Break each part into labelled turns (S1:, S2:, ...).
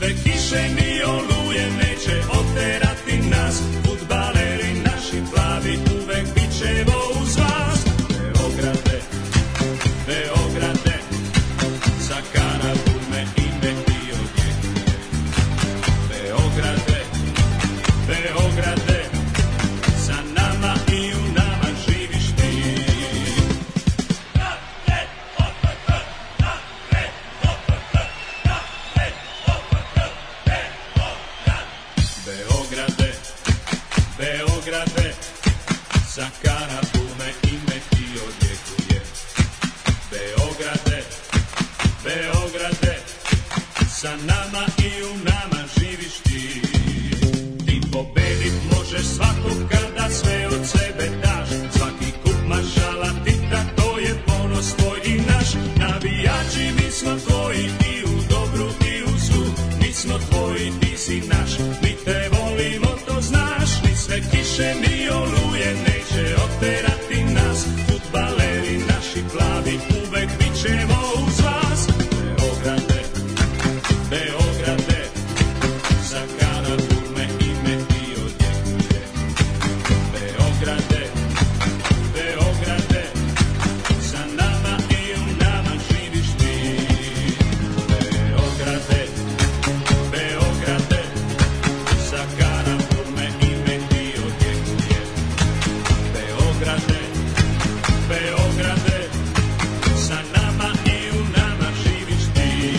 S1: više ni oluje neće oterati nas Futbaleri naši plavi uvek bit ćemo uz vas Beograde, Beograde Za kanabu me ime i od nje Beograde, Beograde Sa nama i u nama živiš ti Beograde, Beograde, sa kanabume ime ti odjekuje. Beograde, Beograde, sa nama i u nama živiš ti. Ti pobedit možeš svakog kada sve od sebe daš. Svaki kup mašala Tita, to je ponos tvoj i naš. Navijači mi smo tvoji i u dobru i u zlu. Mi smo tvoji, ti si naš. Mi te volimo, to znaš. Ni sve kiše, ni oluje neće oterati nas. Futbaleri naši plavi uvek bit ćemo uz vas. Beograde, Beograde, za Karaburme ime ti odjekuje. Beograde, Beograde, sa nama i u nama živiš ti. Beograde, Beograde, sa Karaburme ime ti odjekuje. Beograde, Beograde, sa nama i u nama živiš ti.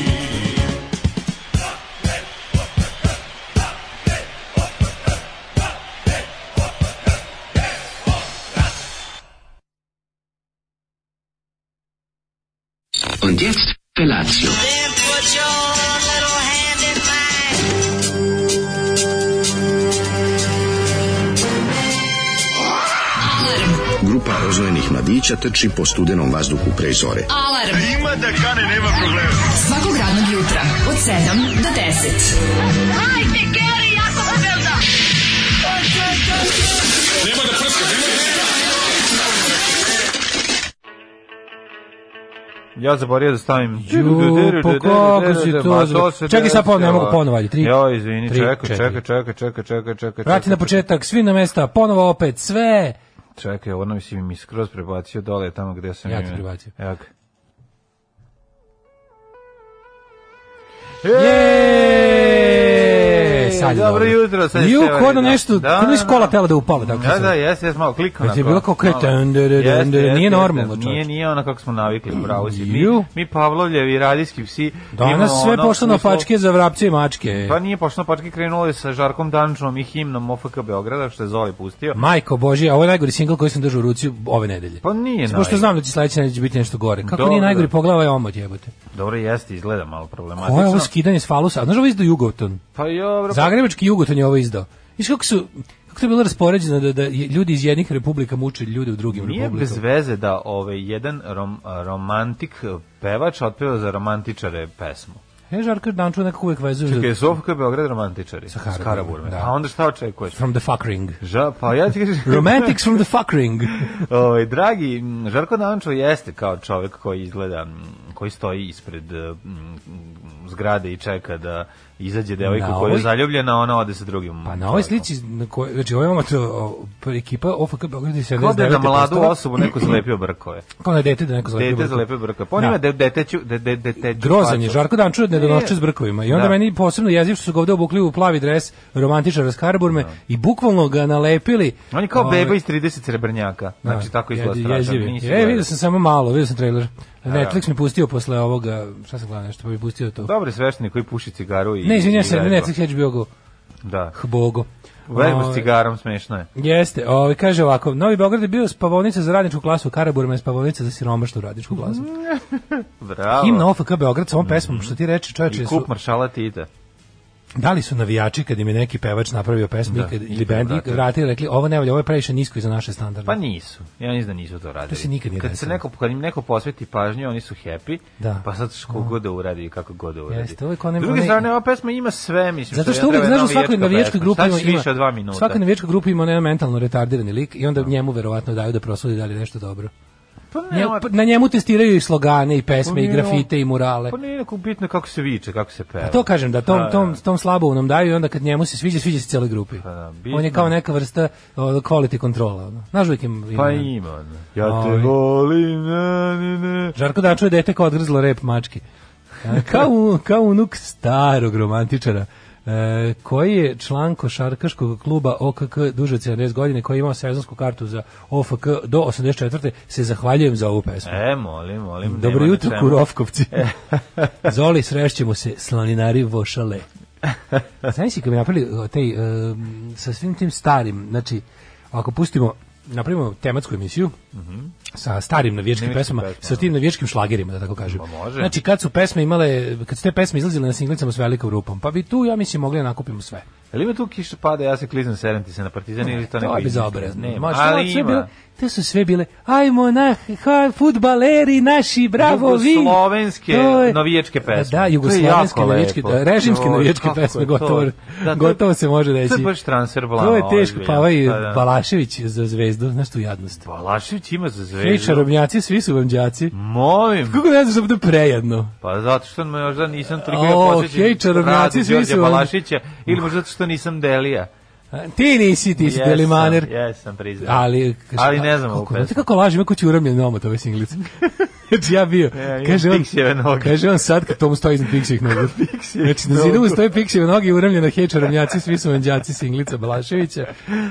S2: Und jetzt Felatio.
S3: Then put your little hand in mine.
S4: Grupa oznojenih mladića trči po studenom vazduhu pre zore.
S5: Alarm. Ima da kane, nema problema. Svakog radnog jutra, od 7 do 10. Hajde, Geri, jako se velda.
S6: Ja zaboravio da stavim.
S7: Ju, pa kako si to
S6: Ma,
S7: zaboravio.
S6: se
S7: Čekaj, sad ponovo, ne mogu
S6: desilo.
S7: ponovo, ajde, tri,
S6: Jo, izvini,
S7: tri,
S6: čekaj,
S7: četiri.
S6: čekaj, čekaj, čekaj, čekaj, čekaj.
S7: Vrati na
S6: čekaj,
S7: početak, svi na mesta, ponovo opet, sve.
S6: Čekaj, ono mi si mi skroz prebacio dole tamo gde sam
S7: Ja ti
S6: imao.
S7: prebacio.
S6: Evo ga.
S7: Je! Sad je
S6: Dobro jutro, sad je
S7: Ju,
S6: sve
S7: kao da
S6: valjda.
S7: nešto,
S6: Da,
S7: da, kao da
S6: da,
S7: nisi kola
S6: da.
S7: tela da upale. Tako
S6: Da, da, jes, jes, malo kliknu.
S7: Kad je
S6: onako.
S7: bilo Pa kao kreten,
S6: Malo.
S7: dun, dun, dun,
S6: Jeste,
S7: dun, dun,
S6: jeste,
S7: nije
S6: jeste.
S7: normalno,
S6: Nije,
S7: čoveče.
S6: nije ono kako smo navikli, pravo si. Mi,
S7: Ju.
S6: mi Pavlovljevi, radijski psi.
S7: Danas
S6: imamo
S7: sve
S6: ono
S7: pošlo na
S6: uslov-
S7: pačke za vrapce i mačke.
S6: Pa nije pošto na pačke krenulo je sa Žarkom Dančom i himnom OFK Beograda, što je Zoli pustio.
S7: Majko Božija, ovo je najgori singl koji sam držao u ruci ove nedelje.
S6: Pa nije
S7: Samo što
S6: naj-
S7: znam da će sledeće nedelje biti nešto gore. Kako
S6: Dobro.
S7: nije najgori pogledaj ovaj omot jebote.
S6: Dobro, jeste, izgleda malo problematično.
S7: Ovo je ovo skidanje s falusa. A Znaš ovo izdao Jugoton?
S6: Pa dobro, pa
S7: Zagrebački Jugoton je ovo izdao. Viš kako su kako to je bilo raspoređeno da, da je- ljudi iz jednih republika muče ljude u drugim
S6: Nije
S7: republikama.
S6: bez veze da ovaj jedan rom, romantik pevač otpeva za romantičare pesmu.
S7: E, Žarko Danču nekako uvek vezuje
S6: Čekaj,
S7: za-
S6: Zofka je Beograd romantičari. Sa
S7: Karaburme,
S6: Karaburme.
S7: da.
S6: A onda šta očekuješ?
S7: from the fuck ring.
S6: Ža, pa ja ti kažem...
S7: Romantics from the fuck ring.
S6: ovaj, dragi, m, Žarko Dančo jeste kao čovjek koji izgleda, m, koji stoji ispred m, m, zgrade i čeka da izađe devojka
S7: Na
S6: koja je
S7: ovoj-
S6: zaljubljena, a ona ode sa drugim
S7: Pa na ovoj
S6: čovjekom.
S7: slici, na kojoj, znači ovo imamo to, o, pa ekipa OFK Beograd iz 79.
S6: Kao da je na mladu
S7: postala-
S6: osobu neko zlepio brkove.
S7: Kao na dete da neko zove.
S6: Dete
S7: Brko.
S6: zlepio brkove. Pa on ima
S7: Da.
S6: de, deteću, de, de, deteću
S7: Grozan je,
S6: facu.
S7: Žarko Danču je nedonošče
S6: Nije.
S7: s brkovima. I onda
S6: Da.
S7: meni posebno jeziv što su ga ovde obukli u plavi dres romantičara s Karaburme i bukvalno ga nalepili.
S6: On je kao
S7: Ovaj,
S6: beba iz 30 srebrnjaka.
S7: da,
S6: Znači, tako izgleda
S7: je-
S6: strašno.
S7: jeziv je.
S6: Nisi
S7: E,
S6: gledao.
S7: vidio sam samo malo, vidio sam trailer. Netflix mi pustio posle ovoga, šta sam gledao nešto, pa mi pustio to.
S6: Dobar je sveštenik koji puši cigaru i...
S7: Ne, izvinjam
S6: i
S7: se,
S6: vežba.
S7: Netflix HBO go,
S6: Da.
S7: hbogo.
S6: Vežba s
S7: Ovaj,
S6: cigarom, smešno je.
S7: Jeste, ovaj kaže ovako, Novi Beograd je bio spavonica za radničku klasu, Karaburma je spavonica za siromašnu radničku klasu.
S6: Mm. Bravo.
S7: Himna OFK Beograd sa ovom pesmom, što ti reče, čoveče,
S6: Mm. I
S7: su,
S6: kup maršala Tita.
S7: da li su navijači kad im je neki pevač napravio pesmu
S6: Da,
S7: i kad-
S6: i
S7: ili bend
S6: vratili.
S7: i vratili i rekli, ovo ne valja, ovo je previše nisko i za naše standarde.
S6: Pa nisu. Ja mislim da nisu to radili.
S7: To se nikad nije
S6: kad se
S7: desilo.
S6: neko, kad im neko posveti pažnju, oni su happy.
S7: Da.
S6: Pa sad što god da uradi i kako god da uradi.
S7: Jeste, uvijek one-
S6: S druge
S7: one-
S6: strane, ova pesma ima sve, mislim.
S7: Zato
S6: je
S7: što uvek,
S6: treba
S7: znaš, u
S6: jedna
S7: svakoj navijačkoj
S6: pesma.
S7: grupi
S6: Šta
S7: ima,
S6: će više od dva
S7: ima
S6: minuta.
S7: svakoj navijačkoj grupi ima jedan mentalno retardirani lik i onda njemu verovatno daju da prosudi da li je nešto dobro.
S6: Pa ne,
S7: Nje-
S6: ma-
S7: pa na njemu testiraju i slogane i pesme i
S6: nije on-
S7: grafite i murale.
S6: Pa nije neko bitno kako se viče, kako se peva.
S7: A to kažem da tom tom tom slabo nam daju i onda kad njemu se sviđa sviđa se celoj grupi.
S6: da, bitno.
S7: On je kao neka vrsta o, quality kontrola. Ono. Znaš uvijek im, im-
S6: Pa ima. ono. Ja te
S7: Ovaj.
S6: volim, ne, ne, ne.
S7: Žarko Dančo je dete kao odgrzlo rep mački. E, Kao, u- kao unuk starog romantičara e, koji je član košarkaškog kluba OKK duže od 70 godine koji je imao sezonsku kartu za OFK do 84. se zahvaljujem za ovu pesmu.
S6: E, molim, molim. nema
S7: Dobro
S6: na
S7: jutro,
S6: čemu.
S7: Kurovkovci. Zoli, srešćemo se, slaninari vošale. Znaš si kad bi napravili o, taj, e, sa svim tim starim, znači, ako pustimo, napravimo tematsku emisiju, sa starim navijačkim
S6: Mhm. Nemačkim
S7: pesmama,
S6: pesmama,
S7: sa tim navijačkim šlagerima, da tako kažem.
S6: Pa može.
S7: Znači, kad su pesme imale, kad su te pesme izlazile na singlicama s velikom rupom, pa bi tu, ja mislim, mogli da nakupimo sve.
S6: Jel ima tu kiša pada, ja se klizam serem ti se na partizan ili to neko...
S7: To je
S6: izmišlja?
S7: bezobrazno.
S6: Pa Nema,
S7: Ma, šta,
S6: ali
S7: sve bilo-
S6: ima.
S7: Te su sve bile, ajmo na ha, futbaleri naši, bravo vi.
S6: Jugoslovenske
S7: To je-
S6: navijačke pesme. To
S7: Da,
S6: je
S7: jugoslovenske
S6: jako
S7: navijačke,
S6: lepo.
S7: da, režimske
S6: Joj,
S7: navijačke
S6: kako
S7: pesme,
S6: je to?
S7: gotovo,
S6: Da, to-
S7: gotovo se može reći.
S6: To je baš transfer blama.
S7: To je teško,
S6: ozbiljan.
S7: pa ovaj
S6: Pa da.
S7: Balašević za zvezdu, znaš tu jadnost.
S6: Balašević ima za
S7: Ej,
S6: zvezdu. Mm.
S7: čarobnjaci, svi su vam đaci.
S6: Molim.
S7: Kako ne znaš da bude prejedno?
S6: Pa zato što možda nisam toliko
S7: O,
S6: ja posjećen
S7: hej, čarobnjaci,
S6: radu
S7: svi
S6: Đorđa
S7: su vam-
S6: Balašića ili možda zato što nisam Delija.
S7: A, Ti nisi, ti si
S6: Jesam,
S7: delimaner.
S6: Jesam, priznam.
S7: Ali,
S6: Ali ne znam ovu
S7: kako, znate
S6: pesmu.
S7: kako lažem, kako ću uramljen omot ove singlice. Znači ja bio,
S6: Ja, imam
S7: kaže on,
S6: Pixijeve E, noge.
S7: kaže on sad kad tomu stoji iznad piksijih nogu. Znači, na
S6: nogu.
S7: zidu mu stoje piksijeve noge i uramljena heča ramljaci, svi su vanđaci singlica Balaševića.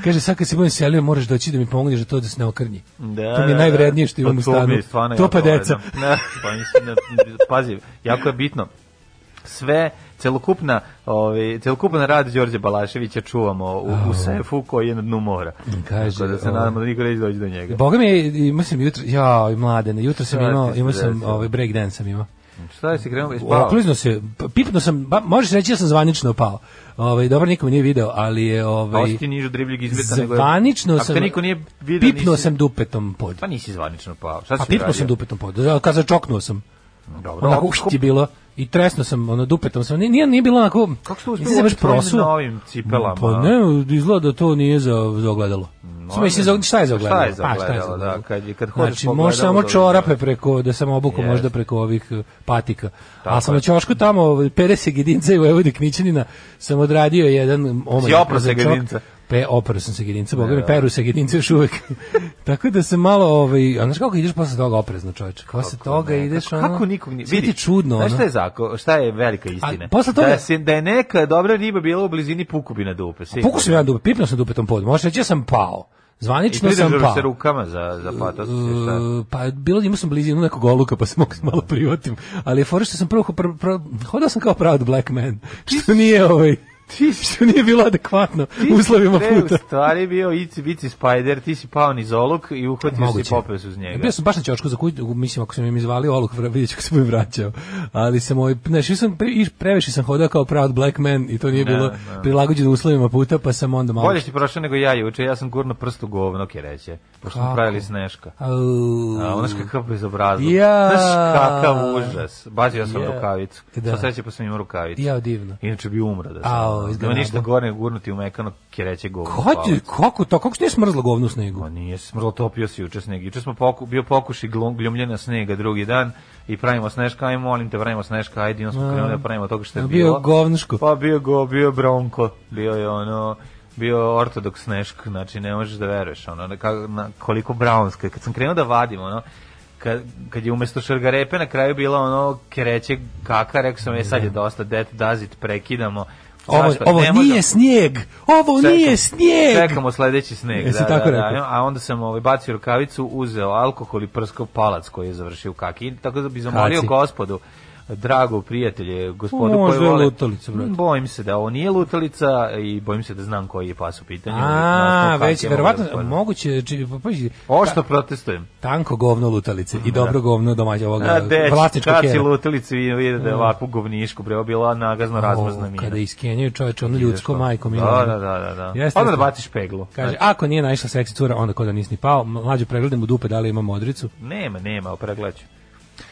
S7: Kaže, sad kad se budem selio, moraš doći da mi pomogneš da to da se ne okrnji.
S6: Da,
S7: to mi
S6: da,
S7: je
S6: da.
S7: najvrednije što
S6: Pa
S7: imam u
S6: to
S7: stanu.
S6: mi je stvarno
S7: To pa
S6: jako
S7: deca.
S6: vredno. Ne, pa mislim, ne, pazi, jako je bitno. Sve, celokupna, ovaj, celokupan rad Đorđe Balaševića čuvamo u, u sefu koji je na dnu mora.
S7: Kaže,
S6: Tako da se
S7: ovaj,
S6: nadamo da niko neće doći do njega.
S7: Boga mi je, imao sam jutro, ja, mladene, jutro sam
S6: Šta
S7: imao,
S6: ti se
S7: imao sam,
S6: desilo?
S7: ovaj, break dance sam imao.
S6: Šta je si krenuo? Jesi pao?
S7: Oklizno se, p- pipno sam, ba, možeš reći da sam zvanično pao. Ovaj dobro nikom nije video, ali je
S6: Pa
S7: ovaj
S6: ovo si ti nižu dribljeg izmeta nego... je-
S7: zvanično
S6: Ako
S7: sam
S6: te niko nije vidio,
S7: pipnuo
S6: nisi...
S7: sam dupetom pod.
S6: Pa nisi zvanično pao. Šta si
S7: A pipnuo
S6: radio?
S7: sam dupetom pod. Da, Kad začoknuo sam.
S6: Dobro,
S7: Onako
S6: a
S7: št je bilo i tresno sam ono dupetom sam. Nije- Nije nije bilo onako.
S6: Kako ste
S7: nisam se
S6: uspeli
S7: baš
S6: u tvojim
S7: prosuo.
S6: novim cipelama?
S7: Pa ne, izgleda da to nije za, za ogledalo. Mislim, mislim, za, šta je za
S6: Šta je
S7: ogledalo?
S6: za
S7: Pa,
S6: ogledalo, da, kad je- kad hođeš
S7: znači,
S6: po
S7: može
S6: ogledalu,
S7: samo
S6: da
S7: čorape
S6: vidiš.
S7: preko, da sam obuku
S6: Jest.
S7: možda preko ovih eh, patika.
S6: Tako
S7: A sam
S6: je.
S7: na Ćošku tamo, ovaj, pere se Gedinca i Vojvode Knićanina, sam odradio jedan omaj.
S6: Si oprao se
S7: za čok.
S6: Gedinca?
S7: Pe, oprao sam se Gedinca, boga mi
S6: da.
S7: peru se Gedinca još uvek. Tako da sam malo, ovaj, a znaš kako ideš posle toga oprezno, čoveče? Posle toga
S6: Ne,
S7: ideš
S6: kako,
S7: ono...
S6: Kako nikog nije...
S7: Sve ti
S6: vidi,
S7: čudno,
S6: Znaš
S7: ono.
S6: šta je, zako, šta je velika istina?
S7: posle toga-
S6: Da, se, da je neka dobra riba bila u blizini pukubina dupe. sigurno.
S7: Pukao sam ja dupe, pipnuo sam dupetom pod. Možeš reći da sam pao.
S6: I
S7: Zvanično sam
S6: pridržao
S7: pao.
S6: se rukama za, za patos. i šta?
S7: E, pa bilo imao sam blizinu nekog oluka pa se mogu malo privotim. Ali je fora što sam prvo pr, pr, hodao sam kao proud black man. Što nije ovaj što nije bilo adekvatno
S6: Ti si
S7: u uslovima
S6: pre
S7: puta.
S6: U stvari bio Ici Bici Spider, ti si pao niz oluk i uhvatio si
S7: Moguće.
S6: popes uz njega.
S7: Bio sam baš na ćošku za kuću, mislim ako sam im izvalio oluk, vra- vidjet ću kako se budem vraćao. Ali sam ovaj, znaš, išao sam, pre, iš- previše sam hodao kao proud black man i to nije bilo prilagođeno uslovima puta, pa sam onda malo...
S6: Bolje si prošao nego ja juče, ja sam gurno prst u govno, kereće, pošto smo
S7: Kako?
S6: pravili sneška.
S7: Au.
S6: A ono kakav bezobrazluk.
S7: Ja.
S6: Znaš kakav užas. Bacio sam
S7: Ja. E,
S6: rukavicu.
S7: Da.
S6: Sa sreće pa sam imao rukavicu.
S7: Ja, divno.
S6: Inače bi umro da sam. ono,
S7: Ao,
S6: Nema
S7: izgledalo.
S6: ništa gore nego gurnuti u mekano kereće govno.
S7: Kako, ti- kako to? Kako se nije smrzlo govno u snegu?
S6: Ma nije smrlo, topio si juče sneg. Juče smo poku, bio pokuši glum- gljumljena snega drugi dan i pravimo sneška, aj molim te, pravimo sneška, ajde, i onda smo krenuli da pravimo toga što je
S7: Ono Bio
S6: bilo.
S7: govnuško.
S6: Pa bio go, bio bronko, bio je ono, bio ortodoks snešk, znači ne možeš da veruješ, ono, na, ka- na, koliko brownska. Kad sam krenuo da vadim, ono, kad, kad je umesto šargarepe na kraju bila ono kereće kaka, rekao sam, e sad je dosta, that does it, prekidamo.
S7: Ovo,
S6: Zašto?
S7: ovo
S6: Ne
S7: nije
S6: možemo-
S7: snijeg! Ovo
S6: Čekamo-
S7: nije snijeg!
S6: Čekamo sledeći sneg.
S7: Jesi
S6: da,
S7: tako
S6: da, da.
S7: rekao?
S6: A onda sam ovaj, bacio rukavicu, uzeo alkohol i prskao palac koji je završio u kaki. Tako da bi zamolio
S7: Kaci.
S6: gospodu, drago prijatelje, gospodu
S7: Možda
S6: koji
S7: je
S6: vole...
S7: lutalica, brate.
S6: Bojim se da ovo nije lutalica i bojim se da znam koji je pas u pitanju. Na
S7: A,
S6: osnovu
S7: već,
S6: kakije mogu
S7: verovatno,
S6: da
S7: moguće, či, pa, pazi,
S6: Ošto protestujem.
S7: tanko govno lutalice i dobro govno domaća
S6: A
S7: ovoga,
S6: deć,
S7: vlasnička
S6: kad si
S7: kjera. Mm.
S6: lutalicu i vidi da je ovakvu govnišku, bre, ovo je bila nagazno razmazna
S7: O,
S6: mina.
S7: Kada iskenjaju čoveče, ono ljudsko majko mi.
S6: Da, da, da, da. da.
S7: Jeste,
S6: Odmah da
S7: jeste.
S6: baciš peglu.
S7: Kaže, ako nije naišla seksi cura, onda kod da nisi ni pao, mlađu pregledam u dupe da li ima modricu.
S6: Nema, nema, opregledat ću.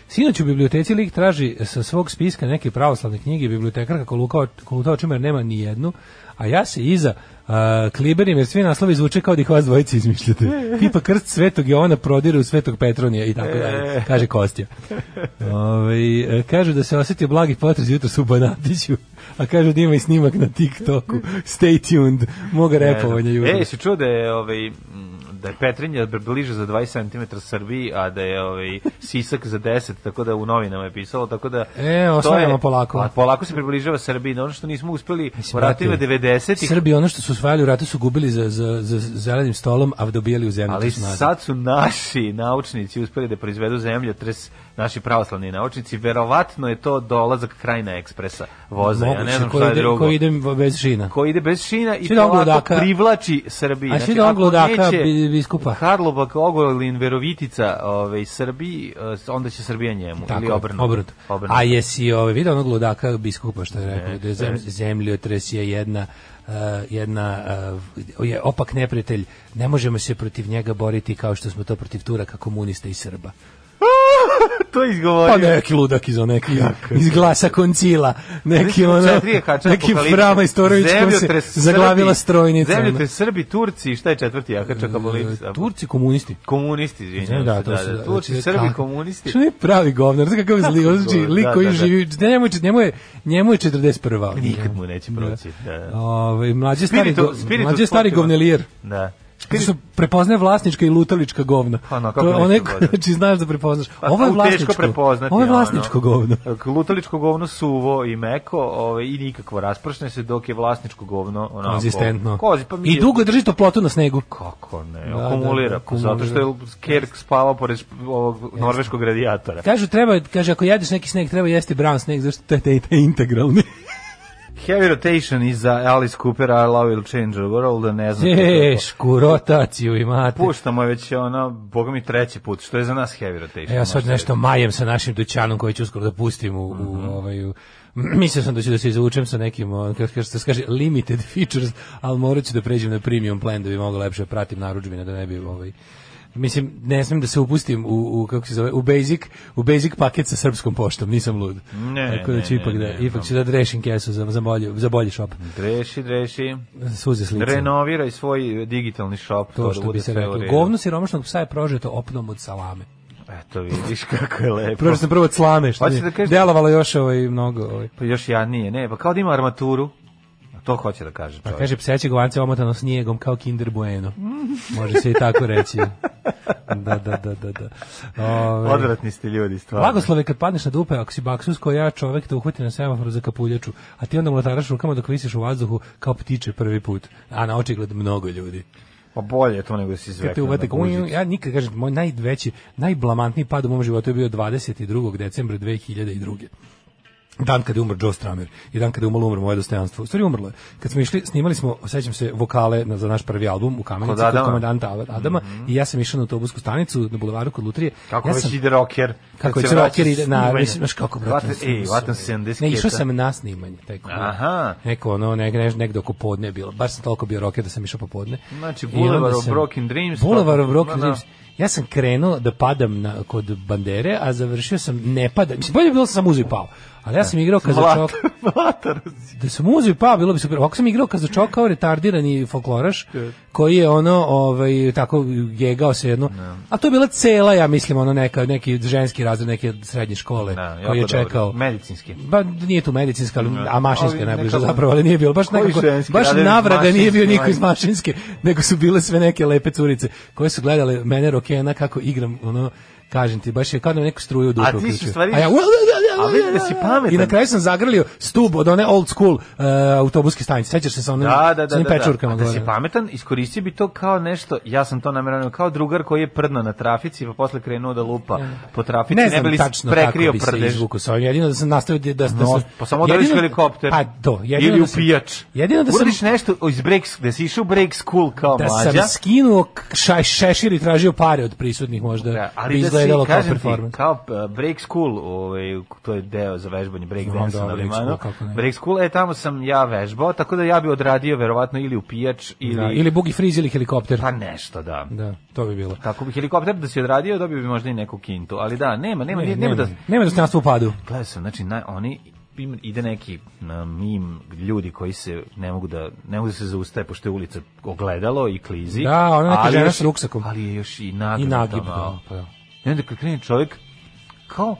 S7: Sinoć u biblioteci lik traži sa svog spiska neke pravoslavne knjige, bibliotekarka kolutao, kolutao čumer nema ni jednu, a ja se iza uh, kliberim jer svi naslovi zvuče kao da ih vas dvojice izmišljate. Tipa krst svetog Jovana prodire u svetog Petronija i tako
S6: E.
S7: dalje, kaže Kostja. Ove, kažu da se osetio blagi potres jutro su u Banatiću, a kažu da ima i snimak na TikToku. Stay tuned, moga repovanja jutro.
S6: E, si čuo da je, ovaj, m, da je Petrinja bliže za 20 cm Srbiji, a da je ovaj, Sisak za 10, tako da u novinama je pisalo, tako da...
S7: E, osvajamo polako.
S6: A polako se približava Srbiji, na ono što nismo uspeli u ratima
S7: brate,
S6: 90-ih,
S7: Srbi ono što su osvajali u ratu su gubili za, za, za zelenim stolom, a dobijali u zemlju.
S6: ali sad su naši naučnici uspeli da proizvedu zemljotres, naši pravoslavni naučnici, verovatno je to dolazak krajna ekspresa voza, ja ne znam šta je drugo.
S7: Koji ide bez šina.
S6: koji ide bez šina i
S7: Svi do
S6: polako
S7: Ongludaka-
S6: privlači Srbiju.
S7: A svi
S6: Znači,
S7: do
S6: ako
S7: Ongludaka
S6: neće
S7: bi- biskupa.
S6: Karlobak, Ogolin, Verovitica, ovaj, Srbiji, eh, onda će Srbija njemu. ili obrnuto.
S7: obrnuto.
S6: Obrnuto.
S7: A jesi ove, vidio onog ludaka biskupa što je rekao, da je zem, zemljotres je jedna eh, jedna eh, je opak neprijatelj, ne možemo se protiv njega boriti kao što smo to protiv Turaka, komunista i Srba.
S6: to je
S7: Pa
S6: izgovorio.
S7: neki ludak iz onog iz glasa koncila, neki ono,
S6: Četiri je kačan
S7: neki
S6: apokalipsa.
S7: Frama Istorović kom se
S6: Zemljotres
S7: zaglavila
S6: Srbi-
S7: strojnica. ono. Eh,
S6: Zemljotres Srbi, Turci, i šta je četvrti Akača Kapolipsa?
S7: Turci komunisti.
S6: Komunisti, izvinjam
S7: da,
S6: se,
S7: to
S6: da,
S7: su-
S6: da, Turci,
S7: znači,
S6: Srbi,
S7: kako-
S6: komunisti.
S7: Što je pravi govnar, znači kako zli,
S6: Kako
S7: znači
S6: govnar,
S7: lik
S6: da,
S7: koji
S6: da, da.
S7: živi, njemu je njemu je njemu je 41.
S6: Nikad mu neće proći, da, da.
S7: Ovaj mlađi stari,
S6: Spiritu-
S7: go-
S6: spiritus
S7: mlađi stari Znači,
S6: potpuno.
S7: govnelijer.
S6: Da.
S7: Zato što prepoznaje vlasnička i lutalička govna.
S6: Pa, no, kako
S7: to je
S6: nešto
S7: one,
S6: govna.
S7: znači znaš da prepoznaš.
S6: Pa,
S7: ovo je
S6: tu teško
S7: vlasničko.
S6: prepoznati,
S7: ovo je
S6: ono.
S7: vlasničko govno.
S6: Lutaličko govno suvo i meko ovaj, i nikakvo raspršne se dok je vlasničko govno onako,
S7: Konzistentno.
S6: Kozi, pa mi
S7: I
S6: je-
S7: dugo drži toplotu na snegu.
S6: Kako ne,
S7: Da, da,
S6: akumulira, pa
S7: da,
S6: zato što je Kerk spavao pored šp- ovog norveškog radijatora.
S7: Kažu treba, kaže ako jedeš neki sneg treba jesti brown sneg zato što to je taj- taj integralni.
S6: Heavy Rotation iza Alice Cooper, I Love Will Change the World, ne znam. kako je to.
S7: Tešku rotaciju imate.
S6: Puštamo je već ono, boga mi treći put, što je za nas Heavy Rotation.
S7: E, ja sad
S6: možda. Mhm.
S7: nešto majem sa našim dućanom koji ću uskoro da pustim u, u ovaj... U, mislio sam da ću da se izvučem sa nekim, o, kako kaže- što se kaže, limited features, ali morat ću da pređem na premium plan da bi mogao lepše da pratim narudžbine, da ne bi ovaj... Mislim, ne smem da se upustim u, u kako se zove, u basic, u basic paket sa srpskom poštom, nisam lud.
S6: Ne,
S7: Tako da ću
S6: ne,
S7: ipak
S6: ne,
S7: da,
S6: ne,
S7: ipak ću da rešim kesu za, za, bolje, za bolji šop.
S6: Dreši, dreši.
S7: Suze s lica.
S6: Renoviraj svoj digitalni shop.
S7: to
S6: da
S7: što
S6: bude
S7: bi se
S6: sve u
S7: reklo.
S6: redu.
S7: Govno siromašnog psa je prožeto opnom od salame.
S6: Eto vidiš kako je lepo.
S7: Prožeto sam prvo od slame, što
S6: Hoćeš
S7: mi je
S6: da kažeš-
S7: delovalo još ovaj, mnogo. Ovaj.
S6: Pa još jadnije, ne, pa kao da ima armaturu. A to hoće da kaže
S7: Pa
S6: čovjek.
S7: kaže pseće govance omotano snijegom kao Kinder Bueno. Može se i tako reći. Da, da, da, da, da. Ovaj,
S6: Odvratni ste ljudi, stvarno.
S7: Blagoslove kad padneš na dupe, ako si baksus ko ja, čovek te uhvati na semaforu za kapuljaču, a ti onda mlataraš rukama dok visiš u vazduhu kao ptiče prvi put, a na očigled mnogo ljudi.
S6: Pa bolje je to nego da si
S7: Kad te
S6: izvekao.
S7: uvate, uj, uj, ja nikad kažem, moj najveći, najblamantniji pad u mom životu je bio 22. decembra 2002. Dan kada je umro Joe Stramer i dan kada je umrlo, umro moje dostojanstvo. U stvari umrlo je. Kad smo išli, snimali smo, osjećam se, vokale na, za naš prvi album u Kamenici
S6: Kod
S7: kod,
S6: Adama. Mhm.
S7: komandanta Ad- Adama i ja sam išao na autobusku stanicu na bulevaru kod Lutrije.
S6: Kako
S7: ja
S6: već ide rocker.
S7: Kako
S6: kad
S7: je
S6: se vraća
S7: rocker ide,
S6: s
S7: na,
S6: snimanja.
S7: mislim, znaš kako, brate.
S6: Vatan- Ej, vatan 70
S7: Ne, išao sam na snimanje, taj kod.
S6: Aha.
S7: Neko ono, nek, nek, nekdo oko podne je bilo. Baš sam toliko bio rocker da sam išao popodne.
S6: Znači,
S7: I
S6: Boulevard
S7: onda
S6: of Broken Dreams,
S7: Boulevard of
S6: pa-
S7: Broken
S6: da, da.
S7: Dreams. Ja sam krenuo da padam na, kod bandere, a završio sam ne padam. Mislim, bolje bi bilo da sam uzeo i pao. Ali ja sam igrao kazačok. da sam uzeo i pao, bilo bi super. Ovako sam igrao kazačok kao retardirani folkloraš, koji je ono, ovaj, tako gegao se jedno. A to je bila cela, ja mislim, ono neka, neki ženski razred, neke srednje škole,
S6: Da, jako
S7: koji je
S6: dobro.
S7: čekao. Mm,
S6: Medicinski.
S7: Ba, nije tu medicinska, ali, a mašinska
S6: Ali
S7: je najbliža
S6: nekako-
S7: zapravo, ali nije bilo baš
S6: Koji
S7: nekako,
S6: ženski
S7: baš
S6: razred
S7: navraga nije bio niko iz
S6: mašinski,
S7: mašinske, nego su bile sve neke lepe curice koje su gledale mene rokena kako igram, ono, kažem ti, baš je kao da me neku struju u dupe
S6: A ti si
S7: uključio.
S6: stvari-
S7: A ja,
S6: A vidi da si pametan.
S7: I na kraju sam zagrlio stub od one old school uh, autobuske stanice, sećaš se sa onim,
S6: Da, da,
S7: sa
S6: da,
S7: onim
S6: da, da.
S7: pečurkama
S6: A da si
S7: gore.
S6: pametan, iskoristio bi to kao nešto, ja sam to namerano, kao drugar koji je prdno na trafici, pa posle krenuo da lupa po trafici,
S7: Mm. Ne
S6: ne,
S7: znam
S6: bi li
S7: tačno
S6: prekrio
S7: kako bi se
S6: prdež.
S7: izvuku sa ovim. Jedino da sam nastavio da, da, da
S6: No,
S7: sam...
S6: pa samo da
S7: jedino-
S6: helikopter.
S7: Pa to, jedino
S6: Ili
S7: da
S6: u
S7: sam-
S6: pijač.
S7: Jedino da sam...
S6: Uradiš nešto iz break, da si išao u break school kao
S7: da
S6: Pa mlađa.
S7: sam skinuo k- ša, šešir i tražio pare od prisutnih možda.
S6: Da,
S7: Da,
S6: ali da
S7: izgledalo kao
S6: kažem ti,
S7: performans.
S6: Kao uh, break school, ovaj, to je deo za vežbanje break
S7: Znam,
S6: dance
S7: da,
S6: na
S7: break school,
S6: limanu.
S7: kako ne.
S6: Break school, e, tamo sam ja vežbao, tako da ja bi odradio verovatno ili u pijač ili...
S7: Da, ili bugi friz ili helikopter.
S6: Pa nešto, da.
S7: Da, to bi bilo.
S6: Kako bi helikopter da si odradio, dobio bi možda i neku kintu. Ali da, nema, nema,
S7: Ne,
S6: nema,
S7: nema,
S6: da...
S7: nema dostojanstva u padu.
S6: Gledao sam, znači, na, oni im- ide neki na mim ljudi koji se ne mogu da ne mogu da se zaustave pošto je ulica ogledalo i klizi.
S7: Da, ona neka
S6: ali
S7: žena
S6: još-
S7: s ruksakom.
S6: Ali je još i nagib.
S7: I nagib,
S6: malo.
S7: da, pa da.
S6: I onda kad krene čovjek kao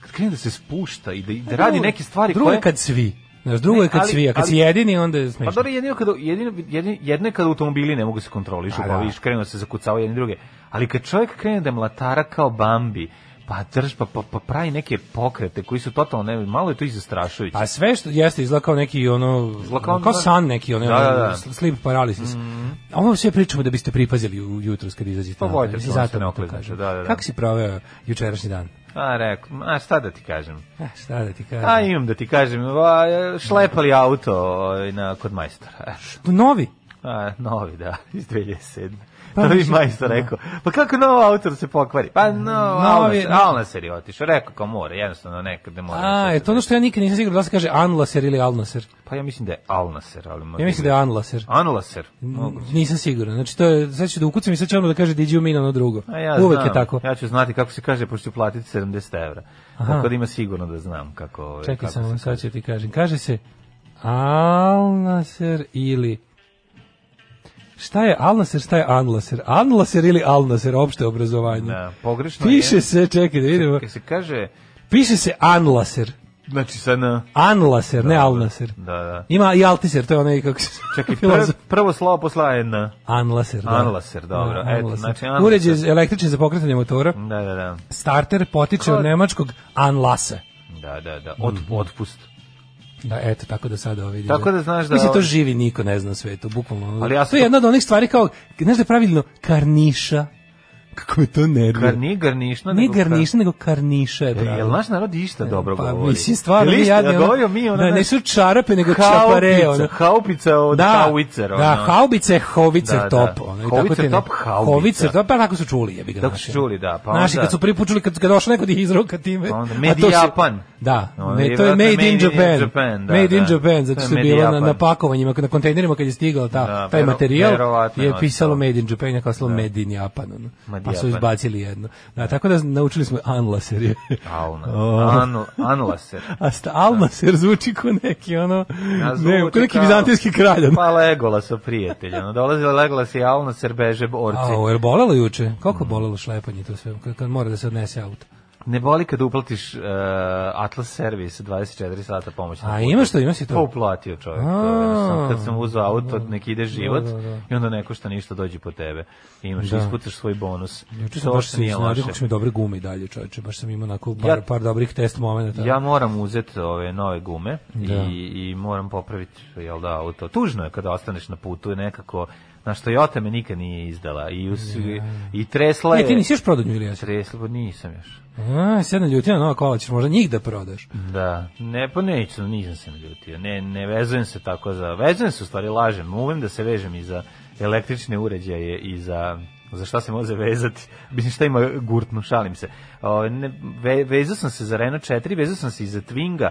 S6: kad krene da se spušta i da, i da radi neke stvari
S7: E, drugo
S6: koje
S7: je kad svi. Znaš, drugo
S6: Ne,
S7: je kad
S6: ali-
S7: svi, a kad si
S6: ali-
S7: jedini, onda je smiješno.
S6: Pa dobro, jedino kada, jedino, jedino, jedno je kada automobili ne mogu se kontrolišu,
S7: A,
S6: pa
S7: da.
S6: vidiš, krenu da se zakucavaju jedni druge. Ali kad čovjek krene da mlatara kao Bambi, pa drž, pa, pa, pa pravi neke pokrete koji su totalno, ne, malo je to i zastrašujuće.
S7: A sve što jeste izgleda kao neki ono
S6: Izgleda kao-
S7: kao, san neki ono
S6: Da, da, da. Mhm.
S7: sl- sleep paralysis. Ovo sve pričamo da biste pripazili u jutro kad izađete.
S6: Pa
S7: napolje.
S6: vodite
S7: Mislim,
S6: računa da se
S7: zato
S6: ne
S7: vam to
S6: okliznete,
S7: kažem.
S6: da, da, da.
S7: Kako si proveo jučerašnji dan?
S6: A, Pa, rekao, a šta da ti kažem?
S7: Eh, šta da ti kažem?
S6: A imam da ti kažem, va, šlepali auto ovaj, na, kod majstora.
S7: Novi.
S6: A, novi, da, iz 2007. Pa,
S7: Pa,
S6: to bi
S7: mislim,
S6: majstor
S7: da.
S6: rekao. Pa kako novo auto se pokvari? Pa no, novi,
S7: novi-
S6: Alnaser je otišao. Rekao kao mora, jednostavno nekad ne mora.
S7: A, je to ono što ja nikad nisam siguran da li se kaže Anlaser ili Alnaser.
S6: Pa ja mislim da je Alnaser, ali možda
S7: Ja mislim da je Anlaser.
S6: Anlaser.
S7: Nisam siguran. Znači to je sad ću da ukucam i sad će ono da kaže Did you mean ono drugo.
S6: A ja
S7: Uvek
S6: znam.
S7: je tako.
S6: Ja ću znati kako se kaže, pošto ću platiti 70 evra. Tako da ima sigurno da znam kako... ovaj,
S7: Čekaj
S6: kako
S7: samo,
S6: se
S7: sad ću ti kažem. Kaže se Alnaser ili Šta je Alnaser, šta je Anlaser? Anlaser ili Alnaser, opšte obrazovanje.
S6: Da, pogrešno
S7: Piše
S6: je.
S7: se, čekaj da vidimo,
S6: Kad se kaže...
S7: piše se Anlaser.
S6: Znači sad na...
S7: Anlaser, ne Alnaser.
S6: Da, da.
S7: Ima i Altiser, to je onaj kako se...
S6: Čekaj, prvo,
S7: filozof.
S6: prvo slovo posla je na...
S7: Anlaser, da.
S6: Anlaser, dobro.
S7: Da,
S6: Eto,
S7: Anlaser.
S6: znači Anlaser. Mm.
S7: Uređaj za- električni za pokretanje motora.
S6: Da, da, da.
S7: Starter potiče od nemačkog Anlase.
S6: Da, da, da. Od,
S7: Mhm.
S6: Otpust.
S7: Da, eto, tako da sada ovo vidim.
S6: Tako da znaš da
S7: Mislim, to
S6: ovo-
S7: živi niko ne zna u svetu, bukvalno. ono.
S6: Ali ja
S7: to je
S6: sam-
S7: jedna od onih stvari kao, znaš da je pravilno, karniša. Kako je to nervio.
S6: Gar, nije garnišno.
S7: Nije
S6: nego kar-
S7: garniša, nego karniša je
S6: E,
S7: pravilno.
S6: Jel naš narod išta dobro
S7: pa,
S6: govori?
S7: mislim, stvarno,
S6: Jel
S7: mi
S6: išta-
S7: jadni,
S6: ja
S7: ono-
S6: govorio mi, ono,
S7: da,
S6: znaš,
S7: nisu čarape, nego čapare, ono.
S6: Haubica, haubica od da, haubicer, ono.
S7: da, haubice, hovicer
S6: Da, da.
S7: top. Ono, i tako
S6: Haubicer
S7: ti ne-
S6: top, haubica.
S7: Hovicer top, pa tako su čuli, jebi ga.
S6: Tako
S7: naši.
S6: su čuli, da, pa
S7: Naši
S6: onda-
S7: kad su pripučuli, kad, kad došao neko da ih izroka time.
S6: Pa onda
S7: a to
S6: Made
S7: se-
S6: in Japan. Ono,
S7: Da,
S6: Onda
S7: ne,
S6: je
S7: to je
S6: vjerojatno
S7: Made, in Japan.
S6: da,
S7: made in
S6: da.
S7: Japan, zato
S6: To je
S7: što je
S6: Made in
S7: bilo na,
S6: Japan.
S7: na pakovanjima, na kontejnerima kad je stigao ta,
S6: Da,
S7: taj
S6: vero-
S7: materijal,
S6: verovatno je
S7: je pisalo
S6: ostalo.
S7: Made in Japan, je kao slovo Made in Japan. ono.
S6: Made
S7: Pa su
S6: Japan.
S7: izbacili jedno. Da, tako da naučili smo Anlaser.
S6: Alna.
S7: O.
S6: Anu, anulaser.
S7: A sta Almaser zvuči ko neki ono,
S6: Ja
S7: ne,
S6: zvuči
S7: ko neki
S6: kao-
S7: bizantijski kralj. ono.
S6: Pa Legolas su prijatelji. Ono, dolazi Legolas i Alnaser beže borci.
S7: A, je bolelo juče? Koliko je bolelo šlepanje to sve, kad, kad mora da se odnese auto?
S6: Ne boli kad uplatiš uh, Atlas servis 24 sata pomoć.
S7: A imaš to, imaš i
S6: To
S7: to?
S6: uplatio čovjek.
S7: A.
S6: to, kad sam uzao auto, nek ide život
S7: Da, da, da.
S6: i onda neko što ništa dođe po tebe. Imaš,
S7: Da.
S6: ispucaš svoj bonus.
S7: Juče sam
S6: to
S7: baš
S6: što
S7: se
S6: nije
S7: iznadio
S6: loše.
S7: kako su mi dobre gume i dalje, čovječe. Baš sam imao onako par,
S6: Ja-
S7: par dobrih test momenta.
S6: Ja moram uzeti ove nove gume
S7: Da.
S6: i, i moram popraviti jel da, auto. Tužno je kada ostaneš na putu nekako, znaš, Toyota me nikad nije izdala i, us, i tresla je.
S7: Ne, E, ti nisi još prodao nju ili jesi?
S6: Tresla, nisam još.
S7: A, sedna ljutina, nova kola, ćeš možda njih da prodaš.
S6: Da, ne, pa neću, nisam se naljutio. Ne, ne vezujem se tako za... Vezujem se, u stvari, lažem. Umem da se vežem i za električne uređaje i za za šta se može vezati, mislim šta ima gurtnu, šalim se. O, ne, ve, vezao sam se za Renault 4, vezao sam se i za Twinga,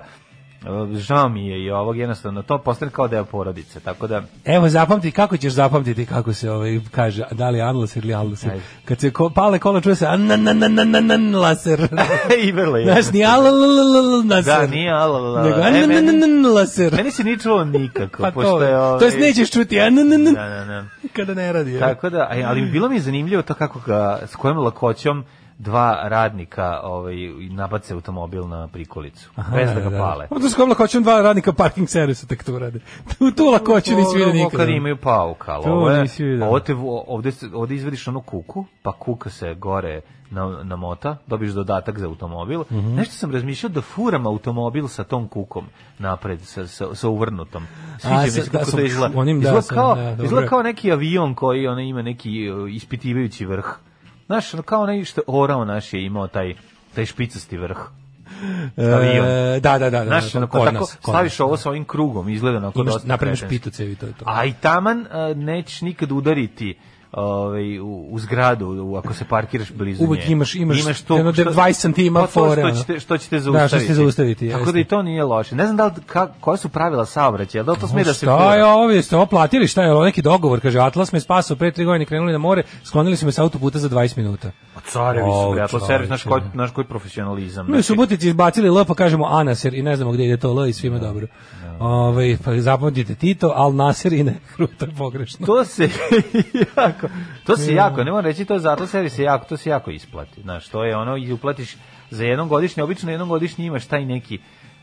S6: O, žao mi je i ovog jednostavno, to postane kao deo porodice, tako da
S7: Evo zapamti kako ćeš zapamtiti kako se ovaj kaže da li anlaser ili anlaser.
S6: Ajde.
S7: Kad se ko, pale kola čuje se ananananananlaser.
S6: i vrlo je.
S7: Znaš, nije anlaser.
S6: Da, nije alalala.
S7: Nego
S6: E, meni,
S7: anananananlaser.
S6: meni se nije čulo nikako,
S7: Pa
S6: pošto
S7: to,
S6: je...
S7: je. to jest
S6: ovaj-
S7: nećeš čuti anananan
S6: Da, da, da.
S7: kada ne radi. je.
S6: Tako da, aj, ali bilo mi je zanimljivo to kako ga, s kojom lakoćom dva radnika ovaj, nabace automobil na prikolicu. bez da ga pale.
S7: Onda skomla hoćem dva radnika parking servisa tek to rade. Tu, tu lakoću nisi vidio
S6: Ovo
S7: nikada.
S6: Ono, Kad imaju pauk, ali
S7: To
S6: ovo je,
S7: nisi vidio.
S6: ovo te, vo- ovde, se- ovde izvediš onu kuku, pa kuka se gore na, namota, dobiješ dodatak za automobil.
S7: Mhm.
S6: Nešto sam razmišljao da furam automobil sa tom kukom napred, sa, sa, sa uvrnutom. Sviđa
S7: A,
S6: mi
S7: sa-
S6: se
S7: da,
S6: kako
S7: sa
S6: to izgleda.
S7: onim, da,
S6: Izgleda
S7: sa-
S6: kao,
S7: da, dobro
S6: izgleda
S7: je.
S6: kao neki avion koji ono, ima neki uh, ispitivajući vrh. Znaš, ono, kao onaj što je orao naš je imao taj, taj špicasti vrh. Avion.
S7: E, da, da, da, da.
S6: Znaš,
S7: da,
S6: ono,
S7: kod
S6: tako,
S7: nas, kod
S6: staviš
S7: nas.
S6: ovo sa ovim krugom, izgleda onako
S7: Imaš,
S6: dosta
S7: napraviš
S6: kretenski.
S7: pitu cevi, to je to.
S6: A i taman e, nećeš nikad udariti ovaj, u, u zgradu, u, ako se parkiraš blizu
S7: Uvek
S6: nje.
S7: imaš- imaš jedno 20 santima
S6: pa to
S7: fore,
S6: Što
S7: ono.
S6: ćete, što ćete
S7: Da, što
S6: zaustaviti.
S7: ćete zaustaviti,
S6: Tako
S7: jeste.
S6: da i to nije loše. Ne znam da li, ka, koja su pravila saobraćaja, da li to sme da se
S7: Šta je
S6: fura?
S7: ovo, jeste oplatili, šta je ovo, neki dogovor, kaže, Atlas me spasao, pre tri godine krenuli na more, sklonili su me s autoputa za 20 minuta.
S6: Pa Carevi
S7: O,
S6: su, bre, to servis, naš
S7: čoveče.
S6: koji, naš koji profesionalizam.
S7: Mi u Subotici izbacili L, pa kažemo Anasir i ne znamo gde ide to L i svima dobro. Ovaj pa zapamtite Tito, Al Nasir i ne, to je pogrešno.
S6: to se jako, to se jako, ne moram reći to je zato servis se jako, to se jako isplati. Znaš, to je ono i uplatiš za jednom godišnje, obično jednom godišnje imaš taj neki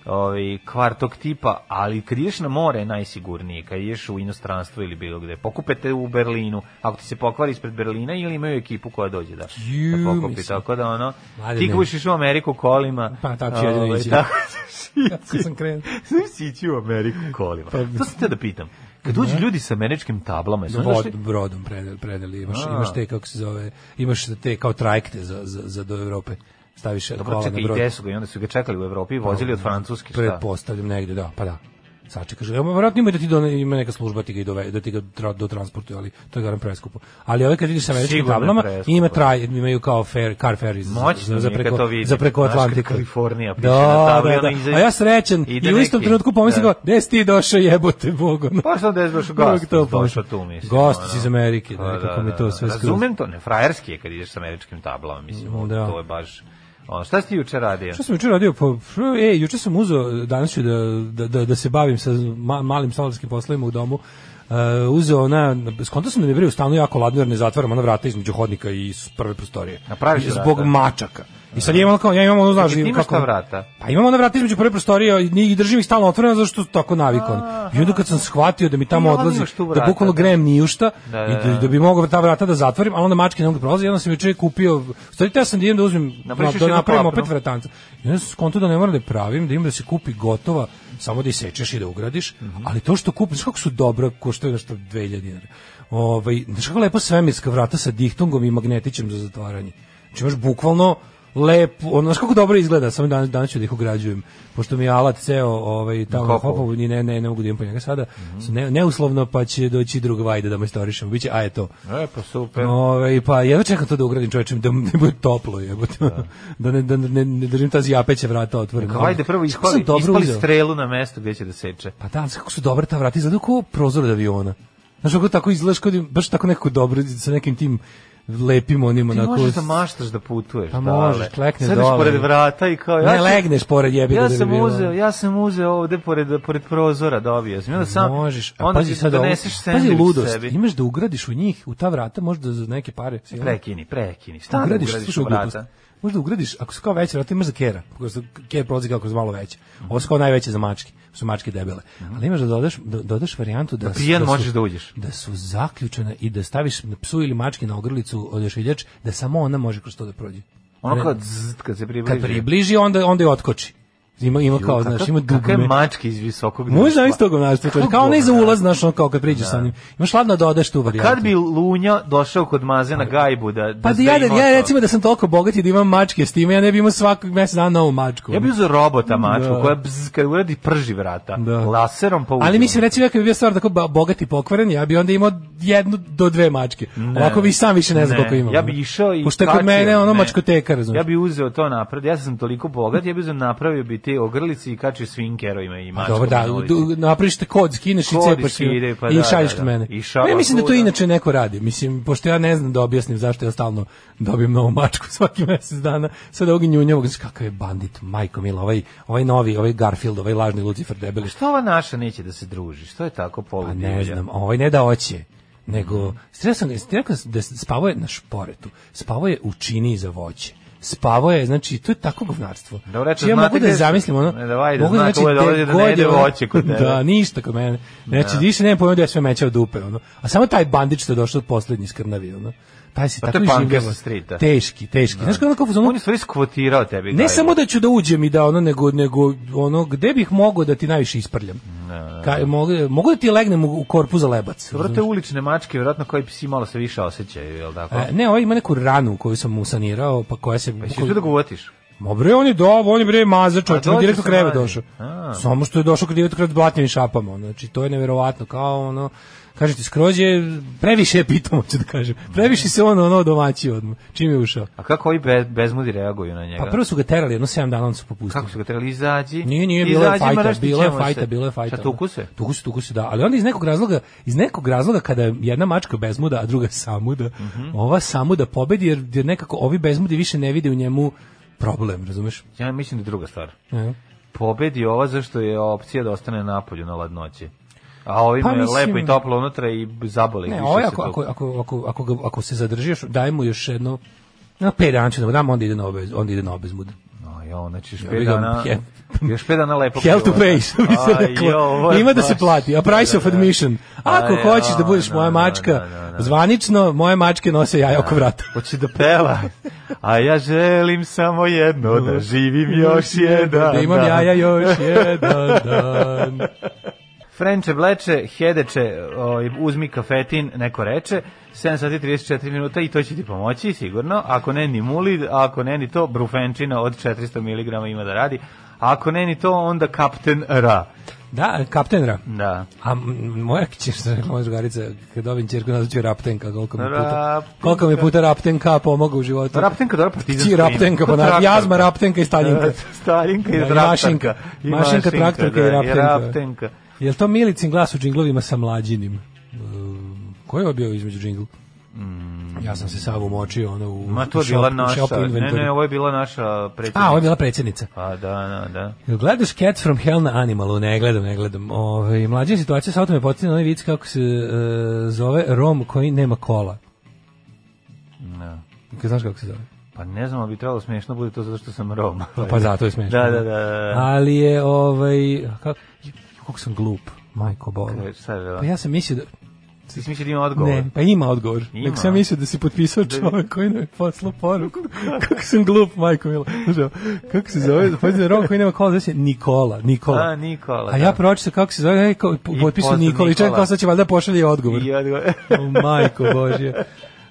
S6: ovaj kvar tog tipa, ali kad ideš na more je najsigurnije, kad ideš u inostranstvo ili bilo gde. Pokupete u Berlinu, ako ti se pokvari ispred Berlina ili imaju ekipu koja dođe da,
S7: Ju,
S6: da pokupi,
S7: mislim.
S6: tako da ono,
S7: Mladine.
S6: ti kako budeš išao u Ameriku kolima,
S7: Pa, tako ću jedino
S6: ovaj,
S7: ići.
S6: tako ćeš
S7: Kako sam krenuo.
S6: Znaš si ići u Ameriku kolima.
S7: Pa-
S6: To sam te da pitam. Kad dođu ljudi sa američkim tablama, jesu oni
S7: Vod,
S6: došli-
S7: brodom predeli, predeli. Imaš,
S6: A.
S7: imaš te, kako se zove, imaš te kao trajekte za, za, za do Evrope. Staviš
S6: Dobro,
S7: kola
S6: čekaj,
S7: na
S6: i
S7: brod.
S6: gde su ga i onda su ga čekali u Evropi i vozili od Francuske, šta?
S7: Pretpostavljam negde, da, pa da. Sačekaš, evo verovatno ima da ti done, ima neka služba ti ga i dove, da ti ga tra, do transportuje, ali to je garan preskupo. Ali ove kad vidiš sa američkim
S6: Sigurno je
S7: tablama,
S6: preskupo.
S7: ima traj, imaju kao fair, car ferry za,
S6: Moćno
S7: za, za
S6: mi je
S7: preko,
S6: kad to vidim.
S7: za preko
S6: Znaš, kad
S7: Atlantika.
S6: Kalifornija piše
S7: da,
S6: na tabli,
S7: da,
S6: ono
S7: da.
S6: iza-
S7: A ja srećen
S6: ide
S7: i u istom
S6: neki,
S7: trenutku pomislim
S6: da.
S7: kao, gde si ti došao jebote ono? bogo.
S6: Pa šta da je došao
S7: Uvek
S6: gost?
S7: to
S6: Došao
S7: pomislim.
S6: tu, mislim.
S7: Gost
S6: ono.
S7: iz Amerike, da,
S6: Pa,
S7: nekako mi to sve skroz.
S6: Razumem to, ne, frajerski je kad ideš sa američkim tablama, mislim,
S7: Da.
S6: to je baš... Ono, šta si ti juče radio?
S7: Što sam juče radio? Pa, e, juče sam uzeo, danas ću da, da, da, da se bavim sa ma, malim stolarskim poslovima u domu. Uh, uzeo ona, skonto sam da mi je bre u stanu jako ladno jer ne zatvaram ona vrata između hodnika i s prve prostorije.
S6: Napraviš
S7: Zbog
S6: vrata.
S7: mačaka. I sad ja imam kao, ja imam ono, znaš,
S6: Čekaj, ti imaš
S7: kako...
S6: ta vrata?
S7: Pa imam ona vrata između prve prostorije i, i držim ih stalno otvoreno zašto su tako navikon. I onda kad sam shvatio da mi tamo
S6: Ja, ali
S7: odlazi,
S6: imaš tu
S7: da
S6: vrata,
S7: bukvalno
S6: da.
S7: grem ni u šta
S6: Da, da,
S7: i da,
S6: da.
S7: da bi mogao ta vrata da zatvorim, ali onda mačke ne mogu da prolaze i onda sam juče kupio, stvari ja sam da idem da uzmem,
S6: Napraviš
S7: da
S6: još jednu
S7: napravim
S6: klapnu.
S7: opet vratanca. I onda sam skonto da ne moram da je pravim, da imam da se kupi gotova, samo da isečeš i da ugradiš, ali to što kupiš, kako su dobro, koštaju nešto 2000 dinara. Ovaj, znaš kako lepo svemirska vrata sa dihtungom i magnetićem za zatvaranje. Znači imaš bukvalno lep, ono, znaš kako dobro izgleda, samo danas, danas ću da ih ugrađujem, pošto mi je alat ceo ovaj, tamo na
S6: Kopu.
S7: hopovu, ni ne, ne, ne mogu da idem po njega sada, ne, neuslovno, pa će doći druga vajda da me storišemo, biće, a je to.
S6: E, pa super.
S7: Ove, pa jedva čekam to da ugradim čovječem, da ne bude toplo jebote. Da. ne, da ne, ne držim ta zjapeća vrata otvorena.
S6: Kao, ajde, prvo
S7: Kako sam
S6: ispali,
S7: dobro
S6: ispali
S7: uzeo.
S6: strelu na mesto gde će da seče.
S7: Pa da, znaš kako su dobra ta vrata, izgleda kao prozor od aviona. Znaš kako tako izgledaš, kao da im- baš tako nekako dobro, sa nekim tim lepim onim
S6: Ti
S7: onako...
S6: možeš da maštaš da putuješ.
S7: Pa
S6: dale.
S7: možeš, klekneš
S6: Sedneš
S7: dole.
S6: pored vrata i kao...
S7: ne
S6: ću-
S7: legneš pored jebe.
S6: Ja sam uzeo,
S7: ono.
S6: ja sam uzeo ovde pored pored prozora dobio sam. I Onda sam
S7: Možeš, a
S6: onda
S7: pazi
S6: ti
S7: sad ovo,
S6: doneseš
S7: pazi
S6: sendvič
S7: ludost,
S6: sebi.
S7: imaš da ugradiš u njih, u ta vrata, možda za neke pare. jel?
S6: Prekini, prekini. Šta da
S7: ugradiš,
S6: ugradiš
S7: slušaj,
S6: u
S7: glupost.
S6: vrata?
S7: Možda ugradiš, ako su kao veće vrata, imaš za kera, ako su ker prolazi kao kroz malo veće. Ovo su kao najveće za mačke, su mačke debele. Ali imaš da dodaš, da, dodaš varijantu da,
S6: pijan
S7: su-
S6: možeš Mhm. da uđeš.
S7: Da su zaključene i da staviš psu ili mački na ogrlicu odašiljač, da samo ona može kroz to da prođe.
S6: Ono kao zzz, kad se približi.
S7: Kad približi, onda, onda je otkoči. Ima, ima kao, znaš, ima
S6: Kakav je
S7: dugme.
S6: mački iz visokog društva.
S7: Možda iz tog gomnaštva,
S6: Kako
S7: kao onaj za
S6: govna?
S7: ulaz, znaš, ono kao kad priđeš sa njim. Imaš ladno da odeš tu varijantu.
S6: Kad bi Lunja došao kod Maze na gajbu da... da
S7: Pa da
S6: da
S7: ja,
S6: ima
S7: da, ja
S6: to?
S7: recimo da sam toliko bogat i da imam mačke s time, ja ne bi imao svakog mjesec dana novu mačku.
S6: Ja bih uzeo robota mačku
S7: Da.
S6: koja bzz, kad uradi prži vrata.
S7: Da.
S6: Laserom pa uđe.
S7: Ali mislim, recimo, ja kad bi bio stvarno tako ba- bogat i pokvaren, ja bi onda imao jednu do dve mačke. Ovako bi i sam više ne znam
S6: Ne,
S7: koliko imam.
S6: Ja bi išao i
S7: Pošto je kod
S6: kačio,
S7: mene ono
S6: ne.
S7: mačkoteka, razumiješ.
S6: Ja bi uzeo to napred. Ja sam toliko bogat, ja bi uzeo napravio bi te ogrlice i kačio svim kerovima i mačkama.
S7: Pa Dobro, da,
S6: na ulici.
S7: du- napraviš te kod, skineš i
S6: Kod
S7: cepaš
S6: skide,
S7: i,
S6: pa
S7: i
S6: da,
S7: šalješ
S6: da,
S7: kod
S6: da.
S7: mene.
S6: I šaljem
S7: ja mislim da to
S6: svuda.
S7: inače neko radi. Mislim, pošto ja ne znam da objasnim zašto ja stalno dobijem novu mačku svaki mjesec dana, sad ovog njunjavog, znaš, kakav je bandit, majko mila, ovaj, ovaj novi, ovaj Garfield, ovaj lažni Lucifer debeli,
S6: Što ova naša neće da se druži? Što je tako
S7: Pa
S6: poludivlja?
S7: ne znam, ovaj ne da oće, nego sreo sam ga, rekao sam da spavo je na šporetu, spavo je u čini za voće. Spavo je, znači, to je tako govnarstvo.
S6: Da, reče,
S7: Znači, ja
S6: znate
S7: mogu da
S6: gde-
S7: zamislim ono...
S6: Ne, da, vajde,
S7: mogu
S6: znate ovo je
S7: gde
S6: dolazi da ne
S7: god je
S6: jede
S7: ono-
S6: voće kod tebe.
S7: Da, ništa kod mene. Znači, više nemam pojma da je sve meća od upe, ono. A samo taj bandić što je došao od poslednji skrnavi, ono. Taj si
S6: Pa to
S7: tako
S6: je punker
S7: življava.
S6: sa streeta.
S7: Teški, teški. Znaš kako ono kao u fazonu,
S6: On je stvari skvotirao tebi.
S7: ne samo da ću da uđem i da ono nego nego ono gde bih mogao da ti najviše isprljam. Ka, mogu, mogu da ti legnem u, u korpu za lebac.
S6: Vrte ulične mačke, vjerojatno koji psi malo se više osjećaju, jel tako?
S7: E, ne, ovaj ima neku ranu koju sam mu sanirao, pa koja se...
S6: Pa ćeš da ga uvotiš?
S7: Ma bre, on je dob, on je bre maza čovječ,
S6: A
S7: on je
S6: dođe
S7: direktno
S6: sa
S7: kreve
S6: Marije.
S7: došao.
S6: A.
S7: Samo što je došao kad je direktno kred blatnjavim šapama, ono, znači to je neverovatno, kao ono, kažete, skroz je, previše je pitomo, ću da kažem, previše se on ono domaći odmah, čim je ušao.
S6: A kako ovi bez, bezmudi reaguju na njega?
S7: Pa prvo su ga terali, jedno 7 dana on su popustili.
S6: Kako su ga trebali izađi?
S7: Nije, nije, bilo je
S6: Izađi,
S7: fajta,
S6: mršti,
S7: bilo je
S6: ćemo se.
S7: fajta, bilo je fajta.
S6: Šta tuku se?
S7: Tuku se, tuku se, da. Ali onda iz nekog razloga, iz nekog razloga kada jedna mačka bezmuda, a druga samuda,
S6: Mhm.
S7: ova samuda pobedi, jer, jer nekako ovi bezmudi više ne vide u njemu problem, razumeš?
S6: Ja mislim da je druga stvar.
S7: E.
S6: Pobedi ova zašto je opcija da ostane napolju na ladnoći. A ovim
S7: Pa
S6: je
S7: mislim-
S6: lepo i toplo unutra i zabole.
S7: Ne,
S6: više
S7: ovaj
S6: se
S7: ako,
S6: to-
S7: ako, ako, ako, ako, ga, ako se zadrži još, daj mu još jedno, na 5 dana ću da mu dam, onda ide na, obez, onda ide na obezmud.
S6: No, jo, znači
S7: Ja bih
S6: špeda
S7: ga-
S6: na...
S7: he-
S6: Još pet dana lepo.
S7: Hell to
S6: provode.
S7: pay, što bi se
S6: Aj,
S7: reklo.
S6: jo, ovo je
S7: Ima da se
S6: baš-
S7: plati, a price
S6: Da,
S7: of
S6: da.
S7: admission. Ako
S6: Aj,
S7: hoćeš da
S6: o,
S7: budeš moja
S6: da,
S7: mačka,
S6: da, da, da.
S7: zvanično moje mačke nose jaja oko vrata.
S6: Hoće da peva. A ja želim samo jedno, da živim još jedan.
S7: Da imam
S6: dan.
S7: jaja još jedan dan.
S6: Frenče bleče, hedeče, ovaj, uzmi kafetin, neko reče, 7 sati 34 minuta i to će ti pomoći sigurno, ako ne ni mulid, ako ne ni to, brufenčina od 400 mg ima da radi, ako ne ni to, onda kapten Ra.
S7: Da, kaptenra.
S6: Da.
S7: A m, moja kći, što je rekla moja drugarica, kad dobim čerku nazvat ću je Raptenka, koliko mi puta,
S6: Raptenka.
S7: koliko mi puta Raptenka pomogla u životu.
S6: Raptenka, dobro, partizanska
S7: Kći
S6: ime.
S7: Raptenka, pa na,
S6: Traktorka.
S7: jazma Raptenka i Staljinka.
S6: Stalinka i
S7: Da, i
S6: traktorka.
S7: Mašinka.
S6: I
S7: Mašinka, traktorka i
S6: da,
S7: Raptenka.
S6: Raptenka.
S7: Jel to Milicin glas u džinglovima sa mlađinim? E, Ko je obio između džingl? Ja sam se sav umočio ono u
S6: Mm. Ma to je
S7: shop-
S6: bila
S7: u
S6: naša,
S7: shopu
S6: ne,
S7: inventory.
S6: ne, ovo je bila naša
S7: A,
S6: predsjednica.
S7: ovo je bila predsjednica.
S6: Pa da, da, da.
S7: Jel gledaš Cats from Hell na Animalu? Ne gledam, ne gledam. Ove, mlađa situacija sa autom je podsjetila na onaj vic kako se e, zove Rom koji nema kola.
S6: Da.
S7: Kako znaš kako se zove?
S6: Pa ne znam, ali bi trebalo smiješno bude to zato što sam Rom.
S7: Pa zato je smiješno.
S6: Da, da, da, da.
S7: Ali je, ovaj, kako, kako sam glup, majko bola.
S6: Kaj, Šta je bilo?
S7: Pa ja sam mislio da,
S6: Ti si mislio da ima odgovor?
S7: ne, pa ima odgovor.
S6: Ima.
S7: Nek sam mislio da si potpisao čovek koji nam je poslao poruku. kako sam glup, majko mila. Znaš, evo, Kako se zove? Pođe Rom koji nema kola, zove se Nikola. Nikola.
S6: A, Nikola.
S7: A
S6: Pa da.
S7: ja pročitao kako se zove, ej, kao, po-
S6: I
S7: potpisao
S6: pozdrav
S7: Nikola i čekam
S6: Nikola.
S7: kao sad će valjda pošalje odgovor.
S6: I odgovor.
S7: O, majko Božje.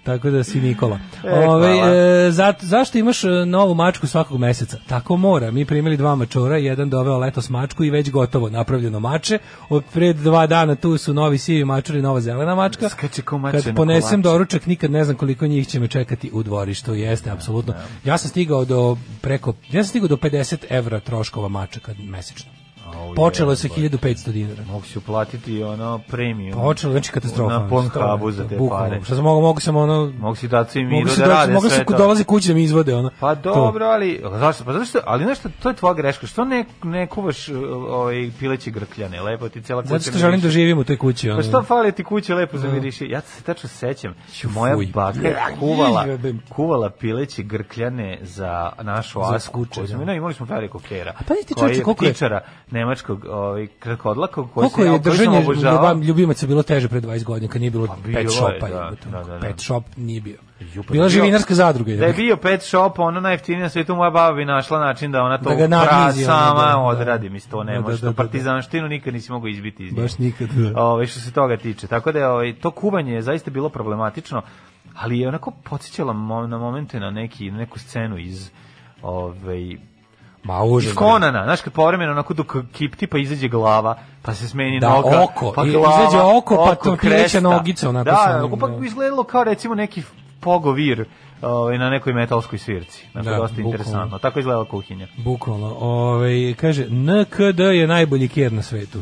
S7: Tako da si Nikola.
S6: E,
S7: Ove,
S6: hvala.
S7: e, zato- zašto imaš e, novu mačku svakog meseca? Tako mora. Mi primili dva mačora, jedan doveo letos mačku i već gotovo napravljeno mače. Od pred dva dana tu su novi sivi mačori, nova zelena mačka.
S6: Skače ko mače na
S7: Kad ponesem
S6: kolače.
S7: doručak, nikad ne znam koliko njih će me čekati u dvorištu. Jeste, apsolutno. Ja sam stigao do preko, ja sam stigao do 50 evra troškova mačaka mesečno.
S6: Au,
S7: Počelo je
S6: je,
S7: sa
S6: boy.
S7: 1500 dinara.
S6: Mogu si uplatiti ono premium.
S7: Počelo, znači katastrofa.
S6: Na Pornhubu za te
S7: Bukvalno.
S6: pare.
S7: Šta sam mogu, mogu sam ono...
S6: Mogu si dati i
S7: Mogu
S6: miro
S7: se
S6: da rade
S7: mogu se
S6: sve to.
S7: dolazi kući da mi izvode ono.
S6: Pa
S7: To.
S6: dobro, ali zašto? Pa zašto? Ali znaš šta, to je tvoja greška. Što ne, ne kuvaš uh, ovaj pileće grkljane? Lepo ti cela kuća.
S7: Zato što
S6: miriši.
S7: želim da živim u toj kući. Ono.
S6: Pa što fali ti kuće lepo zamiriši? Ja se tačno sećam, moja
S7: fuj.
S6: baka je kuvala,
S7: jebem.
S6: kuvala pileće grkljane za našu
S7: Za
S6: asku.
S7: kuće,
S6: koju smo-
S7: da.
S6: ne, imali smo velikog kera.
S7: pa vidi ti,
S6: koji
S7: čoveče, koliko je-
S6: ptičara nemačkog, ovaj, kratkodlakog, koji
S7: Koliko
S6: se,
S7: je
S6: ja, koji sam
S7: držanje
S6: obožavao.
S7: ljubam, ljubimaca bilo teže pre 20 godina kad nije bilo
S6: bilo Pa je,
S7: pet shopa.
S6: da,
S7: jebote, ono,
S6: da, da, da.
S7: Pet shop nije bio.
S6: Ju, pa da
S7: Bila
S6: je bio-
S7: živinarska zadruga.
S6: Da je
S7: jebote.
S6: bio pet shop, ono najjeftinije na svetu, moja baba bi našla način da ona to
S7: Da ga nagrizi,
S6: pra-
S7: ono, da,
S6: sama
S7: da.
S6: odradi, mislim, to ne
S7: Da,
S6: može.
S7: da, da, da.
S6: Partizanštinu nikad nisi mogao izbiti iz nje.
S7: Baš nikad. Da.
S6: Ove, što se toga tiče. Tako da je ovaj, to kuvanje je zaista bilo problematično, ali je onako podsjećala mo- na momente na neki, na neku scenu iz ovaj,
S7: Ma užas.
S6: iz Konana, znaš kad povremeno onako dok kipti pa izađe glava, pa se smeni
S7: Da,
S6: noga,
S7: oko,
S6: pa
S7: i-
S6: glava,
S7: izađe oko, pa to pileća
S6: kresta.
S7: nogica, onako
S6: da,
S7: sa onim,
S6: onako, pa
S7: da.
S6: bi izgledalo kao recimo neki pogovir ovaj, na nekoj metalskoj svirci, znači
S7: Da,
S6: dosta
S7: bukvalno.
S6: interesantno, tako je izgledala kuhinja.
S7: Bukvalno. Ovaj kaže, NKD je najbolji kjer na svetu.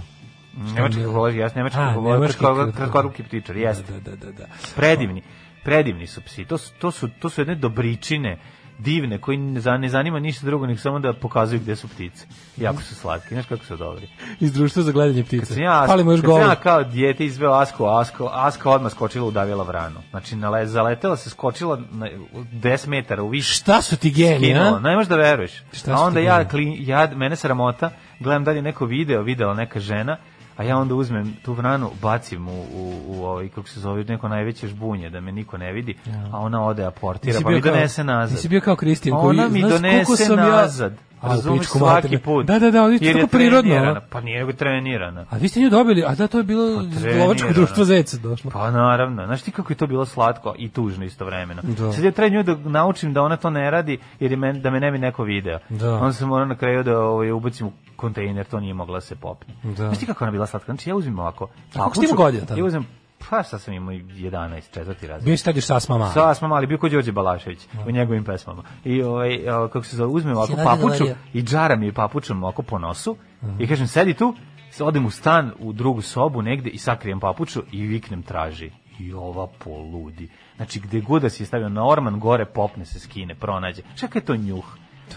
S6: Nemački kokoloži, ja sam nemački
S7: A,
S6: kokoloži,
S7: nemački
S6: kratko-
S7: kokoloži.
S6: kratkoruki ptičar, jeste.
S7: Da, da, da, da.
S6: Predivni. Predivni su psi. To su, to su, to su jedne dobričine divne koji ne, za- ne zanima ništa drugo nego samo da pokazuju gde su ptice. Jako su slatki, znaš kako su dobri.
S7: Iz društva za gledanje
S6: Kad
S7: ptice.
S6: sam ja,
S7: Palimo još
S6: kad sam
S7: golu.
S6: ja kao dijete izveo Asko, Asko, Aska odmah skočila udavila vranu. Znači nale, zaletela se, skočila na u 10 metara u više.
S7: Šta su ti geni,
S6: Kinula,
S7: a?
S6: ne možeš da veruješ.
S7: Šta
S6: a
S7: si
S6: onda
S7: ti
S6: ja,
S7: gledao?
S6: klin, ja, mene sramota, gledam da li je neko video, videla neka žena, a ja onda uzmem tu vranu, bacim u, u, u ovaj, kako se zove, neko najveće žbunje, da me niko ne vidi, a ona ode aportira,
S7: Nisi
S6: pa
S7: bio
S6: mi
S7: kao-
S6: donese nazad.
S7: Nisi bio kao Kristijan koji
S6: Ona mi
S7: znaš koliko
S6: donese
S7: sam ja-
S6: nazad.
S7: A, u
S6: Razumeš
S7: pičku
S6: svaki
S7: materinu.
S6: put.
S7: Da, da, da, ali to
S6: Jer
S7: je
S6: je
S7: tako prirodno. ono.
S6: trenirana. Pa nije nego trenirana.
S7: A vi ste nju dobili, a da, to je bilo iz
S6: trenirana.
S7: lovačkog društva Zeca došlo.
S6: Pa naravno, znaš ti kako je to bilo slatko i tužno istovremeno.
S7: Da.
S6: Sad ja treba nju da naučim da ona to ne radi jer je men, da me ne bi neko video.
S7: Da.
S6: Onda sam morao na kraju da ovaj, ubacim u kontejner, to nije mogla da se popne.
S7: Da.
S6: Znaš ti kako je ona bila slatka? Znači ja uzmem ovako.
S7: koliko ste
S6: papuču,
S7: imali godina tada?
S6: Ja uzmem, pa šta sam imao 11, četvrti razred.
S7: Bio si tad još sasma mala.
S6: Sa smo mali, bio ko Đorđe Balašević u njegovim pesmama. I ovaj, a, kako se zove, uzmem ovako
S7: Sjeverna
S6: papuču
S7: Norija.
S6: i džaram je papučom ovako po nosu i kažem, sedi tu, s- odem u stan, u drugu sobu negde i sakrijem papuču i viknem traži. I ova poludi. Znači, gde god da si je stavio na orman, gore popne se, skine, pronađe. Čekaj, je to njuh.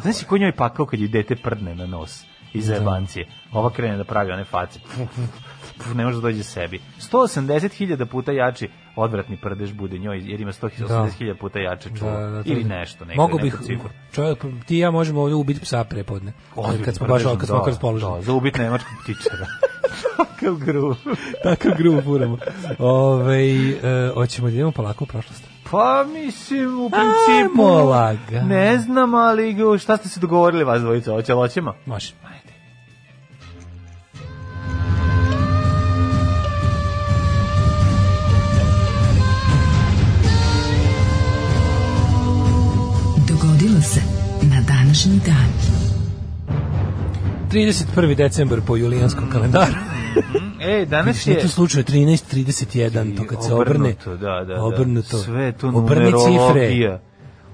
S6: Znaš ko njoj pakao kad je dete prdne na nos iz jebancije. Ova krene da pravi one face. Puf, puf, puf, ne može da dođe sebi. 180.000 puta jači odvratni prdež bude njoj, jer ima 180.000 puta jače čuo.
S7: Da, da, to
S6: Ili
S7: je.
S6: nešto, neko,
S7: Mogu bih,
S6: neku cifru.
S7: čovjek, ti i ja možemo ovdje ubiti psa prepodne.
S6: Odvratni
S7: Kad smo baš
S6: prdež,
S7: ovdje, kad smo
S6: da,
S7: ovdje raspoloženi.
S6: Da, za ubit nemačkog ptičara. Takav grup.
S7: Takav grubo furamo. Ove, e, hoćemo da idemo polako u prošlost.
S6: Pa mislim, u principu...
S7: Ajmo lagano.
S6: Ne znam, ali gu, šta ste se dogovorili vas dvojica? Hoće, li hoćemo?
S7: Može.
S8: Dogodilo se na današnji dan.
S7: 31. decembar po julijanskom kalendaru.
S6: Ej, E, danas
S7: Nije
S6: je...
S7: to slučaj 13.31, to kad se obrne.
S6: Obrnuto, da, da, da.
S7: Obrnuto.
S6: Sve je to
S7: Obrni
S6: numerologija.
S7: cifre.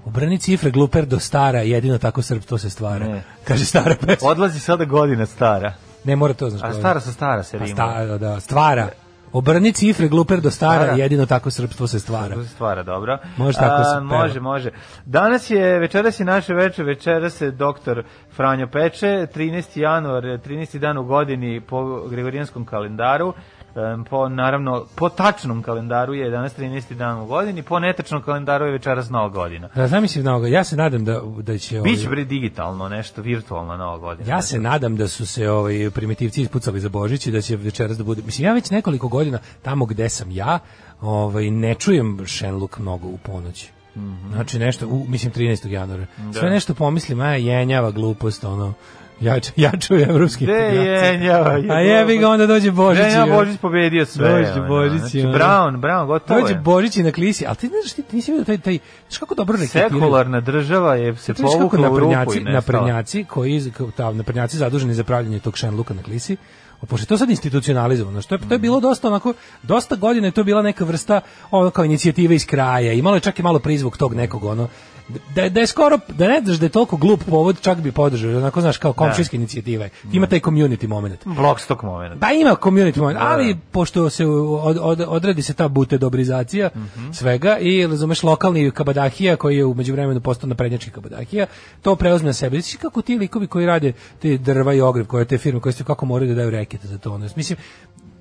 S7: Obrni cifre, gluper do stara, jedino tako srpstvo se stvara.
S6: Ne.
S7: Kaže stara pesma.
S6: Odlazi sada godina stara.
S7: Ne mora to znaš.
S6: A
S7: kao-
S6: stara sa stara se
S7: Pa
S6: rima.
S7: stara, da, stvara. Obrni cifre, gluper do stara,
S6: Stara.
S7: jedino tako srpstvo se stvara.
S6: To se stvara, dobro.
S7: Može tako se
S6: A,
S7: peva.
S6: Može, može. Danas je, večeras je naše večer, večeras je doktor Franjo Peče, 13. januar, 13. dan u godini po gregorijanskom kalendaru, Em, po naravno po tačnom kalendaru je danas 13. dan u godini, po netačnom kalendaru je večeras nova godina.
S7: Da, zamislim na ovoga, ja se nadam da, da će... ovaj-
S6: Biće bre digitalno nešto virtualno nova godina.
S7: Ja se nadam da su se ovaj primitivci ispucali za Božić i da će večeras da bude. Mislim ja već nekoliko godina tamo gde sam ja, ovaj ne čujem šenluk mnogo u ponoći.
S6: Mhm.
S7: Znači nešto, u, mislim 13. januara. Sve nešto pomislim, a jenjava glupost, ono, ja, ja čujem evropski
S6: Gde
S7: integracije.
S6: jenjava je
S7: A jebi ga, onda dođe Božić.
S6: Božić,
S7: i-
S6: E,
S7: ono,
S6: ja, Božić pobedio sve.
S7: Dođe
S6: ono,
S7: Božić i
S6: znači,
S7: ono.
S6: Brown, Brown, gotovo
S7: Dođe
S6: je.
S7: Božić i na klisi, ali ti znaš, ti, ti nisi vidio taj, taj, znaš kako dobro reketiraju?
S6: Sekularna država je se
S7: Ti vidiš kako
S6: povukla u rupu
S7: naprednjaci,
S6: i nestala.
S7: naprednjaci koji iz- kao ta naprednjaci zaduženi za pravljenje tog Šenluka na Klisi, a pošto je to sad institucionalizovano, što je, to je bilo
S6: Mm.
S7: dosta onako, dosta godina je to bila neka vrsta ono kao inicijative iz kraja, imalo je čak i malo prizvuk tog nekog ono, da, da je skoro, da ne znaš da je toliko glup povod, čak bi podržao, onako znaš kao komšijska inicijativa, je. ima taj community moment.
S6: Blockstock moment.
S7: Pa ima community moment, ali pošto se u- od, od, odredi se ta bute dobrizacija
S6: Mhm.
S7: svega i razumeš lokalni kabadahija koji je u međuvremenu postao naprednjački kabadahija, to preuzme na sebe. Znači kako ti likovi koji rade te drva i ogrev koje te firme koje su kako moraju da daju rekete za to. Ono. Mislim,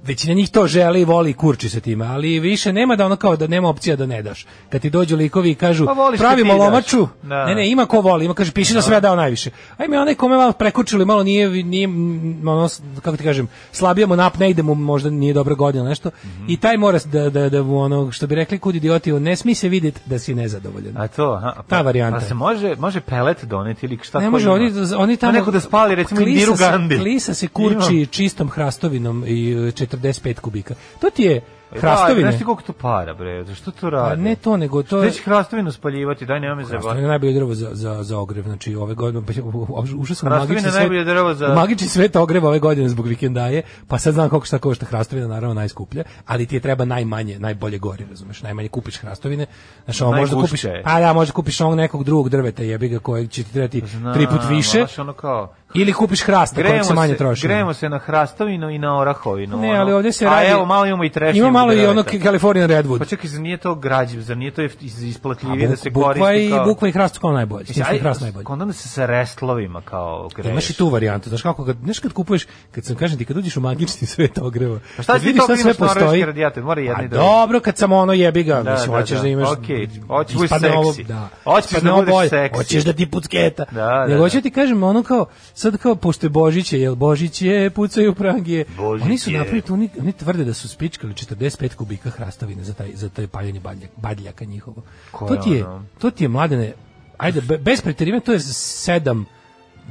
S7: većina njih to želi, voli i kurči se time, ali više nema da ono kao da nema opcija da ne daš. Kad ti dođu likovi i kažu
S6: Pa voliš kad
S7: pravimo
S6: ti daš."
S7: lomaču,
S6: Da.
S7: ne, ne, ima ko voli, ima kaže piši da sam ja dao najviše. A ima onaj kome malo prekučili, malo nije nije mm, ono s- kako ti kažem, slabije mu nap ne ide mu možda nije dobra godina nešto.
S6: Mhm.
S7: I taj mora s- da da da mu ono što bi rekli kud idioti, on ne smije se vidjeti da si nezadovoljan.
S6: A to, aha. Pa-
S7: Ta varijanta.
S6: Pa se može, može pelet doneti ili šta
S7: Ne
S6: ko
S7: može,
S6: ima?
S7: oni, oni tamo...
S6: Pa neko da spali, recimo,
S7: Klisa
S6: Indiru
S7: se-
S6: Gandhi.
S7: Klisa se kurči čistom hrastovinom i e, 45 kubika. To ti je
S6: Hrastovine. Da,
S7: hrastovine.
S6: E, znaš ti koliko to para, bre? Zašto to
S7: A
S6: radi?
S7: ne to, nego to...
S6: Gde će hrastovinu spaljivati? Daj, nema me
S7: Hrastovina
S6: zajebati.
S7: je najbolje drvo za, za, za ogrev, znači ove godine, pa, u- u- ušao sam u
S6: Hrastovina
S7: magični
S6: je
S7: svet,
S6: najbolje drvo za-
S7: u magični svet ogreva ove godine zbog vikendaje, pa sad znam koliko šta košta hrastovina, naravno najskuplje, ali ti je treba najmanje, najbolje gori, razumeš, najmanje kupiš hrastovine, znači ovo možda
S6: Najgušće
S7: kupiš,
S6: je.
S7: pa da, možda kupiš ovog nekog drugog drveta jebiga kojeg će ti trebati tri put više,
S6: Znaš, ono kao...
S7: ili kupiš hrasta kojeg
S6: Grejemo
S7: se manje
S6: se,
S7: troši.
S6: grejemo se na hrastovinu i na orahovinu.
S7: Ne,
S6: ono.
S7: ali ovdje se radi...
S6: A evo, malo imamo i trešnje.
S7: Ima malo i ono
S6: drveta.
S7: Californian Redwood.
S6: Pa čekaj, zar nije to građiv, zar nije to jeft- iz-
S7: A
S6: isplatljivije da se
S7: bukva
S6: koristi
S7: i,
S6: kao...
S7: Bukva i hrast su kao najbolje.
S6: Mislim,
S7: Mislim,
S6: aj,
S7: hrast najbolje.
S6: Onda se sa restlovima kao greješ.
S7: Imaš i tu varijantu, znaš kako, kad, znaš kad kupuješ, kad sam kažem ti, kad uđeš u magični svet ogreva,
S6: Pa šta
S7: kad
S6: ti to kad imaš norveški radijator, mora i jedna
S7: pa
S6: i druga.
S7: dobro, kad samo ono jebi ga,
S6: Da,
S7: mislim,
S6: da,
S7: hoćeš da,
S6: da.
S7: imaš,
S6: Okej, hoćeš da
S7: ispadne
S6: budeš
S7: ovo-
S6: seksi.
S7: da,
S6: Hoćeš
S7: ispadne
S6: da
S7: ovo
S6: budeš
S7: bolje,
S6: seksi.
S7: hoćeš da ti pucketa,
S6: Da,
S7: nego
S6: da,
S7: hoću ti kažem, ono kao, sad kao, pošto je Božić, je, jel Božić je, pucaju prangije,
S6: Božić
S7: oni su
S6: je.
S7: napravili, tu, oni, oni tvrde da su spičkali 45 kubika hrastavine za taj, za taj paljenje badljak, badljaka njihovo.
S6: Ko
S7: to
S6: je
S7: ti je,
S6: ono?
S7: to ti je mladene, ajde, be- bez preterivanja, to je sedam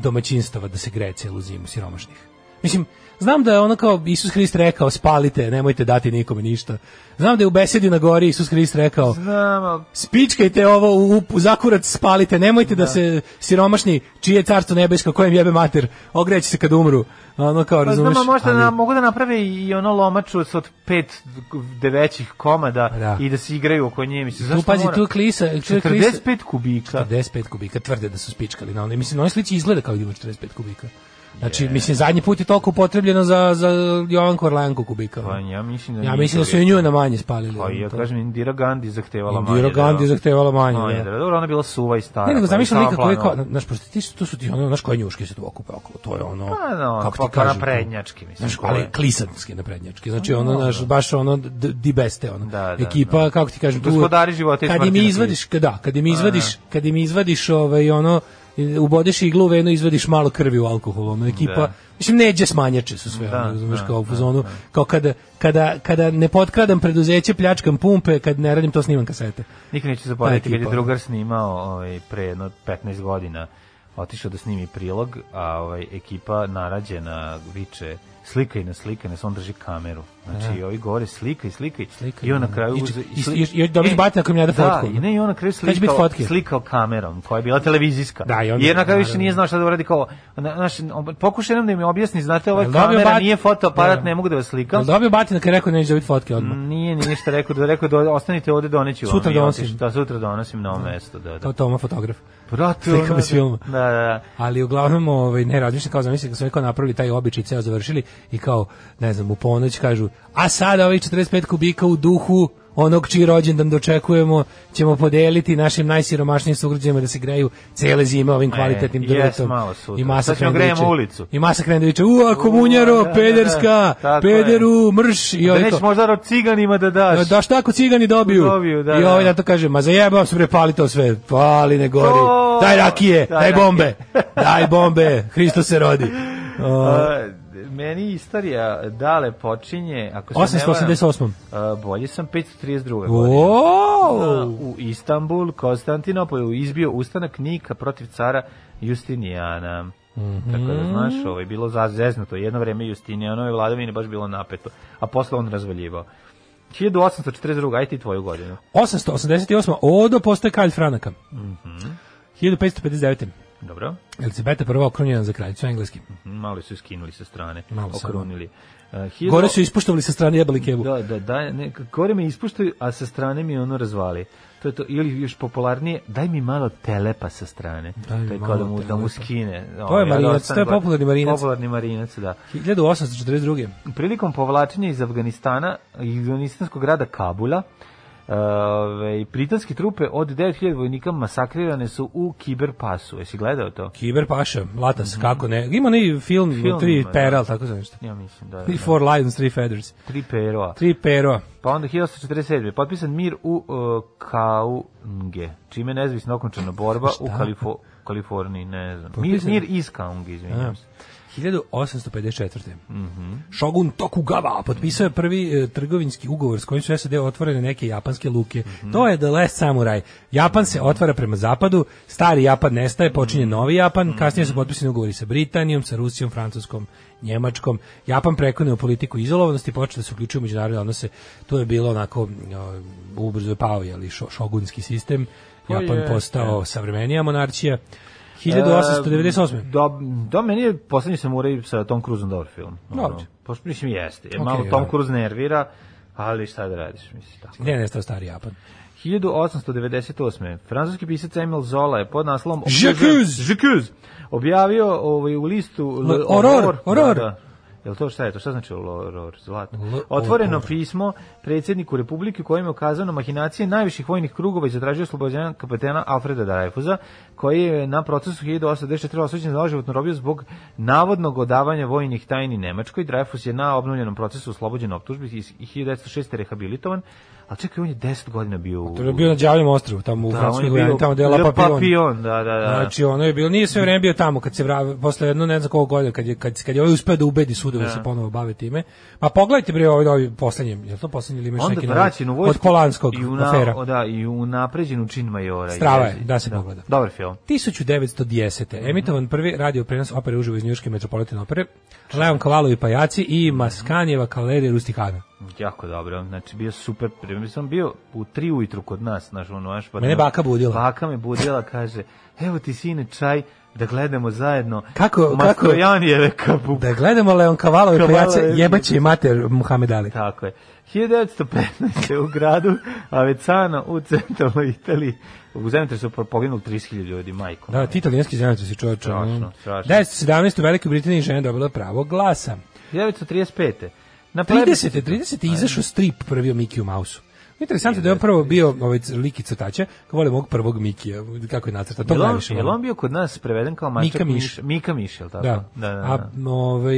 S7: domaćinstava da se greje celu zimu siromašnih. Mislim, znam da je ono kao Isus Hrist rekao spalite, nemojte dati nikome ništa. Znam da je u besedi na gori Isus Hrist rekao
S6: Znam, ali
S7: spičkajte ovo u, u- u zakurac spalite, nemojte da. se siromašni čije je carstvo nebesko kojem jebe mater, ogreće se kad umru. Ono kao,
S6: Pa
S7: razumeš?
S6: znam, a možda
S7: ali-
S6: na, mogu da naprave i ono lomaču sa od pet de većih komada
S7: Da.
S6: i da se igraju oko nje. Mislim,
S7: Tu
S6: zašto
S7: pazi,
S6: mora?
S7: tu je klisa, tu je klisa.
S6: 45 kubika.
S7: 45 Pa, kubika tvrde da su spičkali na onoj. Mislim, na onoj slici izgleda kao da ima 45 kubika. Znači, mislim, zadnji put je toliko upotrebljeno za, za Jovanku Orlanku kubika.
S6: Pa ja mislim da
S7: ja
S6: nije
S7: mislim da su
S6: toliko.
S7: i nju na manje spalili.
S6: Pa ja
S7: To-
S6: kažem, Indira Gandhi zahtevala manje.
S7: Indira Gandhi zahtevala manje, da.
S6: da. Dobro, ona je bila suva i stara.
S7: Ne,
S6: pa
S7: nego
S6: je
S7: zamišljam lika
S6: sama
S7: koji je kao,
S6: planovala.
S7: znaš, pošto ti su, to su ti ono, znaš koje njuške se tu okupe okolo, to je ono,
S6: Pa, no,
S7: kako
S6: pa-
S7: ti
S6: pa
S7: kažem.
S6: naprednjački, mislim,
S7: Znaš,
S6: to
S7: ali
S6: je.
S7: klisanske naprednjačke, znači ono, znaš, baš ono, d- di beste, ono,
S6: Da, da,
S7: ekipa,
S6: da.
S7: kako ti kažem, tu,
S6: Gospodari života i
S7: kad im
S6: smrti na
S7: izvadiš, kad, da, kad im izvadiš, kad im izvadiš, ovaj, ono, ubodeš iglu u venu, izvadiš malo krvi u alkoholu, ono, ekipa,
S6: Da.
S7: mislim, neđe smanjače su sve,
S6: Da,
S7: ono, razumeš,
S6: da,
S7: kao u fazonu, kao kada, kada, kada ne potkradam preduzeće, pljačkam pumpe, kad ne radim to, snimam kasete.
S6: Nikad neću zaboraviti
S7: Ta
S6: kad je
S7: ekipa.
S6: drugar snimao ovaj, pre jedno 15 godina otišao da snimi prilog, a ovaj, ekipa narađena viče slikaj na slikaj, nas on drži kameru. Znači, i ovi govore slikaj, slikaj,
S7: Slikaj,
S6: i on na
S7: da.
S6: kraju
S7: I-
S6: uze...
S7: i-
S6: sli-
S7: i- i- i dobiš
S6: E,
S7: batina koji mi jade
S6: da,
S7: fotku.
S6: i ne, i on na kraju
S7: Kad će biti
S6: slikao,
S7: fotke?
S6: slikao kamerom, koja je bila televizijska.
S7: Da, i onda-
S6: Jer na kraju više
S7: naravno.
S6: nije znao šta da uradi kao... Na, naš, pokušaj nam da mi objasni, znate, ovo je
S7: Jel dobio
S6: kamera,
S7: bat-
S6: nije fotoaparat,
S7: Da.
S6: ne mogu da vas
S7: Jel
S6: slikam.
S7: dobio batina kad je rekao neće dobiti fotke odmah?
S6: Nije ni ništa rekao, da rekao da ostanite ovde doneću vam.
S7: Sutra
S6: I
S7: donosim.
S6: otišao. Da, sutra donosim na ovo mesto, da, da.
S7: Kao Toma fotograf.
S6: Brate,
S7: Slikam
S6: ono,
S7: iz filma.
S6: Da, da, da.
S7: Ali uglavnom ovaj ne razmišljam kao zamislim kad su oni kao napravili taj običaj ceo završili i kao ne znam u ponoć kažu a sada ovih 45 kubika u duhu onog čiji rođendan dočekujemo ćemo podeliti našim najsiromašnijim sugrađanima da se greju cele zime ovim kvalitetnim
S6: E, jes,
S7: drvetom.
S6: malo sutra.
S7: I masa
S6: Sad ćemo
S7: Krendovića-
S6: grejemo ulicu.
S7: I masa Krendovića, ua, komunjaro,
S6: da, da, da.
S7: pederska,
S6: Tako je.
S7: pederu, mrš. I
S6: Da
S7: ovaj
S6: nećeš
S7: kao,
S6: možda rod ciganima da daš.
S7: da šta ako cigani dobiju?
S6: Dobiju, da,
S7: I
S6: da.
S7: ovaj na to kaže, ma zajebam se bre, pali to sve, pali ne gori,
S6: To-
S7: daj rakije,
S6: Daj
S7: daj,
S6: rakije.
S7: bombe, daj bombe, Hristo se rodi. O,
S6: A, meni istorija dale počinje, ako se ne varam,
S7: 888.
S6: a, bolje sam 532. godine. A,
S7: O,
S6: U Istanbul, Konstantinopolju izbio ustanak Nika protiv cara Justinijana.
S7: Mhm.
S6: Tako da znaš, ovo je bilo zazeznuto. Jedno vreme Justinijanove vladavine baš bilo napeto, a posle on razvaljivao. 1842, aj ti tvoju godinu.
S7: 888. Odo postoje kalj franaka.
S6: Mhm.
S7: 1559.
S6: Dobro.
S7: Elizabeta prva okrunjena za kraljicu engleskim.
S6: Malo su skinuli sa strane,
S7: Malo samo.
S6: okrunili. Uh,
S7: Gore su ispuštovali sa strane jebali kebu.
S6: Da, da, da, ne, gore me ispuštaju, a sa strane mi ono razvali. To je to, ili još popularnije, daj mi malo telepa sa strane.
S7: Daj mi
S6: to je kao
S7: malo
S6: da mu, da mu
S7: telepa.
S6: skine. ono,
S7: To je marinac, to je popularni marinac.
S6: Popularni marinac, da.
S7: 1842.
S6: Prilikom povlačenja iz Afganistana, iz afganistanskog grada Kabula, Ove, britanske trupe od 9000 vojnika masakrirane su u kiberpasu. Jesi gledao to?
S7: Kiber Paša, Latas, kako ne. Ima onaj film,
S6: Mhm. Film
S7: tri
S6: ima, da.
S7: pera, ali tako za nešto.
S6: Ja mislim da je.
S7: Three, four lions, three feathers.
S6: Tri peroa.
S7: Tri pero.
S6: Pa onda 1847. je potpisan mir u uh, Kaunge, čime je nezavisna okončana borba u
S7: Pa Šta?
S6: Kalifo, Kaliforniji, ne znam. Mir,
S7: Potpisan?
S6: mir iz Kaunge, izvinjam se.
S7: 1854. Shogun Tokugawa potpisao je prvi e, trgovinski ugovor s kojim su SAD otvorene neke japanske luke. To je The Last Samurai. Japan se otvara prema zapadu, stari Japan nestaje, počinje novi Japan, kasnije su potpisani ugovori sa Britanijom, sa Rusijom, Francuskom, Njemačkom. Japan prekonio politiku izolovanosti, počeo da se uključuje u međunarodne odnose. To je bilo onako, o, ubrzo je pao, jeli, šo- šogunski sistem. Japan
S6: je,
S7: postao savremenija monarchija. 1898.
S6: E, Da, da, meni je poslednji samuraj sa Tom Cruiseom dobar film.
S7: Dobro.
S6: pa što mislim jeste. Jer
S7: Ok,
S6: malo Tom
S7: ja.
S6: Cruise nervira, ali šta da radiš, mislim tako.
S7: Gde je nestao stari Japan?
S6: 1898. Francuski pisac Emil Zola je pod naslovom
S7: J'accuse!
S6: J'accuse! objavio ovaj, u listu
S7: Le-
S6: Le-
S7: Aurore,
S6: Da,
S7: Aurore.
S6: da. Jel to šta je to? Šta znači Aurore? Zlato.
S7: Le-
S6: Otvoreno
S7: Aurore.
S6: pismo predsjedniku Republike kojim je ukazao na mahinacije najviših vojnih krugova i zatražio oslobođenja kapetena Alfreda Dreyfusa, koji je na procesu 1894 osuđen za doživotnu robiju zbog navodnog odavanja vojnih tajni Nemačkoj. Dreyfus je na obnovljenom procesu oslobođen optužbi i 1906 rehabilitovan, ali čekaj, on je 10 godina bio u...
S7: To je bio na Đavljem ostrvu, tamo u
S6: Da, on
S7: da,
S6: je
S7: Francuskoj
S6: bio
S7: Gujani, tamo gde je La
S6: Le
S7: Papillon.
S6: Papillon, da, da, da.
S7: Znači, ono je bilo, nije sve vreme bio tamo, kad se vravi, posle jedno, ne znam koliko godina, kad je, kad, kad je ovaj uspeo da ubedi čudo da. se ponovo bave time. Pa pogledajte bre ovaj novi poslednji, je to poslednji ili imaš
S6: Onda
S7: neki novi?
S6: vraćen u vojsku.
S7: od Polanskog
S6: i u na,
S7: afera.
S6: o, Da, i u napređenu čin majora.
S7: Strava je,
S6: jezivo.
S7: da se pogleda.
S6: Dobar film. Mhm.
S7: 1910. Emitovan prvi radio prenos opere uživo iz Njuške metropolitan opere, Leon Kavalovi pajaci
S6: Mhm.
S7: i Maskanjeva kavalerija Rustihana.
S6: Jako dobro. Znači, bio super. Prema sam bio u tri ujutru kod nas, znaš, ono, naš, pa
S7: Mene baka budila.
S6: Baka me budila, kaže, evo ti sine čaj, da gledamo zajedno.
S7: Kako- kako-
S6: Mastrojanijeve kapu.
S7: Da gledamo Leon Kavalovi
S6: Kavalovi-
S7: pajace, jebaće i mater Muhammed Ali.
S6: Tako je. 1915. u gradu Avecano u centralnoj Italiji. U zemljotresu su poginuli 30.000 ljudi, majko.
S7: Da, ti italijanski zemljaci si čovječe.
S6: Strašno,
S7: ono.
S6: strašno.
S7: 1017. u Velikoj Britaniji žena dobila pravo glasa.
S6: 1935. Na
S7: 30. 30. je izašao strip prvi o Mikiju Mausu. Interesantno je da je on prvo bio ovaj lik i crtača, kao volim ovog prvog Mikija, kako je nacrta, to
S6: Jel on,
S7: Pa najviše
S6: jel
S7: volim.
S6: on bio kod nas preveden kao mačak
S7: Mika Miš.
S6: Miš- Mika Miš, jel tako?
S7: Da.
S6: Da, da, da.
S7: A, m, ovaj,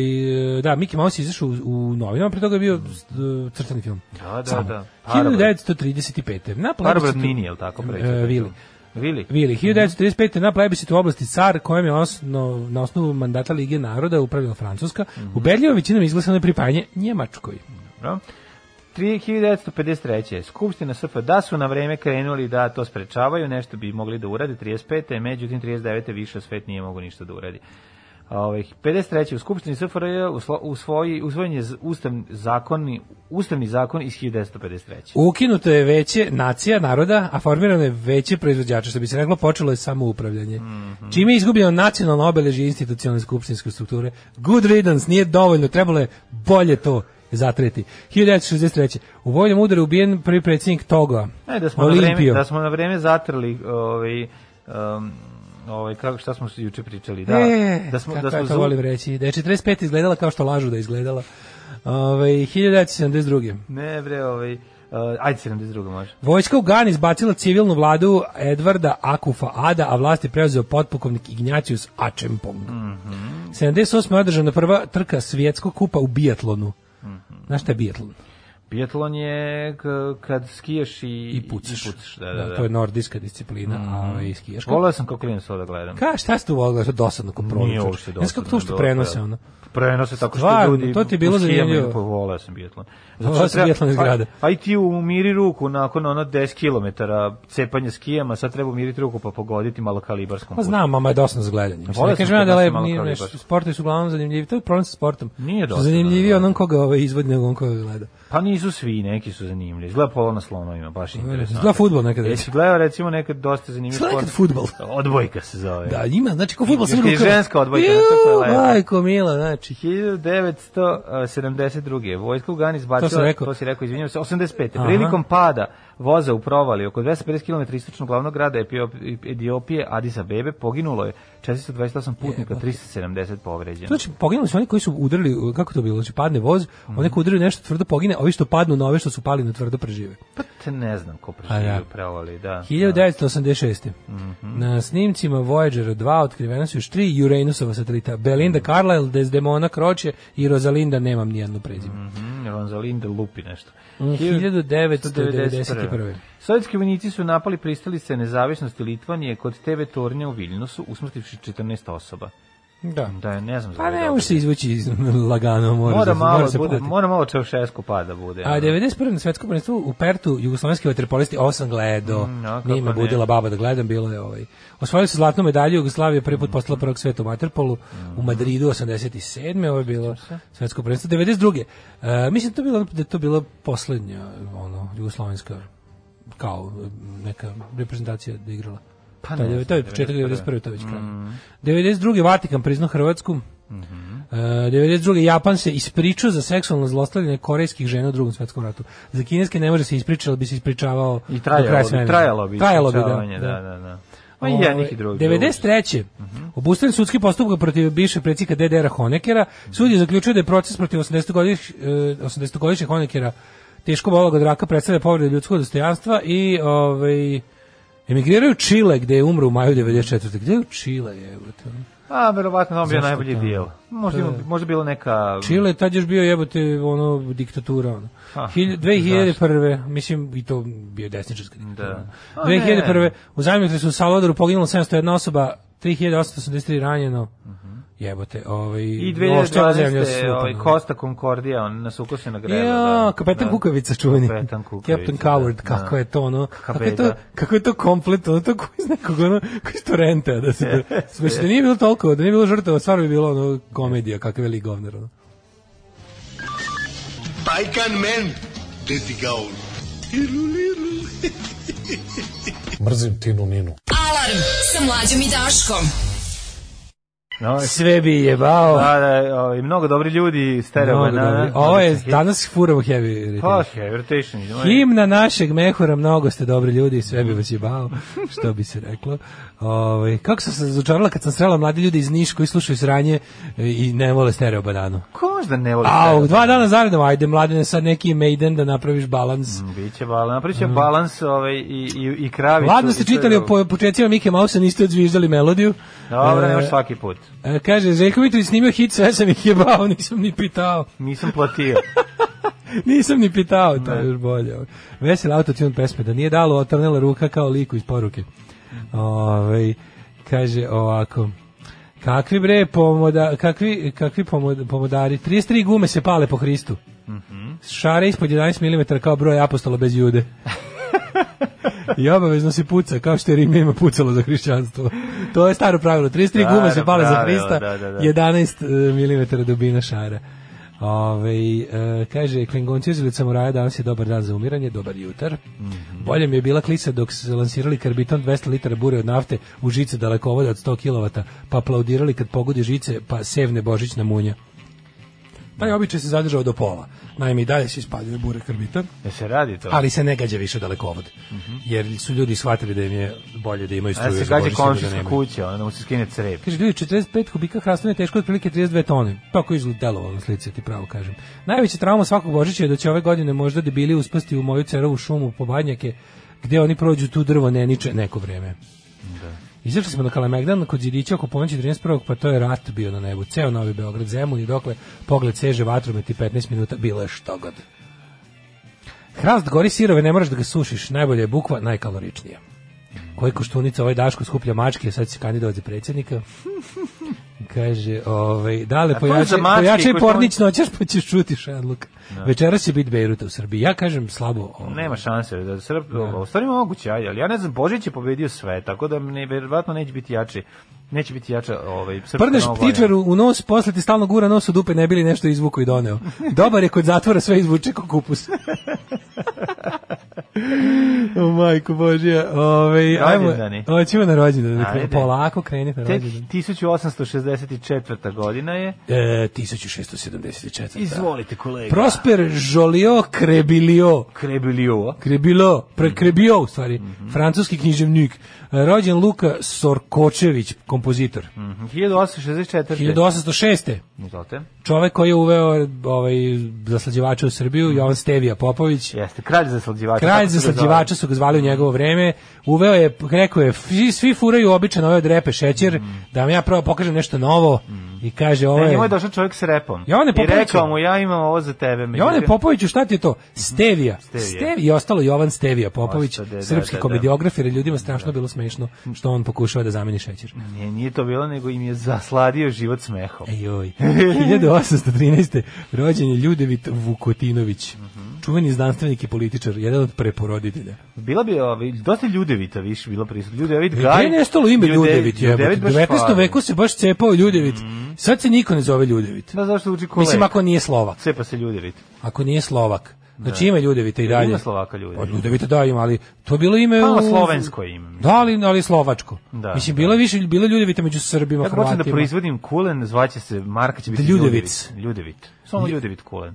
S7: e, da, Mickey Mouse je izašao u, u novinama, pre toga je bio e, crtani film.
S6: Mm. Da, da,
S7: Samo.
S6: da. Parabrat.
S7: 1935. Na
S6: Barbara
S7: plebiscitu-
S6: Mini, jel tako?
S7: E,
S6: predsjednik?
S7: Vili.
S6: Vili.
S7: Vili, 1935. na plebiscitu u oblasti Car, kojem je osno, na osnovu mandata Lige naroda upravljala Francuska,
S6: Mhm.
S7: ubedljivo većinom izglasano je pripajanje Njemačkoj.
S6: Dobro. 1953. Skupština SFRJ da su na vreme krenuli da to sprečavaju, nešto bi mogli da urade 35. međutim 39. više svet nije mogo ništa da uradi. Ove, 53. u Skupštini SFRJ uslo- usvoji, usvojen je z- ustavni zakon, ustavni zakon iz 1953.
S7: Ukinuto je veće nacija naroda, a formirano je veće proizvođača, što bi se reklo, počelo je samoupravljanje.
S6: Mhm.
S7: Čime je izgubljeno nacionalno obeležje institucionalne skupštinske strukture. Good riddance, nije dovoljno, trebalo je bolje to zatreti. 1963. U vojnom udaru ubijen prvi predsjednik Toga,
S6: E, da smo na vreme, da smo na vreme zatrli ovaj um, ovaj kako šta smo juče pričali, da.
S7: E,
S6: da smo
S7: kako
S6: da smo
S7: ja to
S6: za-
S7: volim reći. Da je 45 izgledala kao što lažu da je izgledala. Ove, 1972.
S6: Ne bre, ovaj uh, ajde 72 može.
S7: Vojska u Gani izbacila civilnu vladu Edvarda Akufa Ada, a vlast je preuzeo potpukovnik Ignatius Ačempong.
S6: Mhm.
S7: 78. je održana prva trka svjetskog kupa u biatlonu.
S6: Mhm.
S7: Znaš šta je biatlon?
S6: Biatlon je k- kad skiješ i,
S7: I pucaš.
S6: Da, da, da.
S7: To je nordijska disciplina, a ovaj i skijaška.
S6: Volao sam kao klinac to da gledam.
S7: Ka, šta ste tu volili? To dosadno ko proličar.
S6: Nije uopšte
S7: Znaš kako
S6: dosadno,
S7: to što
S6: dobro,
S7: prenose,
S6: da.
S7: ono?
S6: Prenose tako što
S7: Stvarno,
S6: ljudi...
S7: to ti je bilo
S6: u skijama
S7: zanimljivo.
S6: idu, Pa volao sam biatlon.
S7: Volao
S6: što
S7: sam biatlon iz grada.
S6: Aj, aj ti umiri ruku nakon ono 10 km cepanja skijama, sad treba umiriti ruku pa pogoditi malo kalibarskom.
S7: Pa
S6: pušku.
S7: znam, mama je dosadno za gledanje. Mislim,
S6: Voleo
S7: ne
S6: sam
S7: kažem ja
S6: kod
S7: da
S6: nas
S7: je
S6: malo
S7: nije
S6: kalibar.
S7: nešto, sportovi su uglavnom zanimljivi, to je problem sa sportom.
S6: Nije
S7: Što
S6: dosadno,
S7: Zanimljivi
S6: da.
S7: onom koga ovaj izvodi nego on koga gleda.
S6: Pa nisu svi, neki su zanimljivi. Izgleda polo na slonovima, baš interesantno.
S7: Zna fudbal nekada.
S6: Jesi gledao recimo nekad dosta zanimljiv
S7: Šta je
S6: sport?
S7: nekad fudbal?
S6: Odbojka se zove.
S7: Da, ima, znači kao fudbal
S6: Još
S7: sam
S6: kad je ženska odbojka, znaš kako je lepo.
S7: Majko mila, znači.
S6: 1972. Vojska u Gani izbacila,
S7: To sam rekao.
S6: to si rekao, izvinjavam se, 85.
S7: Aha.
S6: Prilikom pada voza u provali oko 250 km istočnog glavnog grada Epio- Etiopije Addis Abebe poginulo je 428 putnika, 370 povređeno.
S7: Znači, poginuli su oni koji su udarili, kako to bilo, znači padne voz, oni koji udaraju nešto tvrdo pogine, a ovi što padnu na ove što su pali na tvrdo prežive.
S6: Pa te ne znam ko
S7: A,
S6: preživio
S7: da.
S6: u provali, da.
S7: 1986.
S6: Mhm.
S7: Na snimcima Voyagera 2 otkrivena su još tri Uranusova satelita, Belinda
S6: Mhm.
S7: Carlisle, Desdemona Croce i Rosalinda, nemam nijedno prezime.
S6: Mhm, Ronzalinda lupi nešto.
S7: Mm, 1991.
S6: Sovjetski vojnici su napali pristalice nezavisnosti Litvanije kod TV tornja u Viljnusu, usmrtivši 14 osoba.
S7: Da.
S6: Da, ne znam za
S7: Pa
S6: ovaj
S7: ne
S6: događaj.
S7: može se izvući iz lagano, mora,
S6: Mora
S7: se,
S6: malo,
S7: mora se
S6: bude,
S7: platiti.
S6: mora malo Čevšesku pa da bude.
S7: A
S6: ono.
S7: 91. svetsko prvenstvo u Pertu jugoslovenski vaterpolisti osam gledao.
S6: Mm, a kako
S7: Nije me
S6: ne.
S7: budila baba da gledam, bilo je ovaj. Osvojili su zlatnu medalju, Jugoslavija je prvi
S6: Mhm.
S7: put postala prvog sveta u vaterpolu u Madridu 87. Ovo je bilo svetsko prvenstvo 92. E, mislim da to bilo da je to bila poslednja ono jugoslovenska kao neka reprezentacija da je igrala.
S6: Pa
S7: to,
S6: ne
S7: je,
S6: znam, Mhm.
S7: to je početak
S6: 91..
S7: 91. to je već kraj. 92. Vatikan priznao Hrvatsku.
S6: Mhm.
S7: E, 92. Japan se ispričao za seksualno zlostavljanje korejskih žena u drugom svetskom ratu. Za kineske ne može se ispričati, ali bi se ispričavao
S6: I
S7: do kraja
S6: trajalo bi,
S7: svemira.
S6: trajalo bi.
S7: Trajalo bi,
S6: ispričavanje,
S7: da. Pa Ovaj,
S6: da,
S7: da.
S6: da, da. Ovaj, Ma i jednih i drugih. Mhm.
S7: 93. Obustavljen sudski postupak protiv bivšeg predsjednika DDR-a Honekera. Sud je zaključio da je proces protiv 80-godišnjeg 80 Honekera teško bolog od raka predstavlja povredu ljudskog dostojanstva i ovaj, emigriraju u Čile gde je umro u maju 94. Gde je u Čile? jebote?
S6: A, verovatno to bi bio
S7: Zašto
S6: najbolji
S7: to?
S6: dijel. Možda,
S7: To
S6: ima,
S7: je-
S6: možda bilo neka...
S7: Čile je tad još bio jebote ono diktatura ono.
S6: Ha,
S7: Hilj- 2001. mislim i to bio desničarska diktatura.
S6: Da.
S7: Da.
S6: A ne.
S7: 2001. u zajmetri su u Salvadoru poginulo 701 osoba, 3883 ranjeno. Jebote, ovaj
S6: Mhm. I
S7: oštra zemlja sa
S6: 2012.
S7: sutom,
S6: Ovaj,
S7: da.
S6: Kosta Concordia, on nas ukose na grelu.
S7: Ja, kapetan Kukavica čuveni.
S6: Kapetan Kukavica,
S7: Captain
S6: da,
S7: Coward,
S6: da.
S7: kako je to ono? Kako je to,
S6: beda.
S7: kako je to komplet, ono to koji iz nekog ono, koji iz torrenta, da se da, smiješ, da nije bilo toliko, da nije bilo žrtava, stvarno bi bilo ono komedija, kakav je li govnar, ono.
S9: Pajkan men, deti gaun.
S10: Mrzim Tinu Ninu.
S5: Alarm sa mlađom i Daškom.
S6: No,
S7: Sve bi jebao.
S6: da, da, ovaj, mnogo dobri ljudi, stereo
S7: Mnogo
S6: banana.
S7: dobro. Ovo je danas furavo heavy. ritam.
S6: Znači, Pa, Havertation.
S7: Himna našeg mehura, mnogo ste dobri ljudi, i sve bi vas jebao, što bi se reklo. Ovaj kako sam se razočarala kad sam srela mladi ljudi iz Niš koji slušaju sranje e, i ne vole stereo bananu.
S6: Ko možda ne voli
S7: A, u
S6: Pa, stereo?
S7: dva dana zaredom, ajde mladine, sad neki Maiden da napraviš balans.
S6: Biće balans, napravit će balans ovaj, i, i, i kravicu.
S7: Ladno
S6: i
S7: Mm. ste
S6: sve
S7: čitali o
S6: drugo.
S7: po- početcima Mike Mausa, niste odzviždali melodiju.
S6: Dobro,
S7: E,
S6: nemaš svaki put.
S7: e, Kaže, Željko Mitrović snimio hit, sve sam ih jebao, nisam ni pitao.
S6: Nisam platio.
S7: Nisam ni pitao, to je još bolje. Vesel autotune pesme, da nije dalo otrnela ruka kao liku iz poruke. Ove, kaže ovako, kakvi bre pomoda, kakvi, kakvi pomo- pomodari, 33 gume se pale po Hristu. Šare ispod 11 mm kao broj apostola bez jude. I obavezno se puca, kao što je Rimima pucalo za hrišćanstvo. To je staro pravilo. 33 gume se
S6: Staro
S7: pale za
S6: pravilo,
S7: Hrista,
S6: da, da, da.
S7: 11 mm dubina šara. Ove, e, kaže, Klingonci uzeli od samuraja, danas je dobar dan za umiranje, dobar jutar.
S6: Mhm.
S7: Bolje mi je bila klisa dok su lansirali karbiton 200 litara bure od nafte u žice dalekovoda od 100 kW, pa aplaudirali kad pogodi žice, pa sevne božićna munja. Taj običaj se zadržao do pola. Naime, i dalje se ispaljuje bure karbiton
S6: Da E, se radi to.
S7: ali se ne gađa više dalekovod. Jer su ljudi shvatili da im je bolje da imaju
S6: A
S7: struje
S6: E, se
S7: za
S6: gađe
S7: Božić nego da
S6: komšinska
S7: nemaju.
S6: kuća, onda mu se skine crep.
S7: Kaže, ljudi, 45 kubika hrastove je teško otprilike 32 tone. Tako je izgledalo na slici, ti pravo kažem. Najveća trauma svakog Božića je da će ove godine možda debili uspasti u moju cerovu šumu po badnjake, gde oni prođu tu drvo neniče neko vreme. Izašli smo na Kalemegdan kod Zidića oko ponoći 31. pa to je rat bio na nebu. Ceo Novi Beograd zemun i dokle pogled seže vatrometi 15 minuta bilo je što god. Hrast gori sirove, ne moraš da ga sušiš. Najbolja je bukva, najkaloričnija. Koji koštunica ovaj Daško skuplja mačke, sad će kandidovati za predsjednika. Kaže, ovaj, dale,
S6: to za
S7: pojačaj,
S6: mačke i
S7: pojačaj
S6: koštunice.
S7: pornić noćaš pa ćeš čuti šedluk. Večeras će biti Bejruta u Srbiji. Ja kažem slabo. ovaj,
S6: Nema šanse da Srb, u stvari moguće, ajde, ali ja ne znam, Božić je pobedio sve, tako da ne verovatno neće biti jači. Neće biti jača ovaj srpska
S7: Prneš
S6: Nova godina.
S7: ptičaru u nos, posle ti stalno gura nos u dupe, ne bili nešto izvuku i doneo. Dobar je kod zatvora, sve izvuče ko kupus. o majko Božija. Ove, ajmo,
S6: Rođendani.
S7: hoćemo na rođendan. da
S6: Ajde.
S7: krenemo. Polako kreni na
S6: Tek
S7: rođendan.
S6: 1864. godina je.
S7: E, 1674.
S6: Izvolite kolega.
S7: Prosper Jolio Crebilio.
S6: Krebilio.
S7: Krebilo, pre Krebio u stvari, francuski književnik. E, Rođen Luka Sorkočević, kompozitor.
S6: Mhm. 1864.
S7: 1806.
S6: Izvolite.
S7: čovek koji je uveo ovaj zaslađivača u Srbiju,
S6: Mm.
S7: Jovan Stevija Popović.
S6: Jeste, kralj zaslađivača.
S7: Kralj
S6: kako se Mm. ga zove?
S7: zaslađivača su ga zvali u njegovo vreme. Uveo je, rekao je, svi, svi furaju običan ove drepe šećer, da vam ja prvo pokažem nešto novo i kaže ovo
S6: Ne,
S7: je...
S6: Mm. E, njemu je došao čovjek s repom.
S7: Jovane
S6: I
S7: Popoviću.
S6: rekao mu, ja imam ovo za tebe.
S7: Jovane
S6: međutim-
S7: Popoviću, šta ti je to? Stevija.
S6: Mhm. Stevija.
S7: Stevi, I ostalo Jovan Stevija Popović,
S6: Ostade, da,
S7: srpski
S6: da, da.
S7: komediograf, jer je ljudima strašno bilo smešno što on pokušava da zameni šećer.
S6: Nije, nije to bilo, nego im je zasladio život smehom.
S7: Ejoj. 1813. rođen je Ljudevit Vukotinović,
S6: Mhm.
S7: čuveni znanstvenik i političar, jedan od preporoditelja. E,
S6: Bila bi ovaj, dosta Ljudevita više bila prisutna. Ljudevit
S7: Gde
S6: Gaj.
S7: E, je nestalo ime
S6: Ljude-
S7: Ljudevit? jebote?
S6: Ljudevit
S7: U
S6: baš Mhm.
S7: 19.
S6: fali.
S7: veku se baš cepao Ljudevit. Sad se niko ne zove Ljudevit.
S6: Da, zašto uči kolega?
S7: Mislim, ako nije Slovak.
S6: Cepa se Ljudevit.
S7: Ako nije Slovak. Znači ima Ljudevita i dalje.
S6: Ima Slovaka Ljudevit.
S7: Od Ljudevita da ima, ali to je bilo ime...
S6: Pa ima
S7: u-
S6: slovensko ime. mislim.
S7: Da, ali, ali slovačko.
S6: Da,
S7: Mislim,
S6: da.
S7: bilo je više, bilo je Ljudevita među Srbima,
S6: Ja kad počnem da
S7: Hrvatima.
S6: proizvodim kulen, zvaće se, marka će biti
S7: Ljudevic.
S6: Ljudevit. Ljudevit. Samo Ljudevit kulen.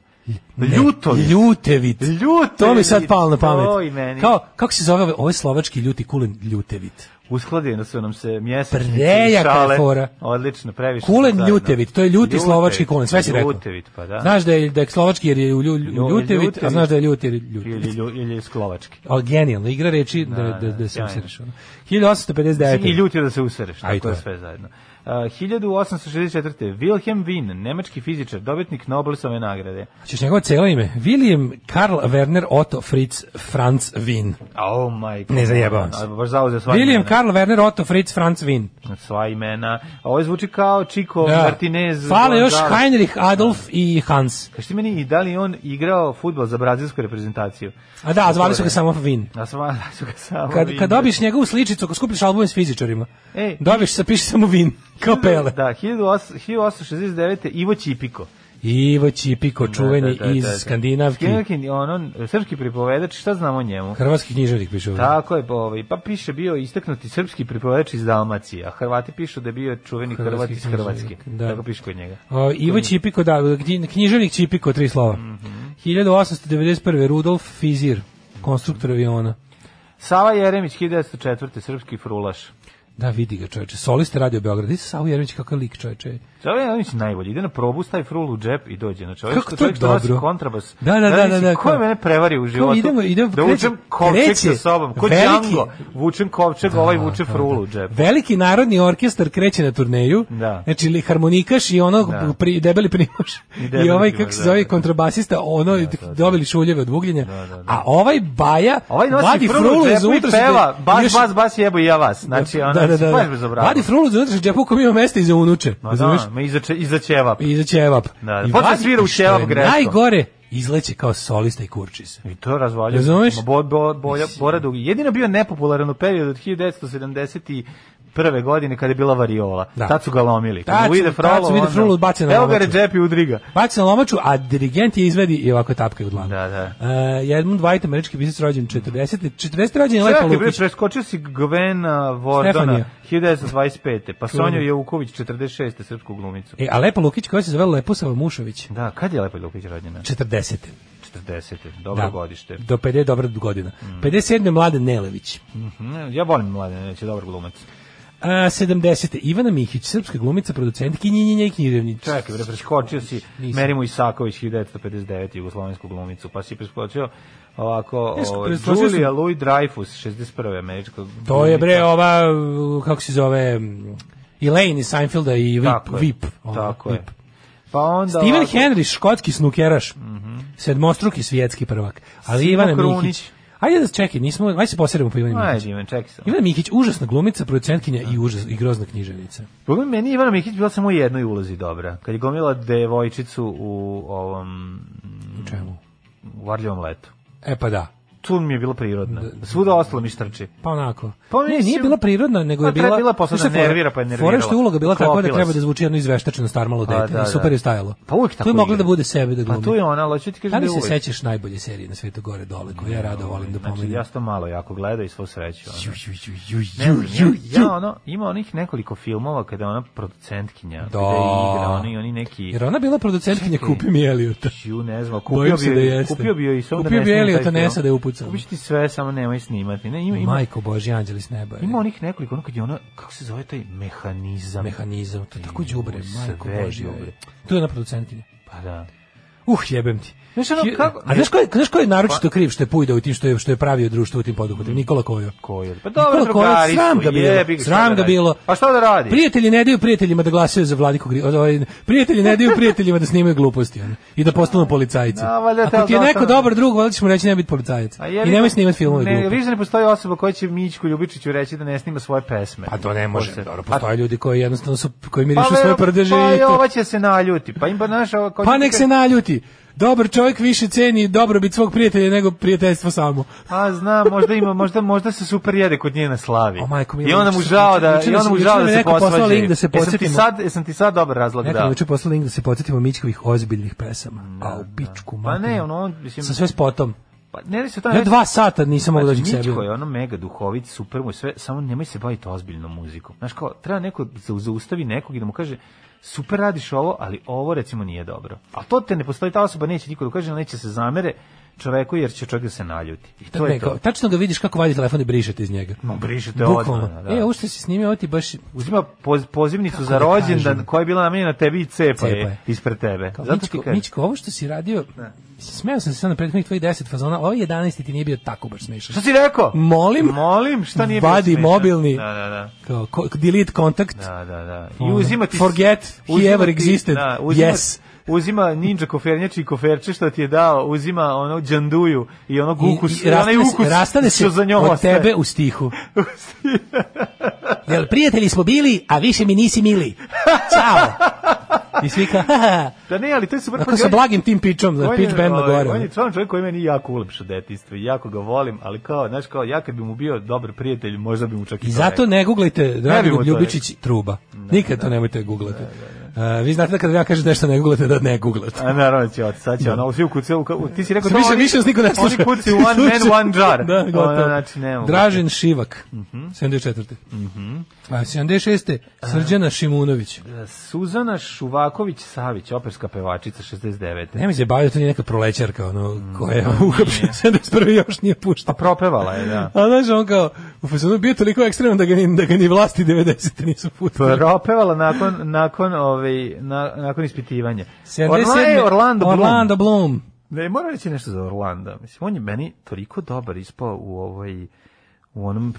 S7: Ne,
S6: Ljutovic.
S7: Ljutevit.
S6: Ljutevit.
S7: To mi sad palo na pamet.
S6: To i meni. E,
S7: Kao, kako se zove ovaj, ovaj slovački ljuti kulen Ljutevit?
S6: Uskladili su nam se mjesečnici i
S7: Prejaka je
S6: šale.
S7: fora.
S6: Odlično, previše. smo
S7: Kulen
S6: zajedno.
S7: Ljutevit, to je ljuti
S6: Ljutevit,
S7: slovački kulen, sve si rekao.
S6: Ljutevit, pa da.
S7: Znaš da je, da je slovački jer je u Lju-
S6: Lju-
S7: Ljutevit, a
S6: Ljutevit.
S7: znaš da je ljuti
S6: Ili,
S7: Ljutevit.
S6: lju- ili slovački.
S7: Ali genijalno, igra reči da, da, da,
S6: da,
S7: se
S6: sjajno.
S7: usreš. ono. 1859.
S6: I ljuti da se usereš,
S7: A
S6: tako
S7: i to
S6: je
S7: je.
S6: sve zajedno. Uh, 1864. Wilhelm Wien, nemački fizičar, dobitnik Nobelove nagrade.
S7: Češ njegovo celo ime? William Karl Werner Otto Fritz Franz Wien.
S6: Oh my god.
S7: Ne zajebavam se.
S6: A, Baš zauzeo svoj
S7: William
S6: ime,
S7: Karl Werner, Otto Fritz, Franz Wien.
S6: Sva imena. A ovo zvuči kao Chico
S7: Da.
S6: Martinez.
S7: Fale još
S6: Gonzalez.
S7: Heinrich Adolf i Hans.
S6: Kaži ti meni, i da li je on igrao futbol za brazilsku reprezentaciju?
S7: A da, zvali su ga samo Wien.
S6: A sva, da su ga samo
S7: Kad,
S6: vidjeli.
S7: kad dobiš njegovu sličicu, ako skupiš album s fizičarima,
S6: Ej.
S7: dobiš se, piše samo Wien, kao pele.
S6: Da, 1800 1869. Ivo Čipiko.
S7: Ivo Čipiko, čuveni iz Skandinavki.
S6: Skandinavki, on, on, ono, srpski pripovedač, šta znamo o njemu?
S7: Hrvatski književnik piše ovdje.
S6: Tako je, ovaj, pa piše bio istaknuti srpski pripovedač iz Dalmacije, a Hrvati pišu da je bio čuveni
S7: Hrvatski
S6: Hrvat iz
S7: književnik,
S6: Hrvatske.
S7: da.
S6: Tako piše kod njega.
S7: O, Ivo Čipiko, da, knji- književnik Čipiko, tri slova. 1891. Rudolf Fizir, konstruktor aviona.
S6: Sava Jeremić, 1904. srpski frulaš.
S7: Da, vidi ga čoveče. Soliste radio Beograd. Isi Savo Jeremić kakav lik čoveče.
S6: Sava Jeremić je najbolji, ide na probu, stavi frulu u džep i dođe. Znači, ovaj
S7: Kako
S6: što
S7: to je
S6: čovjek što nosi
S7: dobro.
S6: kontrabas. Znači,
S7: Da, da, da, da, da,
S6: Ko je
S7: kao-
S6: mene prevario u životu?
S7: idemo- idemo-
S6: da
S7: kreće-
S6: vučem kovčeg sa
S7: kreće
S6: sobom. Ko
S7: veliki-
S6: Django, vučem kovčeg, ovaj vuče frulu u džep.
S7: Veliki narodni orkestar kreće na turneju.
S6: Da.
S7: Znači, li harmonikaš i ono
S6: Da.
S7: pri, debeli primoš. I,
S6: debeli
S7: ovaj,
S6: Primoš,
S7: kako se
S6: da,
S7: zove,
S6: da.
S7: kontrabasista, ono, dobili šuljeve od ugljenja.
S6: da, da.
S7: A ovaj baja,
S6: Ovaj nosi
S7: vadi
S6: frulu,
S7: frulu
S6: u
S7: iz
S6: džepu i
S7: unutra.
S6: peva, bas, bas, bas, jebo i ja vas. Znači, ona da, da, da,
S7: Vadi frulu iz unutra, džepu kom ima mesta i za unuče.
S6: Ma
S7: razumeš?
S6: da, ma iza, če- iza ćevap.
S7: I za ćevap.
S6: Da, da.
S7: I
S6: Počne
S7: vadi-
S6: svira u
S7: što
S6: ćevap
S7: je
S6: greškom.
S7: Najgore, izleće kao solista i kurči se.
S6: I to razvaljuje.
S7: Razumeš?
S6: Ma Bo, bo, boja, Bora Dugi. Jedino bio nepopularan u periodu od 1971. godine kada je bila variola.
S7: Da.
S6: Tad su ga lomili. Kad
S7: Tad
S6: mu
S7: su-
S6: ide
S7: tad
S6: frolo,
S7: su vide
S6: onda-
S7: frulu, bace na
S6: Evo ga
S7: lomaču.
S6: Recep i udriga.
S7: Baci na lomaču, a dirigent je izvedi i ovako tapka u dlanu.
S6: Da, da.
S7: Uh, Edmund White, američki pisac rođen 40. 40. rođen je Lepa
S6: Čekaj, bre,
S7: Lukić.
S6: preskočio si Gvena Vordona
S7: Stefanija.
S6: 1925. Pa Sonju
S7: Čuveno.
S6: Jevkuković 46. srpsku glumicu.
S7: E, a Lepa Lukić koja se zove Leposava Mušović.
S6: Da, kad je Lepa Ljukić rođena?
S7: 40.
S6: 40. Dobro
S7: da.
S6: godište. Mm.
S7: Do 50 dobra godina. 57. Mladen Nelević.
S6: Mhm, Ja volim mlade, neće dobar glumac.
S7: A, 70. E, Ivana Mihić, srpska glumica, producentkinja kinjenja i književnica.
S6: Čekaj, bre, preskočio si
S7: Nisam.
S6: Merimu Isaković 1959 jugoslovensku glumicu, pa si preskočio ovako
S7: Teško,
S6: ovaj,
S7: preskočio sam.
S6: Julia Louis Dreyfus 61. američka.
S7: To je bre
S6: glumica.
S7: ova, uh, kako se zove, mm, Elaine iz Seinfelda i Vip.
S6: Tako je,
S7: Vip, ona,
S6: Tako je.
S7: Vip.
S6: Pa onda
S7: Steven
S6: ovako,
S7: Henry, škotski snukeraš. Sedmostruki svjetski prvak. Ali
S6: Mhm. Simo
S7: Ivana
S6: Krunić.
S7: Mihić. Ajde da čekaj, nismo, ajde se posjerimo po Ivani
S6: Ajde,
S7: Mihić.
S6: Ivan, čekaj sam.
S7: Ivana Mihić, užasna glumica, producentkinja i, užas, i grozna književnica.
S6: Problem meni je Ivana Mikić bila samo u jednoj ulozi dobra. Kad je gomila devojčicu u ovom
S7: U čemu?
S6: u varljivom letu.
S7: E pa da.
S6: Tu mi je bilo prirodno. Svuda ostalo mi štrči.
S7: Pa onako.
S6: Pa
S7: ne,
S6: mislim-
S7: nije bila prirodna, nego
S6: Pa
S7: je bila...
S6: treba bila posle
S7: Znaš šta
S6: da
S7: je fora?
S6: nervira, pa je
S7: Fora je što je
S6: nervirala.
S7: uloga bila tako da
S6: Sklopila
S7: treba
S6: se.
S7: da zvuči jedno izveštačeno starmalo
S6: Pa
S7: dete.
S6: da,
S7: I super
S6: da.
S7: je stajalo.
S6: Pa uvijek tako
S7: Tu je mogla
S6: ide.
S7: da bude sebe da glumi.
S6: Pa tu je ona, ali ću ti
S7: Da
S6: kažem
S7: li
S6: da
S7: se
S6: uvijek.
S7: sećaš najbolje serije na svetu gore dole, koju ja rado volim da
S6: Znači, ja
S7: pomenem?
S6: sam to malo jako gledao i svu sreću. ono.
S7: Ju, ju, ju, ju,
S6: Ne
S7: ju,
S6: znam,
S7: ju,
S6: ja,
S7: ju.
S6: ja ono, ima onih nekoliko filmova kada je ona producentkinja, da.
S7: Da.
S6: kada igra, oni, oni neki,
S7: Jer ona bila producentkinja Kupi mi Eliota.
S6: ju ne znam,
S7: Bojim
S6: kupio
S7: se
S6: bi,
S7: da
S6: da
S7: jeste.
S6: kupio bi joj i samo
S7: Kupio
S6: da ne
S7: bi
S6: snima
S7: Eliota
S6: taj film.
S7: Nesa da je upucao.
S6: Kupit ću ti sve, samo nemoj snimati. Ne, ima, ima,
S7: Majko Boži, Anđeli s neba. je.
S6: ima onih nekoliko, ono kad je ona, kako se zove taj mehanizam?
S7: mehanizam, to je tako đubre,
S6: Sve
S7: majko Boži.
S6: đubre.
S7: Tu je ona producentkinja.
S6: Pa da.
S7: Uh, jebem ti.
S6: Znaš ono
S7: Hi-
S6: kako- Pa-
S7: A znaš ko je, znaš ko je naročito kriv što je pujdao u tim što je, što je pravio društvo u tim poduhvatima? Nikola Kojo.
S6: Ko je? Pa
S7: Nikola
S6: Mm. dobro,
S7: Kojo,
S6: drugari
S7: sram
S6: su,
S7: ga
S6: jebi
S7: bilo.
S6: ga, šta
S7: Sram
S6: da
S7: ga
S6: radi?
S7: bilo.
S6: Pa šta da radi?
S7: Prijatelji ne daju prijateljima da glasaju za Vladiku Gri... ovaj, Prijatelji ne daju prijateljima da snimaju gluposti ono, i da postanu policajci.
S6: Da, valjda te
S7: Ako ti je neko
S6: odnosno-
S7: dobar drug, valjda ćeš mu reći ne biti policajac.
S6: A jebi
S7: I nemoj
S6: ga,
S7: snimati filmove
S6: Ne,
S7: glupe.
S6: vidiš da ne postoji osoba koja će Mićku Ljubičiću reći da ne snima svoje pesme.
S7: Pa to ne može.
S6: se-
S7: Dobro,
S6: Pa
S7: postoje ljudi koji jednostavno su, koji mirišu
S6: vero-
S7: svoje prdeže
S6: pa
S7: i
S6: i
S7: to-
S6: ova će se naljuti. Pa im pa naš ova koja-
S7: Pa nek se naljuti. Dobar čovjek više ceni dobrobit svog prijatelja nego prijateljstvo samo.
S6: A znam, možda ima, možda možda se super jede kod nje na slavi.
S7: O, majko mila,
S6: I onda mu
S7: juče-
S6: žao da
S7: juče
S6: i
S7: nas-
S6: onda mu
S7: juče
S6: žao
S7: nam
S6: da
S7: je
S6: se
S7: neko poslao
S6: posvađaju.
S7: link da se
S6: Jesam ti
S7: podsjetimo.
S6: sad, jesam ti sad dobar razlog
S7: Neko
S6: da.
S7: mi juče poslao link da se podsjetimo Mićkovih ozbiljnih pesama. A u pičku,
S6: Pa
S7: materinu.
S6: ne, ono on mislim
S7: Sa sve spotom.
S6: pa ne radi se to
S7: Ja dva sata nisam mogao doći sebi.
S6: Mičko je ono mega duhovit, super mu je sve, samo nemoj se baviti ozbiljnom muzikom. Znaš kao, treba neko zau- zaustavi nekog i da mu kaže super radiš ovo, ali ovo recimo nije dobro. A to te ne postoji, ta osoba neće niko da kaže, neće se zamere čoveku jer će čovjek da se naljuti. I to je
S7: Ne, kao,
S6: to.
S7: tačno ga vidiš kako vadi telefon i brišete iz njega.
S6: Ma, brišete odmah,
S7: Mm. Bukvalno.
S6: da.
S7: E, ovo što si snimio, ovo ti baš...
S6: Uzima poz, pozivnicu za
S7: da
S6: rođendan
S7: kažem?
S6: koja je bila namenjena tebi i cepa,
S7: Cepa
S6: je
S7: je.
S6: ispred tebe.
S7: Kao,
S6: Zato ti
S7: Mičko,
S6: kažem.
S7: Mičko, ovo što si radio... Smeo sam se sad na prethodnih tvojih 10 fazona, a ovo 11 ti nije bio tako baš smešan.
S6: Šta si rekao?
S7: Molim?
S6: Molim, šta nije bilo
S7: Vadi
S6: smešno?
S7: mobilni.
S6: Da, da, da.
S7: Kao, ko- delete kontakt.
S6: Da, da, da. I
S7: Ono,
S6: uzimati
S7: forget he ever existed.
S6: Da, uzimati,
S7: Yes.
S6: uzima ninja kofernjači i koferče što ti je dao, uzima ono džanduju i onog
S7: I-
S6: ukus,
S7: i
S6: onaj
S7: rastane, se-
S6: ukus
S7: rastane se
S6: što za njom
S7: od
S6: ostaje.
S7: tebe u stihu. Jel prijatelji smo bili, a više mi nisi mili. Ćao. I svi kao, "Ha, ha."
S6: da ne, ali to je super.
S7: Onako
S6: pazi,
S7: sa
S6: on-
S7: blagim tim pičom, za
S6: on je,
S7: pitch band na
S6: ovaj,
S7: gore.
S6: On
S7: ono.
S6: je član čovjek koji meni jako ulepša detinjstvo i jako ga volim, ali kao, znaš, kao, ja kad bi mu bio dobar prijatelj, možda bi mu čak i,
S7: I
S6: to
S7: zato
S6: rekao.
S7: ne guglajte
S6: bi mu
S7: Dragoljub
S6: to
S7: Ljubičić truba. Nikad to nemojte guglati. Uh, vi znate da kada ja kažem nešto ne guglate, da ne guglate.
S6: A naravno će otići, sad će ono, svi u kuci, u, u- ti si rekao,
S7: Više,
S6: oni-
S7: više nas niko ne sluša.
S6: Oni kuci u one man, one jar.
S7: da, gotovo.
S6: Ono, znači, ne mogu. Mhm.
S7: Dražen Šivak, 74. A 76. Srđana Šimunović.
S6: E, Suzana Šuvaković-Savić, operska pevačica, 69.
S7: Nemoj se baviti, to nije neka prolećarka, ono,
S6: Mm.
S7: koja je uhapšena, 71. još nije pušta.
S6: Pa propevala je, da.
S7: A znaš, on kao, u fazonu bio toliko ekstreman da ga ni, da ga ni vlasti 90. nisu pustili.
S6: Propevala nakon, nakon, ovaj, na, nakon ispitivanja.
S7: 77.
S6: Orla je Orlando Bloom.
S7: e, Orlando Bloom.
S6: Ne, moram reći nešto za Orlanda. Mislim, on je meni toliko dobar ispao u ovoj u onom,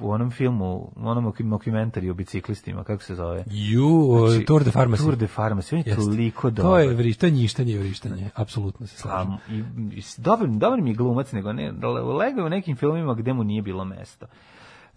S6: u onom filmu, u onom dokumentari o biciklistima, kako se zove?
S7: You,
S6: Znači,
S7: Tour de Pharmacy.
S6: Tour de Pharmacy, on je
S7: Jeste.
S6: toliko dobar.
S7: To je vrištanje, ništanje i vrištanje. Apsolutno se
S6: A,
S7: slažem.
S6: i, i, s- dobar, dobar mi je glumac, nego ne, lego je u nekim filmima gde mu nije bilo mesta.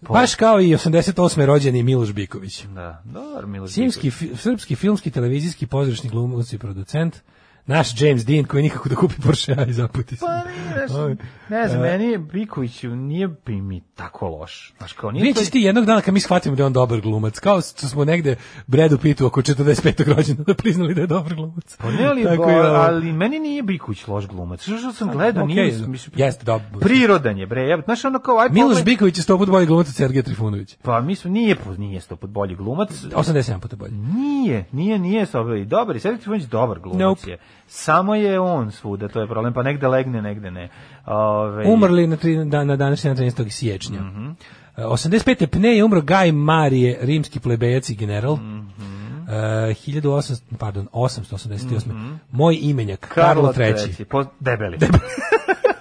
S6: po-
S7: Baš kao i 88. rođeni Miloš Biković.
S6: Da, dobar Miloš
S7: Simski, fi- srpski filmski, televizijski, pozorišni glumac i producent. Naš James Dean koji nikako da kupi Porsche i zaputi se.
S6: Pa nije, znaš, ne
S7: E.
S6: znam, meni je Biković nije bi mi tako loš. Znaš, kao nije to...
S7: Vidjet ćeš ti jednog dana kad mi shvatimo da je on dobar glumac. Kao što smo negde Bredu Pitu oko 45. rođena da priznali da je dobar glumac.
S6: Pa ne, ali,
S7: Tako
S6: bo-
S7: i ovo.
S6: ali meni nije Biković loš glumac. Znaš što sam gledao,
S7: okej,
S6: nije... Mislim,
S7: jeste dobar.
S6: Prirodan je, bre. Ja, znaš, ono kao... Aj,
S7: Miloš
S6: pogledaj-
S7: Biković je sto put bolji glumac od Sergeja Trifunovića.
S6: Pa mislim, nije, po- nije stoput bolji glumac.
S7: 87 puta bolji.
S6: Nije, nije, nije sobe i dobar. i Sergej Trifunović dobar glumac
S7: Nope.
S6: je. Samo je on svuda, to je problem, pa negde legne, negde ne. Ove,
S7: Umrli na, tri, da, na današnji dan 13. siječnja.
S6: Mhm.
S7: Mm 85. pne je umro Gaj Marije, rimski plebejac i general. Mm
S6: Mhm.
S7: 1800, pardon, 888. Moj imenjak, Karlo, III.
S6: Po, debeli.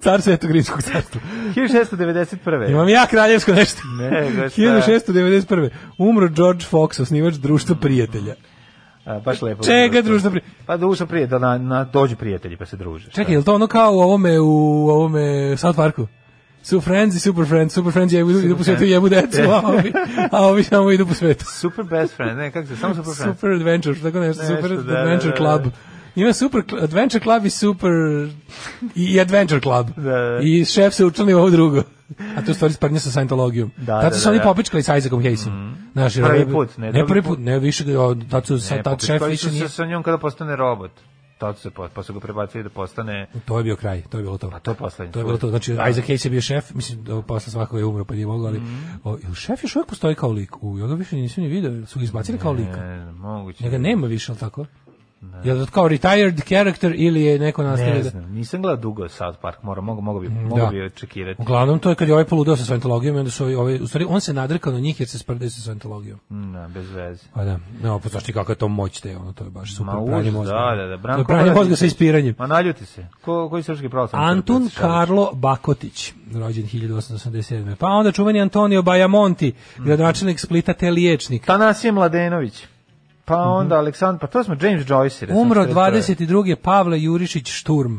S7: Car Svetog Rimskog carstva.
S6: 1691.
S7: Imam ja kraljevsko nešto.
S6: E. Ne, go šta.
S7: 1691. Umro George Fox, osnivač društva prijatelja.
S6: A, baš lepo. društvo.
S7: Čega društva prijatelja?
S6: Pa društvo prije, da na, na, dođu prijatelji pa se druže. šta?
S7: Čekaj, je li to ono kao u ovome, u ovome South Parku? Su friends i super friends. Super friends jebu, idu po svetu i jebu decu, a ovi, a ovi samo idu po svetu.
S6: Super best friend, ne, kako se, samo super friend.
S7: Super Adventure, tako nešto,
S6: Nešto,
S7: Super
S6: da, da,
S7: Adventure
S6: da, da.
S7: Club. Ima Super Cl- Adventure Club i Super i Adventure Club.
S6: da.
S7: I šef se učlani u ovo drugo. A to je u stvari sprnja sa Scientologijom.
S6: Da,
S7: tad
S6: da,
S7: su se
S6: da,
S7: oni
S6: da. Mhm.
S7: popičkali sa Isaacom Hayesom. Znaš, jer
S6: Prvi
S7: ovaj-
S6: put, ne
S7: ne,
S6: drugi
S7: prvi
S6: put.
S7: put, ne više, ga- o, tad su, sa,
S6: Ne,
S7: tad Pa, šef
S6: popičkali
S7: više
S6: E, su se
S7: nije...
S6: sa njom kada postane robot. Tad su se, po- pa su ga prebacili da postane...
S7: To je bio kraj, to je bilo to.
S6: Pa to je poslednje.
S7: To je bilo to. Znači, Isaac Hayes je bio šef, mislim, da posle svakog je umro, pa nije mogao, ali...
S6: Mhm.
S7: O, jel šef još uvijek postoji kao lik? U, ja ga više nisam ni vidio, jel su ga izbacili kao lika.
S6: Ne, znam, moguće.
S7: Njega nema više, ali tako? Je li to kao retired character ili je neko nastavio
S6: Ne
S7: da...
S6: znam, nisam gledao dugo South Park, moram, mogu, mogu bi, mogu
S7: Mm, da.
S6: bi čekirati.
S7: Uglavnom, to je kad je ovaj poludeo sa Scientologijom i onda su ovi, ovi, u stvari, on se nadrekao na njih jer se sprdaju sa Scientologijom.
S6: Ne, Mm, bez veze.
S7: Pa da, no, pa znaš ti kako je to moć te, ono, to je baš super
S6: Ma
S7: pranje
S6: užas,
S7: mozga.
S6: da, da, da.
S7: To je pranje
S6: Bradić.
S7: mozga sa ispiranjem.
S6: Ma naljuti se. Ko, koji srpski pravoslavni?
S7: Antun
S6: crkvac?
S7: Karlo Bakotić, rođen 1887. Pa onda čuveni Antonio Bajamonti,
S6: Mhm.
S7: gradonačelnik Splita te liječnik.
S6: Tanasije Mladenović. Pa onda Aleksandar, pa to smo James Joyce. recimo,
S7: Mhm. Umro
S6: 41..
S7: 22. Pavle Jurišić Šturm.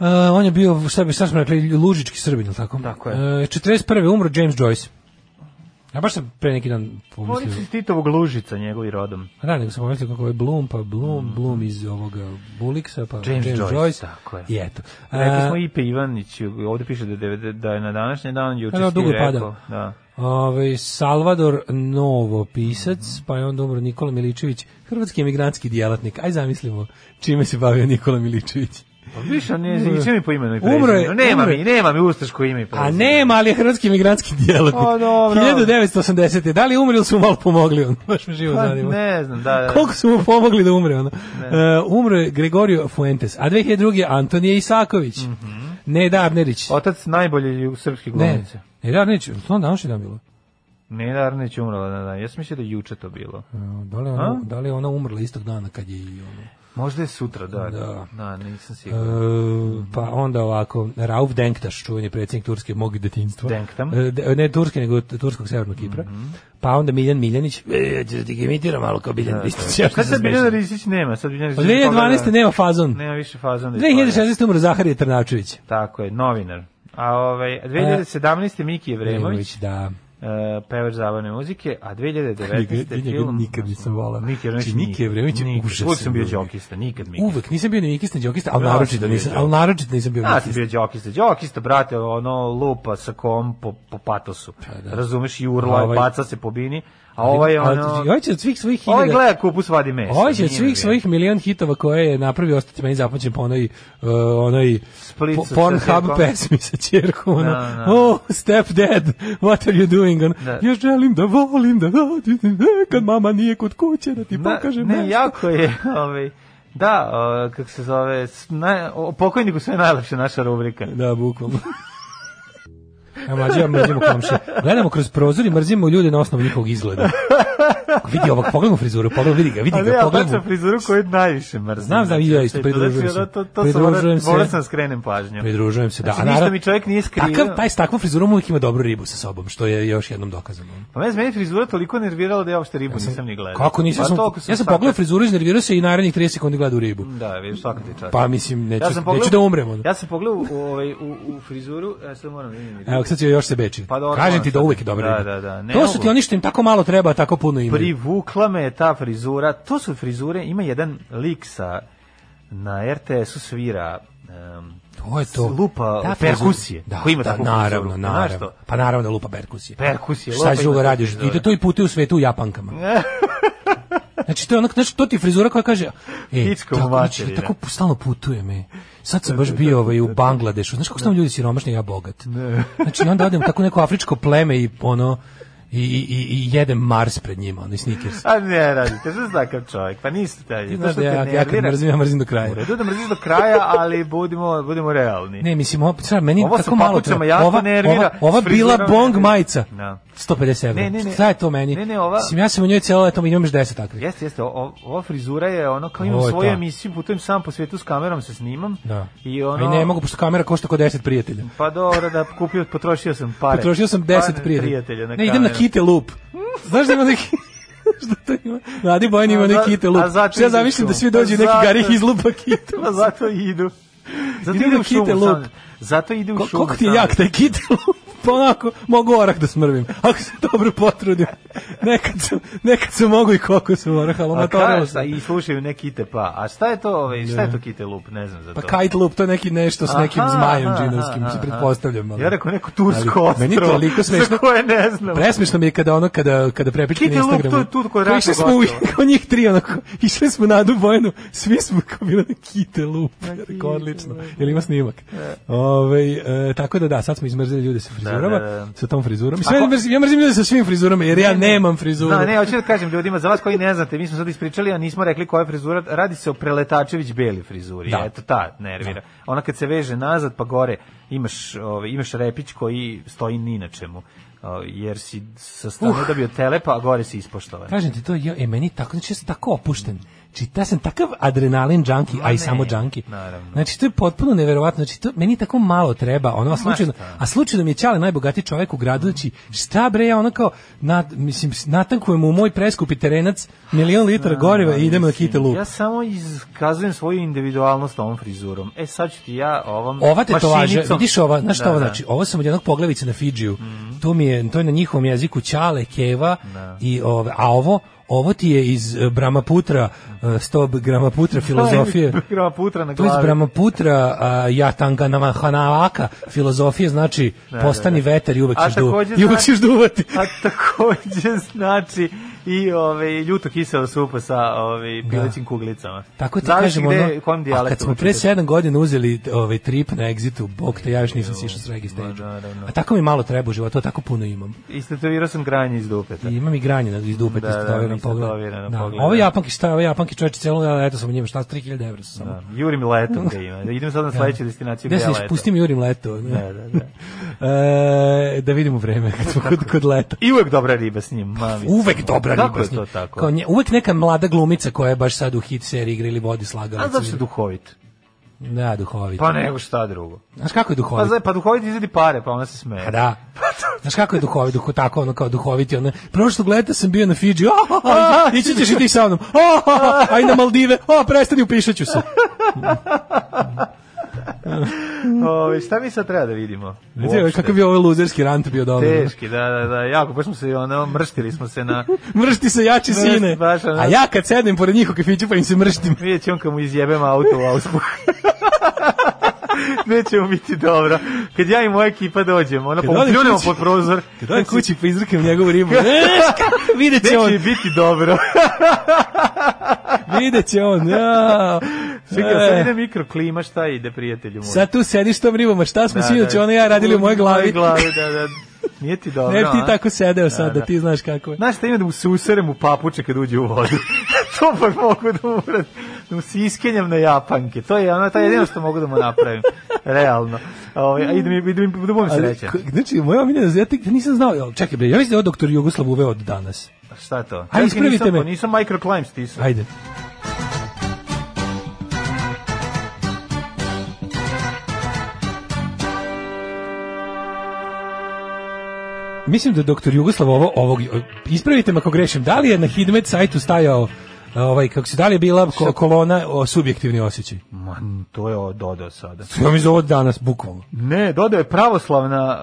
S7: E, on je bio, šta, bi, šta smo rekli, lužički srbin, ili tako?
S6: Tako je.
S7: E, 41. umro James Joyce. Ja baš sam pre neki dan
S6: Oni
S7: pomislio.
S6: su iz Titovog Lužica, njegovi rodom.
S7: A Da, nego sam pomislio kako je Bloom, pa Bloom, Bloom iz ovoga Buliksa, pa
S6: James
S7: James,
S6: Joyce,
S7: Joyce.
S6: tako je.
S7: I eto.
S6: Rekli
S7: E,
S6: smo Ipe Ivanić, ovde piše da, je devede- da je na današnji dan, juče
S7: Da, da,
S6: si
S7: dugo
S6: ti
S7: je
S6: rekao.
S7: padao.
S6: Da.
S7: Ovaj Salvador Novo pisac,
S6: Mhm.
S7: pa je onda umro Nikola Miličević, hrvatski emigrantski djelatnik. Aj zamislimo čime se bavio Nikola Miličević.
S6: Pa više, on ne znam, mi po imenu i
S7: Umro je,
S6: prezimenu. Nema
S7: umro
S6: mi,
S7: je.
S6: nema mi ustaško ime i
S7: A
S6: prezimenu.
S7: nema, ali je hrvatski emigrantski djelatnik.
S6: O, Pa dobro.
S7: 1980. Da li je umro ili su mu malo pomogli? On? Baš me živo
S6: Pa,
S7: zanima.
S6: ne znam, da, da.
S7: Koliko su mu pomogli da umre? Ono? E, umro je Gregorio Fuentes, a 2002. Antonije Isaković.
S6: Mhm.
S7: Ne, Darnerić.
S6: Otac najbolje ju- srpskih
S7: Ne,
S6: glumice.
S7: ne, Darnerić, to on današnji dan bilo.
S6: Ne, Darnić je
S7: E,
S6: umrla, da, da. Ja sam mislio da je juče to bilo.
S7: Da li, je ona, da li je ona umrla istog dana kad je i ono...
S6: Možda je sutra, da.
S7: Da.
S6: Da, nisam
S7: E,
S6: siguran.
S7: pa onda ovako, Rauf Denktaš, čuveni predsjednik Turske mog detinjstva.
S6: Denktam. Mhm.
S7: E, de- ne Turske, nego t- Turskog severnog Kipra. Pa onda Miljan Miljanić, e, ja ću da ti ga imitiram malo kao Miljan Ristić. ja što
S6: Kad
S7: se
S6: sad Biljana
S7: smešam.
S6: Risić nema, sad Biljana Risić...
S7: Od 2012. nema fazon.
S6: Nema više fazon. da ispada.
S7: 2016. umro Zaharije Trnačević.
S6: Tako je, novinar. A ovaj,
S7: E.
S6: 2017. Miki Jevremović,
S7: Remović, da.
S6: e, pevač zabavne muzike, a
S7: Njega,
S6: 2019.
S7: njega
S6: film...
S7: nikad nisam volao.
S6: Miki Jevremović,
S7: Znači, Miki Jevremović je
S6: nikad.
S7: užasan
S6: Uvijek sam bio
S7: lik.
S6: džokista, nikad Miki.
S7: Uvek, nisam bio ni vikista, ni džokista, ali
S6: Ja sam
S7: naročito
S6: bio
S7: nisam,
S6: džokista.
S7: ali naročito nisam bio
S6: Ja sam
S7: vikista.
S6: bio džokista, džokista, brate, ono, lupa sa kom po, po patosu. Razumeš, i urla,
S7: Pa A ovaj-
S6: baca se po bini, a ovo je
S7: Ali,
S6: ono...
S7: Ovaj će od svih svojih
S6: Ovaj
S7: hiljada...
S6: gleda kupus vadi mesa.
S7: Ovaj će od
S6: nije
S7: svih
S6: navijen.
S7: svojih milion hitova koje je napravio ostati meni zapamćen po onoj, uh, onoj
S6: Split
S7: po-
S6: sa
S7: Pornhub
S6: ćerkom.
S7: pesmi sa čerkom, ono,
S6: Da, da.
S7: oh, step dad, what are you doing? Ono,
S6: Da.
S7: Ja želim da volim, da e, kad mama nije kod kuće, da ti
S6: Da,
S7: pokažem
S6: ne,
S7: nešto.
S6: jako je, ovaj, da, o, kako se zove, s- naj, o pokojniku sve najlepše naša rubrika.
S7: Da, bukvalno. Ja mlađe, ja mrzimo komšije. Gledamo kroz prozor i mrzimo ljude na osnovu njihovog izgleda. Vidi ovog, pogledaj mu frizuru, pogledaj, vidi ga, vidi
S6: Ali
S7: ga,
S6: ja
S7: pogledaj
S6: bacam
S7: mu.
S6: frizuru koju najviše mrzim.
S7: Znam, znam, i ja isto,
S6: Znači, to-
S7: pridružujem se.
S6: znači, To, to, sam,
S7: Pridružujem
S6: morao,
S7: se.
S6: morao sam da skrenem pažnju.
S7: Pridružujem se, da.
S6: Znači,
S7: A
S6: ništa
S7: naravno-
S6: mi čovjek nije skrivio.
S7: Takav, taj s takvom frizurom uvijek ima dobru ribu sa sobom, što je još jednom dokazano.
S6: Pa mene meni frizura toliko nervirala da ja uopšte ribu nisam ni gledao.
S7: Kako nisam,
S6: Pa
S7: sam,
S6: toliko
S7: ja sam
S6: sad-
S7: pogledao frizuru, iznervirao se i narednih 30 sekundi gledao u ribu.
S6: Da, vidiš, svaka ti čast.
S7: Pa mislim, neću, neću
S6: pogledao-
S7: da umrem. Ono.
S6: Ja sam pogledao u, ovaj, u, u frizuru, ja sad moram vidjeti.
S7: Evo, sad će još se beči.
S6: Pa dobro,
S7: Kažem ti da
S6: sad.
S7: uvijek je dobra
S6: Da,
S7: riba.
S6: da, da, ne
S7: to su ti
S6: mogu.
S7: oni što im tako malo treba, a tako puno imaju.
S6: Privukla me je ta frizura. To su frizure, ima jedan lik sa na RTS-u svira um,
S7: To je to.
S6: lupa
S7: Ta
S6: perkusije.
S7: frizura- Da,
S6: Ko ima
S7: da,
S6: takvu frizuru?
S7: naravno,
S6: Znaš
S7: naravno.
S6: to?
S7: Pa naravno da lupa perkusije.
S6: Perkusije,
S7: Šta
S6: lupa
S7: će drugo
S6: ima
S7: radiš?
S6: frizure.
S7: I to, to i putuje u svetu u japankama. znači, to je onak, znaš, to ti je frizura koja kaže, e,
S6: Pička mu
S7: tako, znači,
S6: materina.
S7: tako pu- stalno putuje me. Sad sam baš bio ovaj, u Bangladešu. Znaš kako su tamo ljudi siromašni, ja bogat. Znači, i onda odem u tako neko afričko pleme i ono, i, i, i, i jedem Mars pred njima, ono, i Snickers.
S6: A ne, radite, što si takav čovjek? Pa niste taj.
S7: Ti
S6: to
S7: znaš
S6: što
S7: da ja,
S6: te
S7: ja kad
S6: nervira-
S7: mrzim, ja mrzim do kraja.
S6: U redu da mrziš do kraja, ali budimo, budimo realni.
S7: Ne, mislim, ovo, sad, meni
S6: Ovo sa
S7: tako malo
S6: papučama
S7: treba.
S6: jako
S7: ova,
S6: nervira,
S7: Ova, ova
S6: s
S7: bila
S6: frizurom
S7: bong
S6: nervira.
S7: majica.
S6: Da.
S7: 150 evra.
S6: Ne, ne, ne.
S7: Šta je to meni?
S6: Ne, ne, ova-
S7: Mislim, ja sam u njoj cijelo leto, mi imaš 10 takvih.
S6: Jeste, jeste, o- o- ova frizura je ono kao
S7: Ovo
S6: imam
S7: je
S6: svoju
S7: ta.
S6: emisiju, putujem sam po svijetu s kamerom, se snimam.
S7: Da.
S6: I ono...
S7: Ali ne mogu, pošto kamera košta ko 10 prijatelja.
S6: Pa dobro, da kupio, potrošio sam pare.
S7: Potrošio sam 10
S6: Pare
S7: prijatelja.
S6: prijatelja na
S7: ne, idem na
S6: kameru.
S7: kite loop. Znaš da ima neki... Šta to ima? Radi Bojan ima
S6: A za-
S7: neki kite
S6: a
S7: loop.
S6: zato
S7: Šta ja
S6: ideš
S7: zamišljam da
S6: tu?
S7: svi dođu i neki
S6: Zato-
S7: garih izlupa kitu.
S6: Pa zato i idu. Zato
S7: Idu
S6: idu
S7: na
S6: u šumu
S7: kite
S6: sam.
S7: lup.
S6: Zato ide u
S7: Ko-
S6: šumu
S7: Koliko ti je
S6: sam.
S7: jak taj kit? pa onako, mogu orah da smrvim. Ako se dobro potrudim. Nekad sam, nekad sam mogu i kokos u orah, ali
S6: A
S7: omatorilo
S6: kaže,
S7: sam.
S6: Pa i slušaju ne kite pa. A šta je to, ovaj, šta je to kite lup? Ne znam za to.
S7: Pa kite loop, to je neki nešto s nekim
S6: Aha,
S7: zmajem
S6: aha,
S7: džinovskim,
S6: aha,
S7: se
S6: aha.
S7: pretpostavljam. ali-
S6: Ja rekao neko tursko
S7: Ali
S6: ostrvo.
S7: Meni je toliko smešno.
S6: Za koje ne znam.
S7: Presmišno mi je kada ono, kada, kada prepičke na
S6: Kite Lup,
S7: Instagramu.
S6: to je tu kod
S7: Kao išli
S6: Raka
S7: smo u,
S6: Gotovo.
S7: kao njih tri, onako, išli smo na Dubojnu, svi smo kao bili ono, na Kite Lup. Ja rekao, odlično. Jel ima snimak? Ove, e, tako da da, sad smo izmrzili ljude sa frizurama,
S6: Da, da, da.
S7: sa tom frizurom. Mislim, ja, mrzim, ja mrzim ljude sa svim frizurama, jer ja nemam frizuru.
S6: Da, ne, hoću da kažem ljudima, za vas koji ne znate, mi smo sad ispričali, a nismo rekli koja je frizura, radi se o preletačević beli frizuri,
S7: Da.
S6: eto ta nervira. Ona kad se veže nazad pa gore, imaš, ovaj, imaš repić koji stoji ni na čemu, o, jer si sa strane dobio telepa, a pa gore si ispoštovan.
S7: Kažem ti to, ja, e, meni je tako, znači ja sam tako opušten. Čita sam takav adrenalin junkie, a i
S6: ne,
S7: samo junkie.
S6: naravno.
S7: Znači, to je potpuno neverovatno. Znači, to, meni tako malo treba, ono, a slučajno, a slučajno mi je Ćale najbogatiji čovjek u gradu, znači, šta bre, ja ono kao, nat, mislim, natankujem u moj preskupi terenac milion litara goriva i idemo na hite lup.
S6: Ja samo iskazujem svoju individualnost ovom frizurom. E sad ću ti ja ovom
S7: Ova tetovaža,
S6: mašinicom-
S7: vidiš ova, znaš šta
S6: Da,
S7: ovo
S6: da. Mhm.
S7: znači? Ovo sam od jednog poglavice na Fidžiju. To mi je, to je na njihovom jeziku ćale, keva i ove, a ovo ovo ti je iz eh, Brahmaputra, eh, sto Brahmaputra filozofije.
S6: Grama putra na
S7: To je iz
S6: glavi.
S7: Brahmaputra, a, Jatanga Namahanavaka, filozofije znači postani veter i uvek
S6: A
S7: ćeš, du,
S6: takođe
S7: i uvek
S6: znači-
S7: ćeš duvati.
S6: A takođe znači i ove ljuto kisela supa sa ove pilećim kuglicama.
S7: Tako ti
S6: Zavisi
S7: kažemo,
S6: gde,
S7: ono,
S6: kojim
S7: a
S6: dijalektom
S7: kad smo pre
S6: čitaš.
S7: 7 godina uzeli ovaj trip na Exitu, bog te, ja još nisam sišao s Regi stage.
S6: naravno.
S7: A tako mi malo treba u životu, a tako puno imam.
S6: Istetovirao sam granje iz dupeta.
S7: I imam i granje na iz dupe,
S6: Da,
S7: da,
S6: da,
S7: tetoviran
S6: isto
S7: pogled.
S6: tetovirano
S7: Da.
S6: pogled,
S7: Ovo
S6: da.
S7: japanki šta, ovo japanki čoveče celo leto sam u njima, šta 3000 evra su samo.
S6: Da, Jurim letom ga ima. Da idem sad na sledeću destinaciju
S7: Gde
S6: gde
S7: se
S6: je
S7: još
S6: leto.
S7: pustim Jurim leto. ne?
S6: Da, da, da.
S7: E, da vidimo vreme kad smo kod, kod leta.
S6: I uvek dobra riba s njim, mami.
S7: Uvek dobra stvari
S6: Kako je
S7: Bosni.
S6: to tako?
S7: Kao nje, uvek neka mlada glumica koja je baš sad u hit seriji igra ili vodi
S6: A
S7: slagalicu.
S6: zato se duhovit.
S7: Da, duhovit.
S6: Pa nego šta drugo.
S7: Znaš kako je
S6: Pa,
S7: duhovit?
S6: za, pa duhovit izvedi pare, pa ona se smeje.
S7: A da. Znaš kako je duhovi, duho, tako ono kao duhoviti, ono, prvo što gledate sam bio na Fidži, oh, ići ćeš i ti sa mnom, oh, aj na Maldive, oh, prestani, upišat ću se.
S6: Ove, šta mi sad treba da vidimo?
S7: Vidite,
S6: Uopšte.
S7: kakav bi ovaj luzerski rant bio dobro.
S6: Teški, da, da, da, jako, baš smo se, ono, mrštili smo se na...
S7: Mršti se jači
S6: Mršti,
S7: sine.
S6: baš, ono.
S7: A ja kad sedem pored njih u kafiću pa im se mrštim.
S6: Vidjet ćemo kad mu izjebem auto u auspuh. Neće mu biti dobro. Kad ja i moja ekipa dođemo, ono,
S7: Kad
S6: pa
S7: odem
S6: upljunemo
S7: kući-
S6: pod prozor. Znači,
S7: Kad odem kući pa izrkam njegovu ribu. Znaš kako, Vidjet će on,
S6: Neće biti dobro.
S7: vidjet će on. Ja.
S6: Čekaj, sad
S7: E.
S6: ide mikroklima, šta ide, prijatelju moj?
S7: Sad tu sediš s tom ribom, a šta smo
S6: Da,
S7: sinoć
S6: da.
S7: ona i ja radili u mojoj glavi.
S6: glavi, da, da. Nije ti dobro.
S7: Ne bi ti
S6: a?
S7: tako sedeo sad,
S6: da.
S7: da ti znaš kako je.
S6: Znaš šta ima da mu se userem u papuče kad uđe u vodu? to pak mogu da urat, da mu se iskenjam na japanke. To je ono, to je jedino što mogu da mu napravim. Realno. Ove, a idem, idem, idem, da budem
S7: Ali,
S6: srećan.
S7: k- znači, moja omiljena, ja tek nisam znao, jel, čekaj bre, ja mislim da je ovo doktor Jugoslav uveo od danas.
S6: Šta je to?
S7: Ajde, ispravite
S6: nisam,
S7: me.
S6: Nisam microclimb stisao.
S7: Ajde. Mislim da je doktor Jugoslav ovo, ovog, ispravite me ako grešim, da li je na Hidmet sajtu stajao ovaj, kako se, da li je bila ko- kolona o, subjektivni osjećaj?
S6: Ma, to je ovo dodao sada.
S7: Ja mi ovo danas, bukvalno.
S6: Ne, dodao je pravoslavna...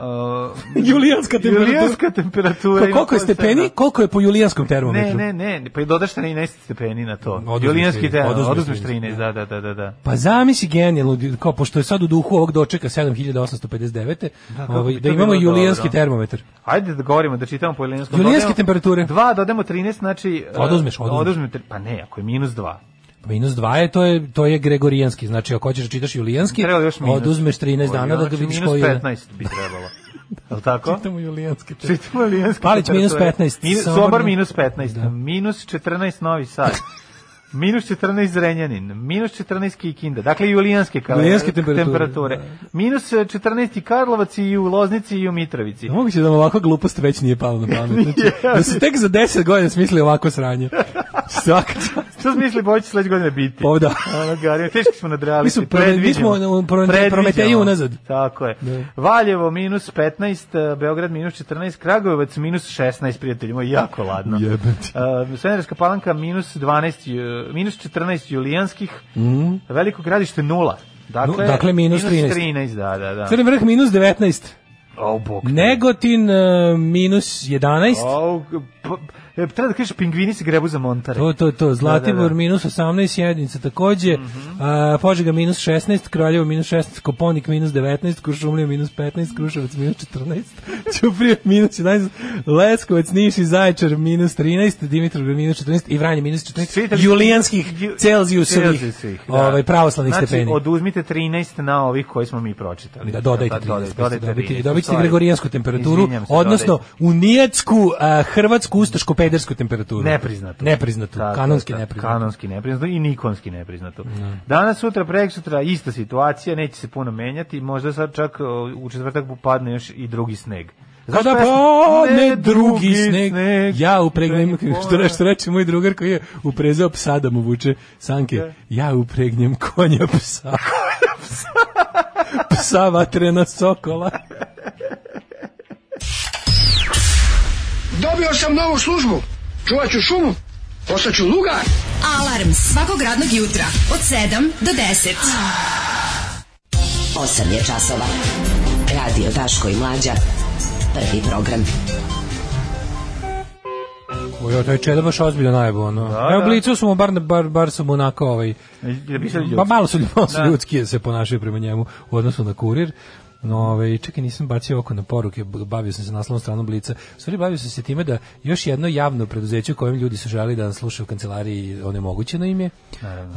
S6: Uh,
S7: Julijanska temperatura.
S6: Julijanska temperatura.
S7: Ko-
S6: ima
S7: koliko je
S6: posebno.
S7: stepeni, koliko je po julijanskom termometru?
S6: Ne, ne, ne, pa i dodaš 13 stepeni na to.
S7: Oduzmeš
S6: Julijanski
S7: 13,
S6: te,
S7: oduzmeš
S6: oduzmeš 13,
S7: 13,
S6: da, da, da, da. da.
S7: Pa zamisli genijalno, kao pošto je sad u duhu ovog dočeka 7859. Da,
S6: kako
S7: ovaj,
S6: bi
S7: da
S6: to
S7: imamo
S6: bilo
S7: julijanski
S6: dobro.
S7: termometar.
S6: Ajde da govorimo, da čitamo po julijanskom.
S7: Julijanske
S6: Dodajemo-
S7: temperature.
S6: 2 dodamo 13, znači... e,
S7: Oduzmeš, oduzmeš.
S6: oduzmem tri- pa ne, ako je minus 2.
S7: Pa Minus 2 je, to je, to je gregorijanski. Znači, ako hoćeš da čitaš julijanski,
S6: Treba još minus.
S7: oduzmeš 13 dana da ga
S6: Znači,
S7: vidiš
S6: minus
S7: koji je.
S6: 15 bi trebalo. Je li tako?
S7: Čitamo julijanski termometar.
S6: Čitamo julijanske
S7: Palić minus
S6: temperature.
S7: 15,
S6: Minus,
S7: Sombor
S6: Sombor
S7: mi-
S6: minus 15.
S7: Da.
S6: Minus 14 Novi Sad. Minus 14 Zrenjanin, minus 14 Kikinda, dakle julijanske, kal-
S7: Julijanske temperature,
S6: temperature. Minus e, 14 i Karlovac i u Loznici i u Mitrovici.
S7: Ne mogu da vam ovakva glupost već nije pala na pamet. Znači,
S6: Nije.
S7: da su tek za 10 godina smisli ovako sranje. Svaka čast.
S6: Što misli Bojić sledeće godine biti?
S7: O, da.
S6: Ono, Gari, teški smo nadreali.
S7: Mi smo pro- mi smo, ono, pro- Prometeji unazad.
S6: Tako je.
S7: Da.
S6: Valjevo minus 15, eh, Beograd minus 14, Kragujevac minus 16, prijatelji moji, jako ladno.
S7: Jebati.
S6: Uh, Svenerska palanka minus 12, ju- minus 14 julijanskih, mm. veliko gradište nula. Dakle,
S7: Mhm. Nu- dakle, minus 13.
S6: 13, da, da, da.
S7: Crni vrh minus 19.
S6: O, bog. te.
S7: Negotin e, minus 11.
S6: O, p- p- e, treba da kažeš, pingvini se grebu za montare.
S7: To, to, to. Zlatibor
S6: Da, Mhm. da, da.
S7: minus 18, jedinca takođe. a, Požega minus 16, Kraljevo minus 16, Koponik minus 19, Kuršumlija minus 15, Kruševac minus 14, Ćuprije minus 11, Leskovac, Niš i Zaječar minus 13, Dimitrovgrad minus 14 i Vranje minus 14,
S6: Čitali-
S7: julijanskih
S6: Ju-
S7: Celzijusovih
S6: Celzijusovih, da.
S7: ovaj, pravoslavnih
S6: znači,
S7: stepeni.
S6: oduzmite 13 na ovih koje smo mi pročitali.
S7: Da dodajte
S6: Pa,
S7: 13,
S6: dodajte
S7: dobiti,
S6: 13,
S7: dobiti
S6: u stvari.
S7: gregorijansku temperaturu,
S6: Izvinjam se,
S7: odnosno
S6: dodajte.
S7: unijetsku, a, hrvatsku, ustašku, pedersku temperaturu.
S6: Nepriznato.
S7: Nepriznatu,
S6: Tako,
S7: kanonski
S6: tako,
S7: nepriznatu.
S6: Kanonski nepriznato i nikonski nepriznato. Danas, sutra, prek sutra, ista situacija, neće se puno menjati, možda sad čak o, u četvrtak padne još i drugi sneg. Znaš
S7: Kada
S6: pesmu?
S7: padne drugi sneg, ja upregnem,
S6: upregnem
S7: što, re-
S6: konja.
S7: što reče moj drugar koji je uprezao psa da mu vuče sanke, ja upregnem konja psa. psa vatrena sokola.
S4: Dobio sam novu službu. Čuvat ću šumu. Postaću lugar.
S5: Alarm svakog radnog jutra od 7 do 10.
S8: 8 je časova. Radio Daško i Mlađa. Prvi program.
S7: Ujo, taj čeda baš ozbiljno najbolj, ono.
S6: Da,
S7: Evo,
S6: da.
S7: blicu su mu, bar, bar, bar su mu onako, ovaj,
S6: Ja bi sad ljudski.
S7: Pa malo su, malo su
S6: Da.
S7: ljudski se ponašaju prema njemu u odnosu na kurir. No, ovaj, čekaj, nisam bacio oko na poruke, b- bavio sam se naslovnom stranom Blica. U stvari, bavio sam se time da još jedno javno preduzeće u kojem ljudi su želi da nas slušaju u kancelariji onemogućeno im je.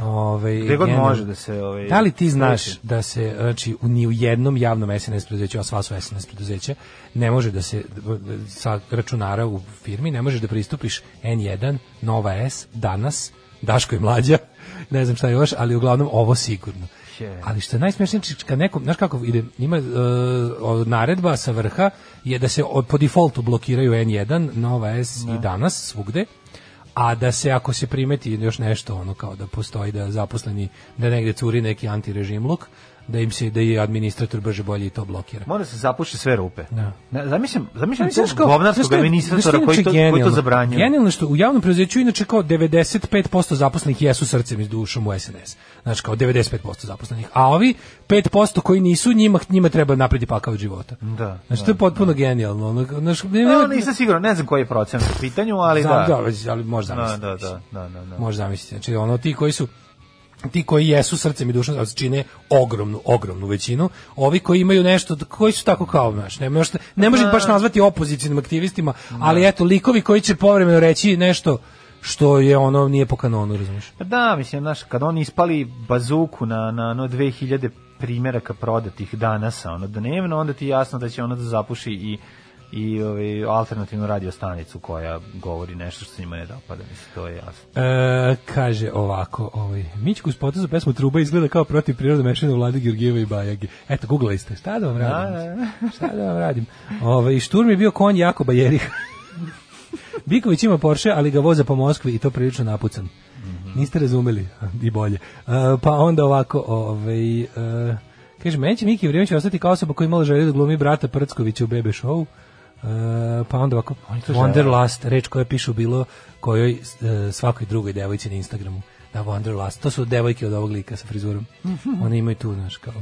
S7: Ovaj, Ove,
S6: Gde god može da se, ovaj,
S7: da li ti znaš
S6: sluši?
S7: da se, znači, u, ni u jednom javnom SNS preduzeću, a sva su SNS preduzeća, ne može da se d- sa računara u firmi, ne možeš da pristupiš N1, Nova S, Danas, Daško i Mlađa, ne znam šta još, ali uglavnom ovo sigurno.
S6: Je.
S7: Ali što je najsmješnije, či- kad neko, znaš kako ide, ima e, o- naredba sa vrha je da se o- po defaultu blokiraju N1, Nova S i danas svugde, a da se ako se primeti još nešto ono kao da postoji da zaposleni da negde curi neki antirežim luk, da im se da i administrator brže bolje i to blokira.
S6: Mora se zapuši sve rupe.
S7: Da.
S6: Ne, zamišljam, zamišljam
S7: Znaš
S6: tog
S7: kao-
S6: govnarskog
S7: znaš šta je- znaš šta
S6: administratora
S7: je
S6: koji
S7: inače
S6: to, koji to
S7: genijalno?
S6: zabranjuje.
S7: Genijalno je što u javnom preduzeću inače kao 95% zaposlenih jesu srcem i dušom u SNS. Znači kao 95% zaposlenih. A ovi 5% koji nisu, njima, njima treba napredi pakao od života.
S6: Da,
S7: Znači to je potpuno genijalno. Ono, znači, ne,
S6: No, nisam siguran, ne znam koji je procenat u pitanju, ali da.
S7: ali, ali možda
S6: Da,
S7: zamisliti.
S6: da,
S7: mislim.
S6: da, da, da, da.
S7: Možeš zamisliti. Znači, ono, ti koji su ti koji jesu srcem i dušom ali čine ogromnu, ogromnu većinu. Ovi koji imaju nešto, koji su tako kao, znaš, ne, može, ne može ih baš nazvati opozicijnim aktivistima, ali eto, likovi koji će povremeno reći nešto što je ono, nije po kanonu, razumiješ?
S6: Pa Da, mislim, znaš, kad oni ispali bazuku na, na ono 2000 primjeraka prodatih danas, ono dnevno, onda ti je jasno da će ono da zapuši i i ovaj alternativnu radio stanicu koja govori nešto što se njima ne dopada, mislim, to je jasno.
S7: E, kaže ovako, ovaj, Mićku uz potezu pesmu Truba izgleda kao protiv prirode mešane vlade Georgijeva i Bajage. Eto, googlali ste, šta da vam radim?
S6: Da,
S7: mislim? Šta da vam radim? Ovaj, šturm je bio konj Jakoba Jerih. Biković ima Porsche, ali ga voza po Moskvi i to prilično napucan. Niste razumeli, i bolje. E, pa onda ovako, ovaj, e, kaže, meni će Miki Vrijemić ostati kao osoba koja je imala želju da glumi brata Prckovića u Bebe Show. E, pa onda ovako, Wanderlust, reč koja pišu bilo kojoj e, svakoj drugoj devojci na Instagramu. Da, Wanderlust, to su devojke od ovog lika sa frizurom. One imaju tu, znaš, kao...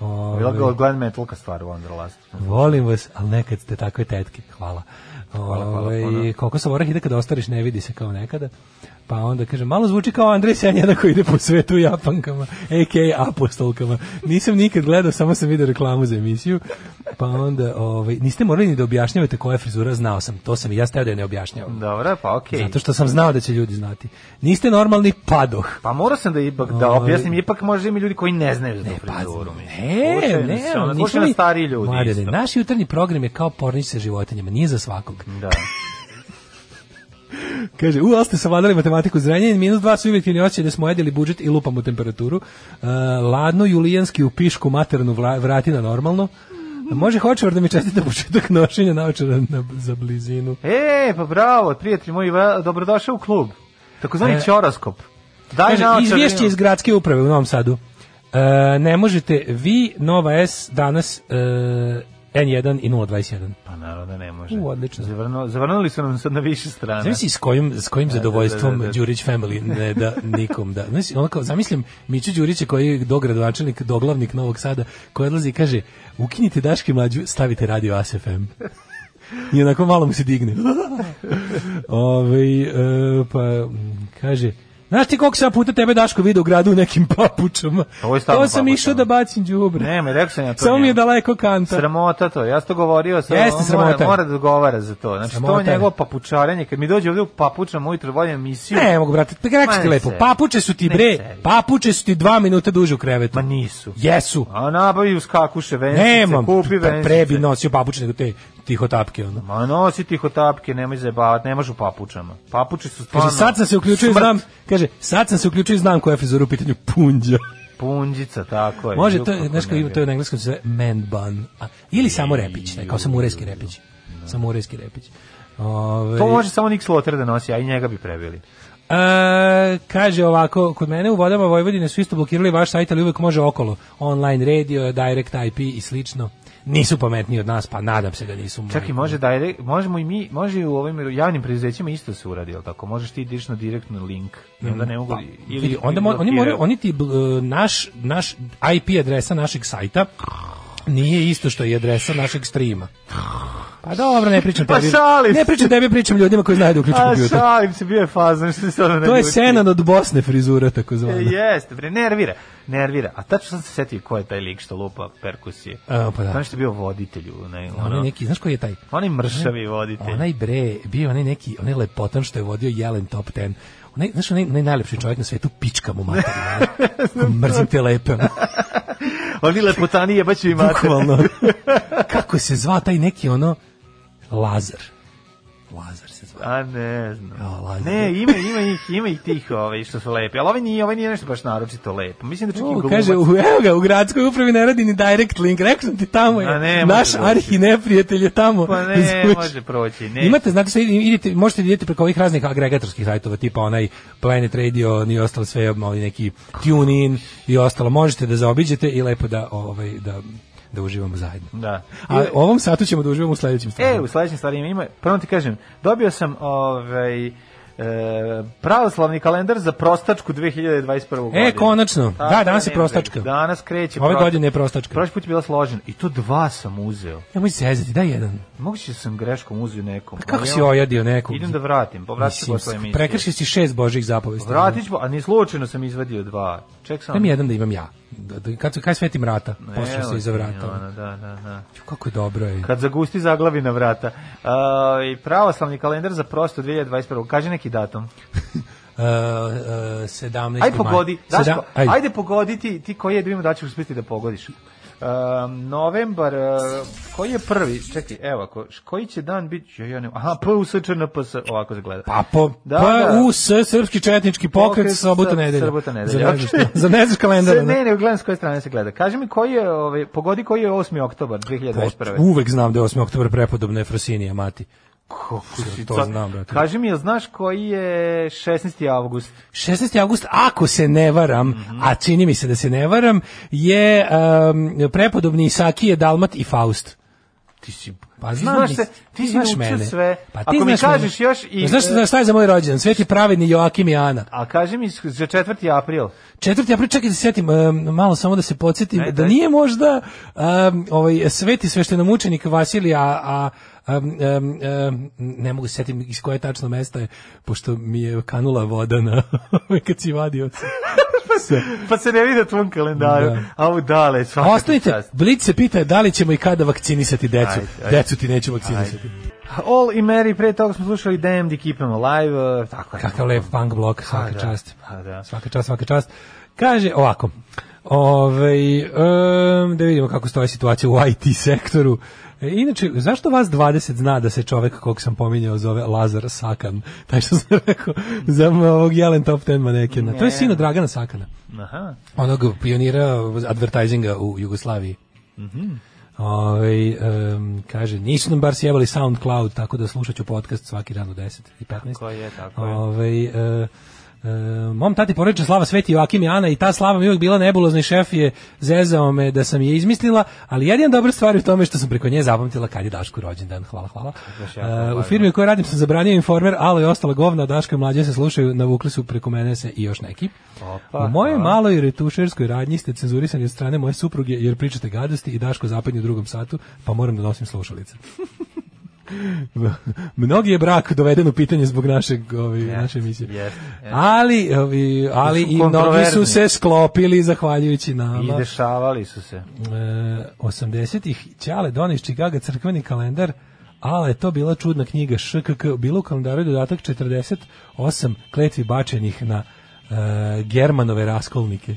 S7: Ovaj,
S6: Bila ga glam metalka stvar Wanderlust.
S7: Volim vas, ali nekad ste takve tetke. Hvala. Ovaj, koliko sam orah ide kada ostariš, ne vidi se kao nekada. Pa onda kaže, malo zvuči kao Andrej Senjada koji ide po svetu japankama, a.k.a. apostolkama. Nisam nikad gledao, samo sam vidio reklamu za emisiju. Pa onda, ovaj, niste morali ni da objašnjavate koja je frizura, znao sam. To sam i ja steo da je ne objašnjavam.
S6: Dobro, pa okej.
S7: Zato što sam znao da će ljudi znati. Niste normalni padoh.
S6: Pa morao sam da ipak da
S7: Ovaj.
S6: objasnim, ipak možda ima ljudi koji ne znaju za tu
S7: pa,
S6: frizuru. mislim.
S7: Ne,
S6: Slušaju nas,
S7: ne,
S6: ono,
S7: ono,
S6: slušaju
S7: nismo
S6: nas
S7: mi-
S6: stariji ljudi.
S7: Mladene,
S6: isto.
S7: naš jutarnji program je kao pornić sa životinjama, nije za svakog.
S6: Da.
S7: Kaže, u, ali ste savladali matematiku zrenjanin, minus dva su uvijek osjećaj da smo jedili budžet i lupamo temperaturu. E, ladno, julijanski u pišku maternu vla- vrati na normalno. Može hoćevar da mi čestite početak nošenja naočara na, za blizinu.
S6: E, pa bravo, prijatelji moji, va- dobrodošao u klub. Takozvani
S7: E.
S6: čoroskop. Daj
S7: Kaže,
S6: naočar,
S7: izvješće
S6: vidimo.
S7: iz gradske uprave u Novom Sadu. E, ne možete vi, Nova S, danas e, N1 i 021.
S6: Pa naravno da ne može.
S7: U, odlično.
S6: Zavrnu, zavrnuli su nam sad na više strana.
S7: Zamisli s kojim, s kojim zadovoljstvom
S6: da, da, da.
S7: Đurić family ne da nikom da. Znači, ono kao, zamislim Miću Đurića koji je dogradonačelnik, doglavnik Novog Sada, koji odlazi i kaže ukinite Daške mlađu, stavite radio ASFM. I onako malo mu se digne. Ove, pa, mm, kaže, Znaš ti koliko sam ja puta tebe Daško video u gradu u nekim papučama?
S6: Ovo je
S7: to
S6: stalno
S7: sam
S6: papučama.
S7: išao da bacim đubre.
S6: Nema, rekao sam ja to.
S7: Samo mi je
S6: njemu.
S7: daleko kanta.
S6: Sramota to, ja sam to govorio, sam,
S7: Jeste
S6: mora,
S7: sramota.
S6: mora da odgovara za to. Znači,
S7: Sramota
S6: to
S7: je.
S6: njegovo papučarenje, kad mi dođe ovdje u papučama ujutro volim emisiju,
S7: Ne mogu, brate, pa rekao sam ti
S6: Ma ne
S7: lepo,
S6: seri.
S7: papuče su ti
S6: Ne
S7: bre,
S6: seri.
S7: papuče su ti dva minuta duže u krevetu.
S6: ma nisu.
S7: Jesu.
S6: A nabavi uskakuše venčice,
S7: Nemam,
S6: kupi
S7: pre-
S6: venčice.
S7: pre bi nosio papuče nego te tihotapke. Ono.
S6: Ma nosi ti hotapke, nemoj zajebavati, ne može u papučama. Papuče su stvarno...
S7: Kaže, sad sam se uključio i
S6: Ono, smrt.
S7: znam, kaže, sad sam se uključio i znam koja je frizura u pitanju punđa.
S6: Punđica, tako je.
S7: Može,
S6: Ju,
S7: to, je,
S6: kako
S7: znaš kao
S6: ne
S7: ima,
S6: bi.
S7: to je u engleskom se zove man bun. A, ili samo repić, ne, kao samurajski repić. Samurajski repić. Ove,
S6: To može samo Nick Slaughter da nosi, a i njega bi prebili.
S7: E, kaže ovako, kod mene u vodama Vojvodine su isto blokirali vaš sajt, ali uvek može okolo. Online radio, direct IP i slično. Nisu pametniji od nas, pa nadam se da nisu.
S6: Čak i može da možemo i mi, može i u ovim javnim preduzećima isto se uradi, al tako? Možeš ti diš na direktno link. I onda ne mogu
S7: Pa,
S6: ili
S7: vidi, onda mo- oni
S6: blokiraju.
S7: moraju oni ti bl- e, naš naš IP adresa našeg sajta nije isto što i adresa našeg streama. Pa dobro, ne pričam
S6: Pa
S7: tebi.
S6: šalim
S7: ne
S6: se.
S7: pričam tebi, pričam ljudima koji znaju da uključe
S6: A
S7: kompjuter.
S6: šalim se, bio je fazan što se ono
S7: To je
S6: naljuti.
S7: Senan od Bosne frizura
S6: E,
S7: takozvana.
S6: Jeste, bre, nervira, nervira. A tačno sam se setio ko je taj lik što lupa perkusije.
S7: A, pa da.
S6: Znaš što je bio voditelj, u ne,
S7: Onaj
S6: ono,
S7: neki, znaš koji je taj?
S6: onaj mršavi voditelj.
S7: Onaj bre, bio je onaj neki, onaj lepotan što je vodio Jelen Top 10. Onaj, znaš, onaj, onaj najlepši čovjek na svetu, pička mu materina. Mrzim te lepe. ono.
S6: Oni lepotani jebaću i mater.
S7: Bukvalno. Kako se zvao taj neki ono Lazar. Lazar se zvao.
S6: A ne znam.
S7: Ja, Lazar.
S6: ne, ima, ima, ih, ima ih tih ovaj, što su lepi, ali ovaj nije, ovaj nije nešto baš naročito lepo. Mislim da čak i
S7: U,
S6: golubac...
S7: kaže, u, evo ga, u gradskoj upravi ne radi ni direct link, rekao sam ti tamo
S6: A
S7: je,
S6: ne,
S7: naš
S6: može doći.
S7: arhi neprijatelj je tamo.
S6: Pa ne,
S7: Razumeš?
S6: može proći. Ne.
S7: Imate, znate šta, idete, možete idete preko ovih raznih agregatorskih sajtova, tipa onaj Planet Radio i ostalo sve, ovaj neki TuneIn i ostalo, možete da zaobiđete i lepo da, ovaj, da, da uživamo zajedno.
S6: Da.
S7: A ovom satu ćemo da uživamo u sledećem
S6: E,
S7: stavljanju.
S6: u sledećim stvarima ima, prvo ti kažem, dobio sam ovaj, e, pravoslavni kalendar za prostačku 2021. godine.
S7: E, konačno.
S6: Tako
S7: Da, danas je
S6: nema
S7: prostačka.
S6: veze. Danas kreće.
S7: Ove
S6: prosta-
S7: godine je prostačka.
S6: Prošli put je bila složena i to dva sam uzeo.
S7: Nemoj se zezati, daj jedan.
S6: Moguće da sam greškom uzeo nekom.
S7: Pa Kako
S6: ali
S7: si
S6: ja-
S7: ojadio nekog?
S6: Idem da vratim, povratit ću
S7: Mislim,
S6: posle emisije.
S7: prekršio si šest božih zapovesti.
S6: Vratit ću, a ni slučajno sam izvadio dva. Ček sam.
S7: Daj mi jedan da imam ja. Da, da, kad, kad svetim rata, posle se iza vrata.
S6: Da, ono, da, da.
S7: Ću, Kako je dobro je.
S6: Kad zagusti zaglavi na vrata. A, I pravoslavni kalendar za prosto 2021. Kaže neki datum.
S7: Uh, uh, 17.
S6: Aj pogodi.
S7: e, maj.
S6: Daško,
S7: Sedam- ajde.
S6: ajde pogodi ti, ti koji je, da vidimo da li ćeš uspjeti da pogodiš. Um, novembar, uh, koji je prvi? Čekaj, evo, ako, š- koji će dan biti? Ja, ja ne, aha, P, U, S, Č, N, P, S, ovako se gleda.
S7: Pa po
S6: Da,
S7: da,
S6: da.
S7: US srpski četnički
S6: Pokret
S7: pokret sobota
S6: sa-
S7: nedelja.
S6: Sabota nedelja,
S7: Za ne znaš
S6: okej.
S7: šta- Za ono. ne znaš kalendara.
S6: Se, ne, ne, gledam s koje strane se gleda. Kaži mi koji je, ovaj, pogodi koji je 8. oktobar 2021.
S7: Uvek znam da je 8. oktober prepodobna je Frosinija mati. Kako to
S6: Ca-
S7: znam, brate.
S6: Kaži mi, jel znaš koji je 16. avgust?
S7: 16. august, ako se ne varam, a čini mi se da se ne varam, je um, prepodobni Isakije, Dalmat i Faust. Ti si pa
S6: ti
S7: znam,
S6: znaš
S7: nis-
S6: se- ti si naučio sve.
S7: Pa ti
S6: Ako mi
S7: znaš mene. Pa
S6: kažeš još i-
S7: Znaš šta- šta je za moj rođendan? Sveti pravedni Joakim i Ana.
S6: A kaži mi za 4. april.
S7: Četvrti april, čekaj da se sjetim, um, malo samo da se podsjetim,
S6: Ajde,
S7: da
S6: ajde.
S7: nije možda um, ovaj, sveti sveštenomučenik Vasilija, a um, um, um, ne mogu se sjetim iz koje tačno mesta je, pošto mi je kanula voda na, kad si vadio.
S6: Pa se ne vidi u tvom kalendaru.
S7: Da.
S6: A u dale, svaka
S7: A
S6: ti
S7: ostanite,
S6: čast.
S7: Blic se pita da li ćemo i kada vakcinisati decu.
S6: Ajde, ajde.
S7: Decu ti nećemo vakcinisati.
S6: All i Mary, pre toga smo slušali Damned i Keep 'em Alive, uh, tako je.
S7: Kakav lep punk blok,
S6: A,
S7: svaka
S6: da.
S7: čast.
S6: A, da.
S7: Svaka čast, svaka čast. Kaže ovako, ovaj, em, da vidimo kako stoji situacija u IT sektoru. E, Inače, zašto vas 20 zna da se čovek kog sam pominjao zove Lazar Sakan? Taj što sam rekao za ovog Jelen Top Ten manekena. To je sino Dragana Sakana,
S6: Aha.
S7: onog pionira advertisinga u Jugoslaviji.
S6: Mhm.
S7: Ovaj, em, kaže, nisu nam bar sjevali SoundCloud, tako da slušat ću podcast svaki dan u 10 i 15.
S6: Tako je, tako je.
S7: Ovaj, e, e, mom tati poreče slava Sveti Joakim i Ana i ta slava mi je uvijek bila nebulozna i šef je zezao me da sam je izmislila, ali jedina dobra stvar je u tome što sam preko nje zapamtila kad je Dašku rođendan. Hvala, hvala.
S6: jako
S7: E,
S6: važno.
S7: u firmi u kojoj radim sam zabranio informer, ali je ostala govna, Daška i mlađe se slušaju, navukli su preko mene se i još neki.
S6: Opa,
S7: u mojoj
S6: a.
S7: maloj retušerskoj radnji ste cenzurisani od strane moje supruge jer pričate gadosti i Daško zapadnje u drugom satu, pa moram da nosim slušalice. Mnogi je brak doveden u pitanje zbog našeg ovaj naše emisije.
S6: jeste, jeste.
S7: Ali ovi, ali
S6: su
S7: i mnogi
S6: kontroverzni.
S7: su se sklopili zahvaljujući
S6: I
S7: nama.
S6: dešavali su se.
S7: E, 80-ih Ćale Doni iz Čikaga crkveni kalendar ali je to bila čudna knjiga ŠKK bilo u kalendaru je dodatak 48 kletvi bačenih na e, Germanove raskolnike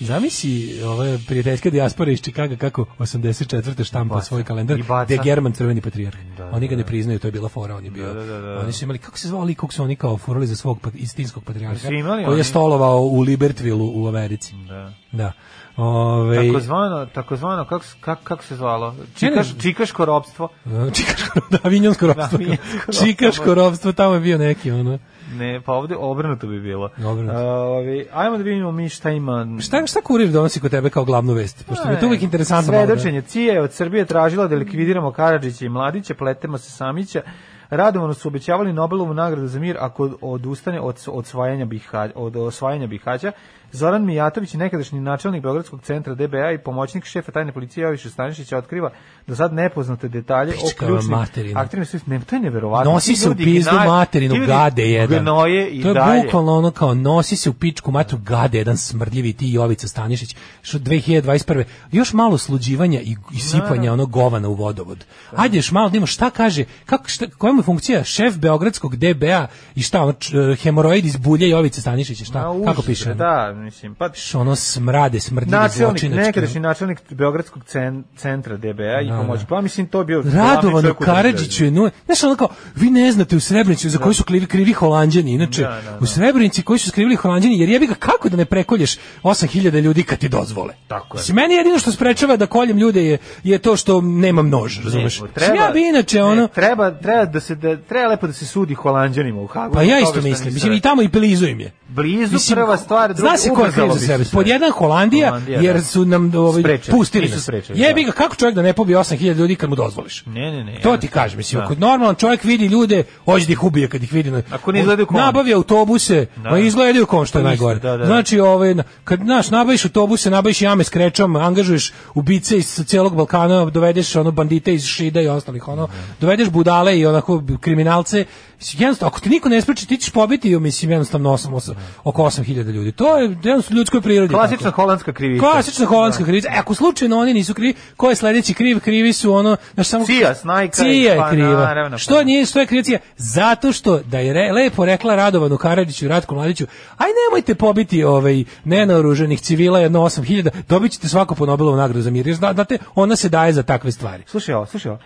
S7: Zamisli ove prijateljske dijaspore iz Čikaga kako 84. štampa svoj kalendar
S6: I baca.
S7: gde je German crveni patrijarh. oni ga ne priznaju, to je bila fora, on je bio. Oni su imali kako se zvao lik kog su oni kao furali za svog pa- istinskog patrijarha.
S6: Jesu imali
S7: Koji
S6: oni?
S7: je stolovao u Libertvilu u Americi.
S6: Da.
S7: Da. Ove,
S6: Takozvano, takozvano, kako s- kak, kako se zvalo?
S7: Ne, ne.
S6: Čikaš, čikaško ropstvo.
S7: Čikaško, da, avinjonsko ropstvo.
S6: avinjonsko ropstvo.
S7: Čikaško ropstvo, tamo je bio neki, ono.
S6: Ne, pa ovde obrnuto bi bilo.
S7: Obrnuto.
S6: A, ovi, ajmo da vidimo mi šta ima.
S7: Šta, šta kurir donosi kod tebe kao glavnu vest? Pošto mi je to uvijek interesantno. malo da-
S6: Svedočenje Cije je od Srbije tražila da likvidiramo Karadžića i Mladića, pletemo se Samića. Radovano su obećavali Nobelovu nagradu za mir ako odustane od osvajanja Bihaća, od osvajanja Bihaća. Zoran Mijatović, nekadašnji načelnik Beogradskog centra DBA i pomoćnik šefa tajne policije Joviša Stanišića otkriva do sad nepoznate detalje
S7: Pička
S6: o ključnim
S7: vam materina.
S6: akterima svih- Ne, to je neverovatno.
S7: Nosi
S6: Ti
S7: se u
S6: ljudi
S7: pizdu
S6: gna-
S7: materinu,
S6: ti ljudi
S7: gade jedan.
S6: Gnoje i
S7: to je
S6: dalje.
S7: bukvalno ono kao nosi se u pičku matru gade jedan smrdljivi ti Jovica Stanišić što 2021. Još malo sluđivanja i, i sipanja onog govana u vodovod. Ajde još malo da imamo šta kaže, kako, šta, koja mu je funkcija šef Beogradskog DBA i šta, ono, č- hemoroid e, iz bulje Jovice Stanišića, šta,
S6: Ma, užas,
S7: kako piše? ono?
S6: Da, mislim, pa
S7: Što ono smrade, ono. smrdi
S6: načelnik,
S7: zločinački.
S6: nekadašnji načelnik Beogradskog cen, centra DBA i
S7: Da,
S6: pomoć.
S7: da.
S6: Pa mislim, to je bio... glavni
S7: Radovanu
S6: čovjek u državi.
S7: Karadžiću je nuje. Znaš, ono kao, vi ne znate u Srebrenici za koji su krivi, krivi Holanđani. Inače,
S6: Da, da, da.
S7: u Srebrenici koji su skrivili Holanđani, jer jebi ga kako da ne prekolješ 8000 ljudi kad ti dozvole.
S6: Tako je.
S7: Mislim, meni jedino što sprečava da koljem ljude je, je to što nemam nož, razumeš?
S6: Ne,
S7: Mislim, ja bi inače,
S6: ne,
S7: ono,
S6: treba, treba, da se, da, treba lepo da se sudi holanđanima u Hagu.
S7: pa
S6: zbog
S7: ja
S6: toga
S7: isto
S6: što
S7: mislim.
S6: nisu
S7: Mislim, i
S6: rekli.
S7: tamo i pelizujem je.
S6: Blizu prva stvar, druga,
S7: Zna se ko je kriv
S6: ubrzalo
S7: za
S6: bi
S7: sebe.
S6: se sve.
S7: Pod jedan Holandija,
S6: Holandija, da.
S7: jer su nam ovaj,
S6: Sprečeni,
S7: pustili
S6: nisu
S7: nas.
S6: sprečeni,
S7: Jebi
S6: da.
S7: ga, kako čovjek da ne pobije 8000 ljudi kad mu dozvoliš?
S6: Ne, ne, ne.
S7: To
S6: ja.
S7: ti kažem, mislim,
S6: Da.
S7: ako normalan čovjek vidi ljude, hoće da ih ubije kad ih vidi. na-
S6: Ako ne izgledaju kao on.
S7: Nabavi autobuse,
S6: Da.
S7: ma izgledaju kao on, što je
S6: Pa isto,
S7: najgore.
S6: da, da, da.
S7: Znači, ovaj, na- kad, znaš, nabaviš autobuse, nabaviš jame s krečom, angažuješ ubice iz cijelog Balkana, dovedeš ono bandite iz Šida i ostalih, ono, dovedeš budale i onako kriminalce. Mislim, Jednostavno, ako ti niko ne spreči, ti ćeš pobiti, mislim, jednostavno osam, osam, oko 8000 ljudi. To je jednostavno ljudskoj prirodi.
S6: Klasična
S7: tako.
S6: holandska krivica.
S7: Klasična holandska krivica. E, ako slučajno oni nisu krivi, ko je sledeći kriv? Krivi su ono, znaš, samo
S6: Cija, Snajka i-
S7: Cija je
S6: pa
S7: kriva.
S6: naravno,
S7: što
S6: pa.
S7: nije, što je kriva Cija? Zato što da je re, lepo rekla Radovanu Karadžiću i Ratku Mladiću, aj nemojte pobiti ovaj nenaoruženih civila jedno 8000, dobit ćete svako po Nobelovu nagradu za mir. Jer zna- znate, ona se daje za takve stvari.
S6: Slušaj ovo, slušaj ovo.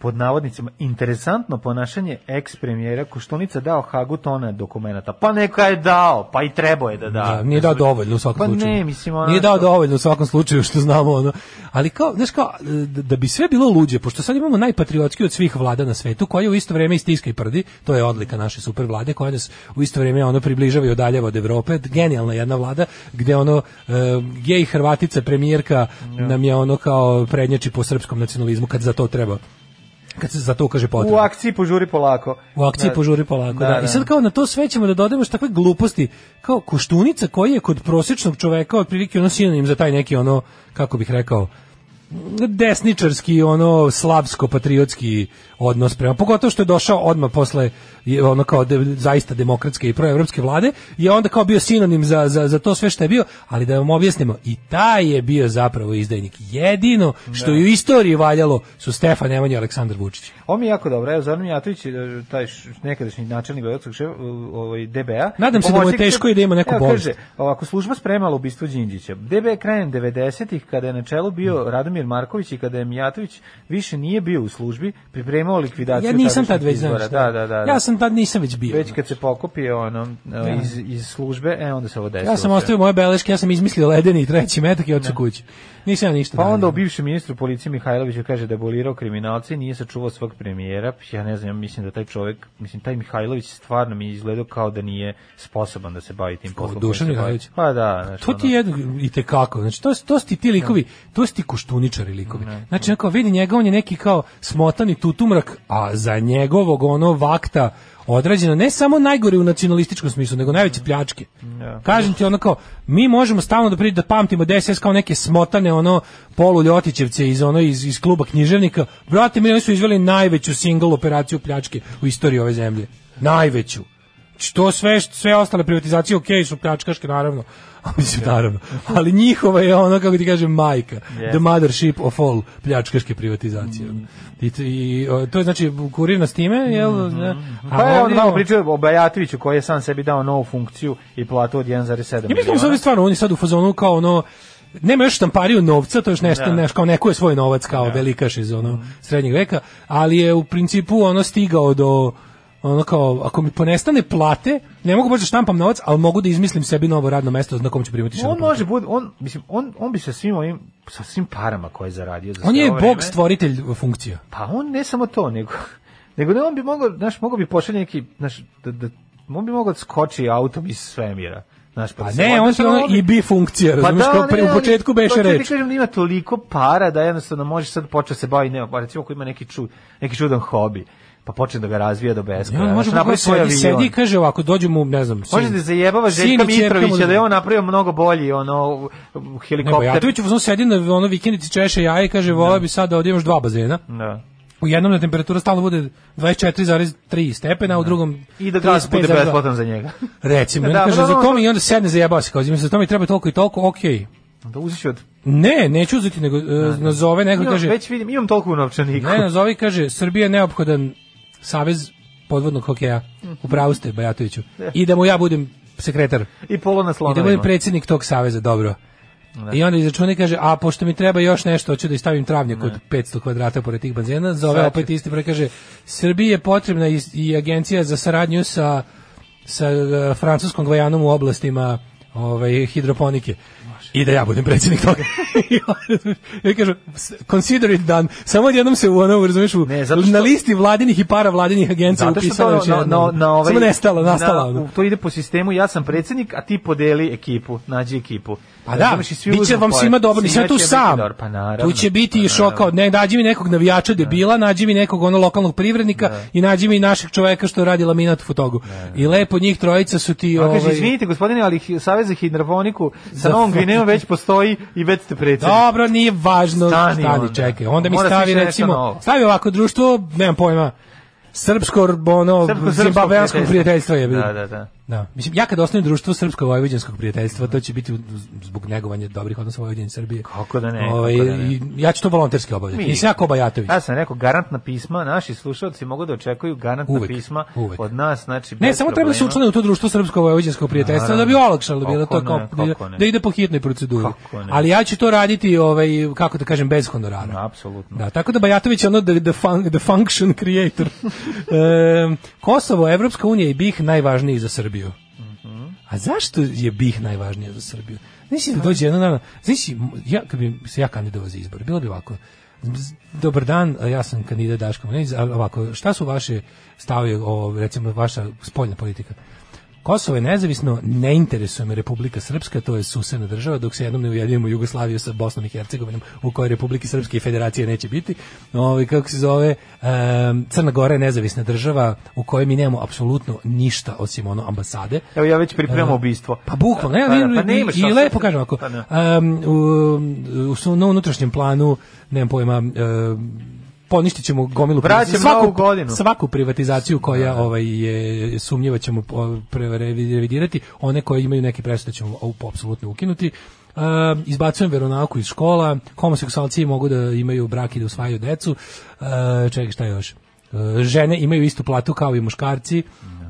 S6: Pod navodnicima, interesantno ponašanje ex-premijera Koštunica dao Hagu tona dokumenta. Pa neka je dao, pa i trebao je da da.
S7: Da, nije dao dovoljno u svakom
S6: Pa
S7: slučaju.
S6: ne, mislim, ono
S7: Nije dao
S6: što-
S7: dovoljno u svakom slučaju što znamo ono. Ali kao, znaš kao, da da bi sve bilo luđe, pošto sad imamo najpatriotski od svih vlada na svetu, koja u isto vrijeme i stiska i prdi, to je odlika naše super vlade, koja nas u isto vrijeme ono približava i odaljava od Evrope, genijalna jedna vlada, gde ono, e, gej Hrvatica premijerka nam je ono kao prednjači po srpskom nacionalizmu, kad za to treba kad se za to kaže
S6: U
S7: potrebno.
S6: akciji požuri polako.
S7: U akciji
S6: Da.
S7: požuri polako, da, I sad kao na to sve ćemo da dodajemo još takve gluposti, kao koštunica koji je kod prosječnog čoveka otprilike ono sinonim za taj neki ono, kako bih rekao, desničarski, ono, slavsko-patriotski odnos prema, pogotovo što je došao odmah posle je, ono kao de- zaista demokratske i proevropske vlade, je onda kao bio sinonim za, za, za to sve što je bio, ali da vam objasnimo, i taj je bio zapravo izdajnik. Jedino što je u istoriji valjalo su Stefan Nemanja i Aleksandar Vučić.
S6: Ovo mi je jako dobro. Evo, Zoran Mijatović, eh, taj š- nekadašnji načelnik Beogradskog šefa, eh, ovaj, DBA.
S7: Nadam se da mu je
S6: pomoćnik
S7: teško
S6: šef-
S7: i da ima neku
S6: Evo,
S7: bolest.
S6: Kaže, ovako, služba spremala ubistvo Đinđića. DB je krajem 90-ih, kada je na čelu
S7: Mm.
S6: bio Radomir Marković i kada je Mijatović više nije bio u službi, pripremao likvidaciju
S7: Ja nisam tad
S6: tadašnjih
S7: već znaš.
S6: izbora.
S7: šta.
S6: Da, da, da. da.
S7: Ja sam tad nisam već bio.
S6: Već kad se pokupi ono, eh, iz, iz službe, e, onda se ovo desilo.
S7: ja sam
S6: sve.
S7: ostavio moje beleške, ja sam izmislio ledeni i treći metak i otišao kući. Nisam ja ništa.
S6: Pa onda
S7: radio.
S6: o bivšem ministru policije Mihajloviću kaže da je bolirao kriminalce i nije sačuvao svog premijera. Ja ne znam, ja mislim da taj čovjek, mislim, taj Mihajlović stvarno mi je izgledao kao da nije sposoban da se bavi tim poslom. kojim
S7: Dušan
S6: se bavi.
S7: Mihajlović?
S6: Pa da, znaš,
S7: To ti je jedno, i te kako. Znači, to, su- to su ti ti likovi, to su ti koštuničari likovi. Znači, onako, vidi njega, on je neki kao smotani tutumrak, a za njegovog ono vakta odrađeno ne samo najgore u nacionalističkom smislu, nego najveće pljačke. Kažem ti ono kao, mi možemo stalno da pri da pamtimo DSS kao neke smotane ono polu Ljotićevce iz ono iz, iz kluba književnika. Brate, mi oni su izveli najveću single operaciju pljačke u istoriji ove zemlje. Najveću. Znači, to sve sve ostale privatizacije ok su pljačkaške naravno. A, Mislim, naravno. Ali njihova je ono, kako ti kažem, majka. The mothership of all pljačkaške privatizacije.
S6: Mhm.
S7: I, to- i, o, to je, znači, kurirno s time, jel? ne? A
S6: Pa je on
S7: ovdje- ono-
S6: malo pričao o Bajatoviću koji je sam sebi dao novu funkciju i platu od 1,7
S7: Ja mislim da su
S6: miliona.
S7: ovi stvarno, oni sad u fazonu kao ono, nema još štampariju novca, to je još nešto,
S6: Da. Mhm.
S7: neš, kao neko je svoj novac kao velikaš iz ono srednjeg veka, ali je u principu ono stigao do ono kao, ako mi ponestane plate, ne mogu baš da štampam novac, ali mogu da izmislim sebi novo radno mesto na kom ću primati šalu
S6: On
S7: platu.
S6: može bude, on, mislim, on, on bi sa svim ovim, sa svim parama koje je zaradio za
S7: On
S6: sve
S7: je
S6: ovo
S7: bog
S6: vreme-
S7: stvoritelj funkcija.
S6: Pa on ne samo to, nego nego da on bi mogao, znaš, mogao bi pošalje neki, znaš, da, da, on bi mogao da skoči autom iz svemira. Znaš, pa,
S7: Pa
S6: da se-
S7: ne, on je
S6: znaš,
S7: ono
S6: bi-
S7: i bi funkcija,
S6: Pa
S7: razumiješ, kao
S6: ne,
S7: pre,
S6: ali-
S7: u početku
S6: hoću
S7: beše
S6: da ti
S7: reč.
S6: kažem da ima toliko para da jednostavno može sad početi se bavi, nema, pa recimo ko ima neki, ču, neki čudan hobi, pa počne da ga razvija do
S7: Ja,
S6: beskraja.
S7: on
S6: znaš,
S7: može
S6: napravi
S7: kako
S6: svoj
S7: sedi,
S6: avion.
S7: sedi i kaže ovako, dođu mu, ne znam, sin.
S6: Može da zajebava
S7: sin i
S6: Željka
S7: ćerka mu
S6: Mitrovića da je
S7: zajebava.
S6: on napravio mnogo bolji ono
S7: Ne,
S6: helikopter.
S7: Bajatović u fazonu sedi na ono vikendici češe jaje i kaže, volao bi sad da ovdje imaš dva bazena.
S6: Da.
S7: U jednom da temperatura stalno bude 24,3 stepena, a u drugom
S6: I da gas bude
S7: 35,2.
S6: besplatan za njega.
S7: Recimo,
S6: Da,
S7: da, kaže,
S6: da,
S7: za
S6: da,
S7: to
S6: da.
S7: mi i onda sedne zajebao se, kao, za to mi treba toliko i toliko, okej.
S6: Da uziš od...
S7: Ne, neću uzeti, nego e, nazove, neko i
S6: Imam,
S7: kaže,
S6: već vidim, imam toliko u novčaniku.
S7: ne, nazovi, kaže, Srbija je
S6: Mhm.
S7: neophodan savez podvodnog hokeja, u pravu ste, Bajatoviću, i da mu ja budem sekretar.
S6: I polo na
S7: I da
S6: slonovima.
S7: budem predsjednik tog saveza, dobro. I onda izračuna i kaže, a pošto mi treba još nešto, hoću da istavim travnjak od 500 kvadrata pored tih bazena, zove
S6: Sad će.
S7: opet isti broj, kaže, Srbiji je potrebna i, i agencija za saradnju sa, sa e, francuskom Gvajanom u oblastima ovaj, hidroponike. I da ja budem predsjednik toga. I onda- ja kažem, "S- consider it done. Samo odjednom se u ono, razumiješ, u,
S6: Ne, zato što-
S7: na listi vladinih i para vladinih agencija
S6: Zato što
S7: upisano
S6: to na, na, na ovaj,
S7: Samo nestala, nastala. ono.
S6: Na, to ide po sistemu, ja sam predsjednik, a ti podeli ekipu, nađi ekipu.
S7: Pa da,
S6: Razumeš, i svi
S7: bit će
S6: uzmu
S7: vam
S6: poje-
S7: svima dobro, nisam
S6: svima
S7: ja tu
S6: će biti
S7: sam.
S6: dobro, Pa naravno.
S7: tu će biti
S6: pa
S7: i šoka
S6: naravno.
S7: od ne, nađi mi nekog navijača debila, nađi mi nekog ono lokalnog privrednika i nađi mi našeg čoveka što radi laminat u fotogu. I lepo njih trojica su ti...
S6: A kaže,
S7: ovaj,
S6: Pa izvinite, gospodine, ali hi- Savez za hidroponiku sa
S7: Za
S6: Novom
S7: fu-
S6: Gvinejom već postoji i već ste predsjednik.
S7: Dobro, nije važno,
S6: Stani
S7: stani,
S6: onda.
S7: čekaj. Onda mi
S6: Mora
S7: stavi
S6: smišljati nešto
S7: recimo,
S6: novo.
S7: stavi ovako društvo, nemam pojma, srpsko, ono,
S6: Srpsko-srpsko
S7: zimbaveansko prijateljstvo je.
S6: Da, da, da.
S7: Da. Mislim, ja kad osnovim društvo srpsko-vojvođanskog prijateljstva, to će biti u- zbog negovanja dobrih odnosa Vojvođanije i Srbije.
S6: Kako da ne,
S7: Ovaj,
S6: kako da ne.
S7: i ja ću to volonterski obavljati.
S6: Mi-
S7: Nisam ja Koba Jatović.
S6: Ja sam rekao garantna pisma, naši slušalci mogu da očekuju garantna
S7: Uvek,
S6: pisma
S7: uvek.
S6: od nas, znači
S7: Ne,
S6: bez
S7: samo treba da se
S6: problema.
S7: učlane u to društvo srpsko-vojvođanskog prijateljstva da bi
S6: Naravno.
S7: olakšalo bilo
S6: Kako
S7: to kao
S6: ne, kako
S7: da,
S6: ne.
S7: da ide po hitnoj proceduri.
S6: Kako ne.
S7: Ali ja ću to raditi ovaj kako da kažem bez honorara.
S6: Apsolutno.
S7: Da, tako da Bajatović je ono the, the, fun, the function creator. e, Kosovo, Evropska unija i BiH najvažniji za Srbiju. A zašto je BiH najvažnija za Srbiju? Znači da dođe jedan dan, znači ja kad bi se ja kandidovao za izbor, bilo bi ovako. Z- Dobar dan, ja sam kandidat Daško Mlinić, ali ovako, šta su vaše stave o, recimo, vaša spoljna politika? Kosovo je nezavisno, ne interesuje me Republika Srpska, to je susedna država, dok se jednom ne ujedinimo Jugoslaviju sa Bosnom i Hercegovinom, u kojoj Republike Srpske i Federacije neće biti. Ovaj, kako se zove, em, Crna Gora je nezavisna država u kojoj mi nemamo apsolutno ništa osim ono ambasade.
S6: Evo ja već pripremam
S7: E,
S6: ubistvo.
S7: Pa bukvalno, ne,
S6: Pa da,
S7: ne,
S6: pa nemaš
S7: i,
S6: šta
S7: i
S6: sad.
S7: lepo kažem ako,
S6: Pa ne.
S7: um, u, u, svom- na unutrašnjem planu, nemam pojma, um, poništit ćemo gomilu
S6: Vraćam Novu godinu.
S7: svaku privatizaciju koja ovaj je sumnjiva ćemo po- pre- revidirati one koje imaju neke presude ćemo ovu apsolutno ukinuti Um, izbacujem veronauku iz škola homoseksualci mogu da imaju brak i da usvajaju decu uh, čekaj šta još Uh, žene imaju istu platu kao i muškarci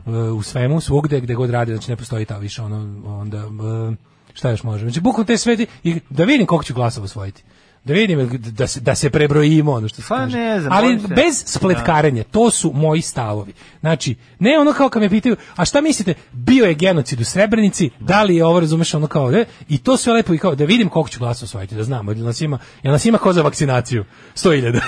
S7: uh, u svemu, svugde gde god rade znači ne postoji ta više ono onda uh, šta još može, znači bukvalno te sveti i da vidim koliko ću glasova osvojiti da vidim jel- da se, da se prebrojimo ono što se
S6: Pa
S7: kaže.
S6: ne znam,
S7: ali
S6: bojim se.
S7: bez spletkarenja, to su moji stavovi. Znači, ne ono kao kad me pitaju, a šta mislite, bio je genocid u Srebrenici, da li je ovo, razumeš, ono kao, e, i to sve lepo i kao, da vidim koliko ću glasa osvojiti, da znamo, jel nas ima, jel nas ima ko za vakcinaciju? 100.000.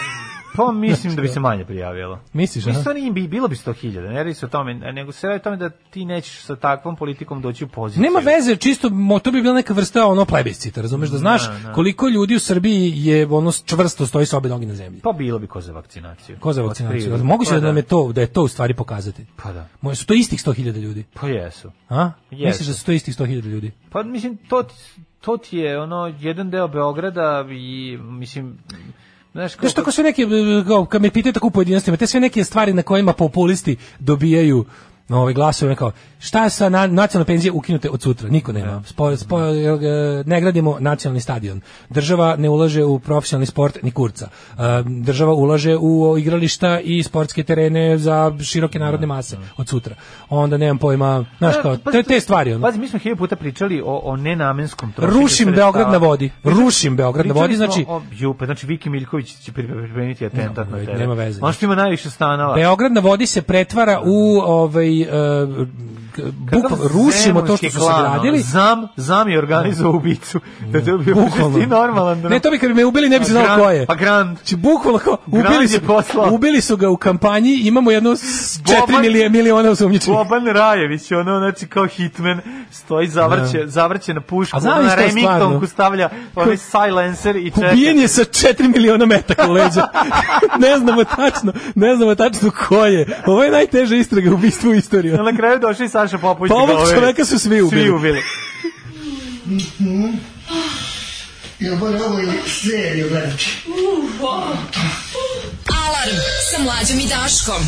S6: Pa mislim da bi se manje prijavilo.
S7: Misliš, aha?
S6: Mislim, to nije Pa bi, bilo bi 100.000, ne radi se o tome, nego se radi o tome da ti nećeš sa takvom politikom doći u poziciju.
S7: Nema veze, čisto mo- to bi bila neka vrsta ono plebiscita, razumeš, da znaš koliko ljudi u Srbiji je ono čvrsto stoji sa obe noge na zemlji.
S6: Pa bilo bi ko za vakcinaciju.
S7: Ko za vakcinaciju?
S6: Otprilike.
S7: Moguće
S6: Pa
S7: da nam je to, da je to u stvari pokazati.
S6: Pa da.
S7: Moje su to istih 100.000 ljudi.
S6: Pa jesu.
S7: A?
S6: Jesu.
S7: Misliš da su to istih 100.000 ljudi?
S6: Pa mislim, to, ti- to ti je ono, jedan deo Beograda i, mislim, znaš,
S7: Znaš, tako sve neke, e, kao, kad me pitaju tako u pojedinostima, te sve neke stvari na kojima populisti dobijaju na ove glasove, kao, šta je sa na, nacionalne penzije ukinute od sutra? Niko nema. Spo, spo, e, ne gradimo nacionalni stadion. Država ne ulaže u profesionalni sport ni kurca. E, Država ulaže u igrališta i sportske terene za široke narodne mase od sutra. Onda nemam pojma, znaš
S6: E,
S7: kao, te, te stvari. Ono.
S6: Pa, Pazi, mi smo hiljadu puta pričali o, o nenamenskom trošenju.
S7: Rušim
S6: pa sredstava.
S7: Beograd na vodi. Rušim Beograd na
S6: Pričali
S7: vodi,
S6: smo
S7: znači...
S6: O, ju, pa znači Viki Miljković će pri- pripremiti atentat na
S7: veze,
S6: tebe.
S7: nema veze. znači.
S6: On što ima najviše stanova.
S7: Beograd na vodi se pretvara u ovaj e, k- bukval, rušimo to što su se gradili.
S6: ono, Zam, zam je organizovao ubicu. Da te ubio,
S7: Bukvalno.
S6: bukvalno. Ti normalan. da- ono,
S7: Ne, to bi kad bi me ubili ne bi se znao
S6: Grand-
S7: ko je.
S6: Pa Grand.
S7: Znači, bukvalno kao,
S6: Grand
S7: ubili,
S6: je
S7: su,
S6: poslao.
S7: ubili su ga u kampanji, imamo jedno 4
S6: Boban-
S7: milije, miliona usumnjičenih.
S6: Boban Rajević, ono, znači, kao hitman, stoji, zavrće, zavrće na pušku,
S7: A znam
S6: ono, na
S7: isto je
S6: Remingtonku
S7: stvarno.
S6: stavlja onaj silencer i čeka.
S7: Ubijen je sa 4 miliona metaka u leđa. ne znamo tačno, ne znamo tačno ko je. Ovo je najteža istraga ubistva u istoriji.
S6: Na kraju došli Saša Popović.
S7: Pa
S6: da ga
S7: ovog
S6: overi.
S7: čoveka su svi ubili.
S6: Svi ubili.
S5: Ja moram ovo i seriju gledati.
S8: Alarm sa mlađom i Daškom.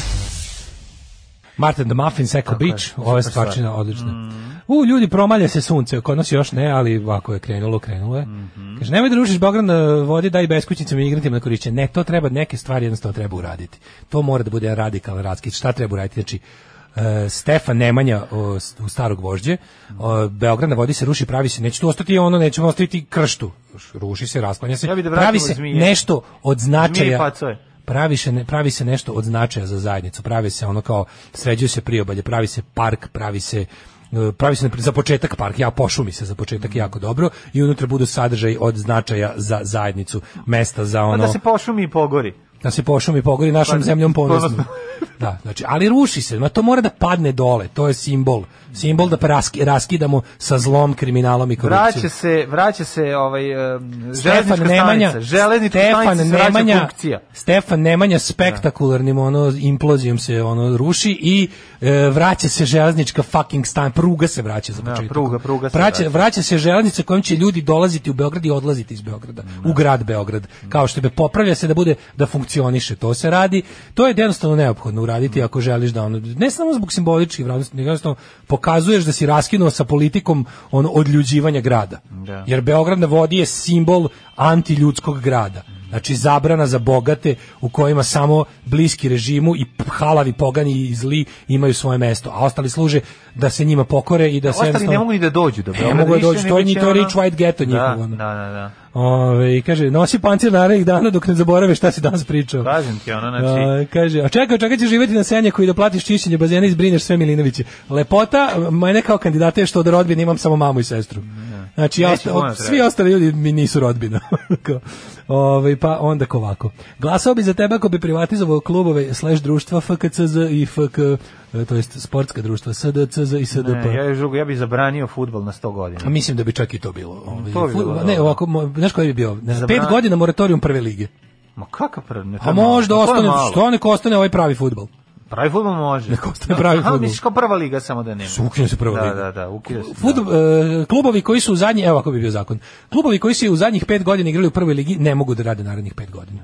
S7: Martin the Muffin, Seko Beach, ova je stvarčina odlična.
S6: Mm.
S7: U, ljudi, promalja se sunce, kod nas još ne, ali ovako je krenulo, krenulo je.
S6: Mhm.
S7: Kaže, nemoj da rušiš Beograd na vodi, daj beskućnicima i igrantima na korišćenje. Ne, to treba, neke stvari jednostavno treba uraditi. To mora da bude radikalan radski. Šta treba uraditi? Znači, e, Stefan Nemanja o, s- u starog vožđe. O, Beograd na vodi se ruši, pravi se, neće tu ostati ono, nećemo ostaviti krštu. Ruši se, rasklanja se.
S6: Ja bih da vratimo
S7: pravi se
S6: zmije.
S7: nešto od
S6: Zmije i
S7: značaja.
S6: pacoje.
S7: Pravi se, ne- pravi se nešto od značaja za zajednicu. Pravi se ono kao, sređuju se priobalje, pravi se park, pravi se e, pravi se na pri- za početak park, ja pošumi se za početak jako
S6: Mhm.
S7: dobro i unutra budu sadržaj od značaja za zajednicu, mesta za
S6: Pa
S7: ono
S6: da se pošumi i pogori.
S7: da se pošumi pogori našom
S6: Pa,
S7: zemljom ponosno.
S6: ponosno.
S7: Da, znači, ali ruši se, ma to mora da padne dole, to je simbol. Simbol da raski, raskidamo sa zlom, kriminalom i korupcijom.
S6: Vraća se, vraća se ovaj um,
S7: Stefan
S6: železnička
S7: Nemanja,
S6: stanica. Železnička
S7: Stefan
S6: stanica se vraća
S7: Nemanja,
S6: funkcija.
S7: Stefan Nemanja spektakularnim ono implozijom se ono ruši i e, vraća se železnička fucking stan, pruga se vraća za početak.
S6: pruga- pruga se
S7: vraća,
S6: vraća.
S7: vraća se železnica kojom će ljudi dolaziti u Beograd i odlaziti iz Beograda, u grad Beograd. Kao što je popravlja se da bude da funkcioniše, to se radi. To je jednostavno neophodno uraditi ako želiš da ono ne samo zbog simboličkih vrednosti, nego jednostavno pokazuješ da si raskinuo sa politikom ono odljuđivanja grada.
S6: Da.
S7: Jer Beograd na vodi je simbol antiljudskog grada. Znači zabrana za bogate u kojima samo bliski režimu i p- halavi pogani i zli imaju svoje mesto, a ostali služe da se njima pokore i da se
S6: Ostali
S7: Pa jednostavno-
S6: ne mogu ni da dođu do Beograda.
S7: mogu da
S6: više,
S7: dođu,
S6: nego
S7: to je ni-
S6: će
S7: to je
S6: ono-
S7: rich white ghetto njihov,
S6: Da,
S7: ono.
S6: da, da. da.
S7: Ove, i kaže, nosi pancir narednih dana dok ne zaborave šta si danas pričao.
S6: Kažem ti, ono, znači-
S7: A, kaže, a čekaj, čekaj ćeš živjeti na senjaku i da platiš čišćenje bazena i zbrineš sve Milinoviće. Lepota, mene kao kandidata je što od rodbine imam samo mamu i sestru. Znači, ja
S6: Neće
S7: osta-
S6: puno
S7: svi
S6: trebati.
S7: ostali ljudi mi nisu rodbina. Kao, Ove, pa onda ko ovako. Glasao bi za tebe ako bi privatizovao klubove slash društva FKCZ i FK, e, to jest sportska društva SDCZ i SDP.
S6: Ne, ja, još drugo, ja bih zabranio fudbal na 100 godina.
S7: A Pa Mislim da bi čak i to bilo. Ovaj,
S6: To bi
S7: fu-
S6: bilo,
S7: ne,
S6: da.
S7: ovako, mo- znaš koji bi bio? Ne,
S6: Zabran-
S7: pet godina moratorijum prve lige.
S6: Ma kakav prvi? ne, to
S7: A
S6: je malo.
S7: možda
S6: Pa To je
S7: ostane,
S6: malo.
S7: što neko ostane ovaj pravi futbol.
S6: Pravi fudbal može.
S7: Nek ostane pravi
S6: Aha,
S7: fudbal.
S6: misliš kao prva liga samo da nema.
S7: Ukine se prva
S6: Da,
S7: liga.
S6: da, da, ukida se.
S7: Fut, e, klubovi koji su u zadnji, evo ako bi bio zakon, klubovi koji su u zadnjih pet godina igrali u prvoj ligi ne mogu da rade narednih pet godina.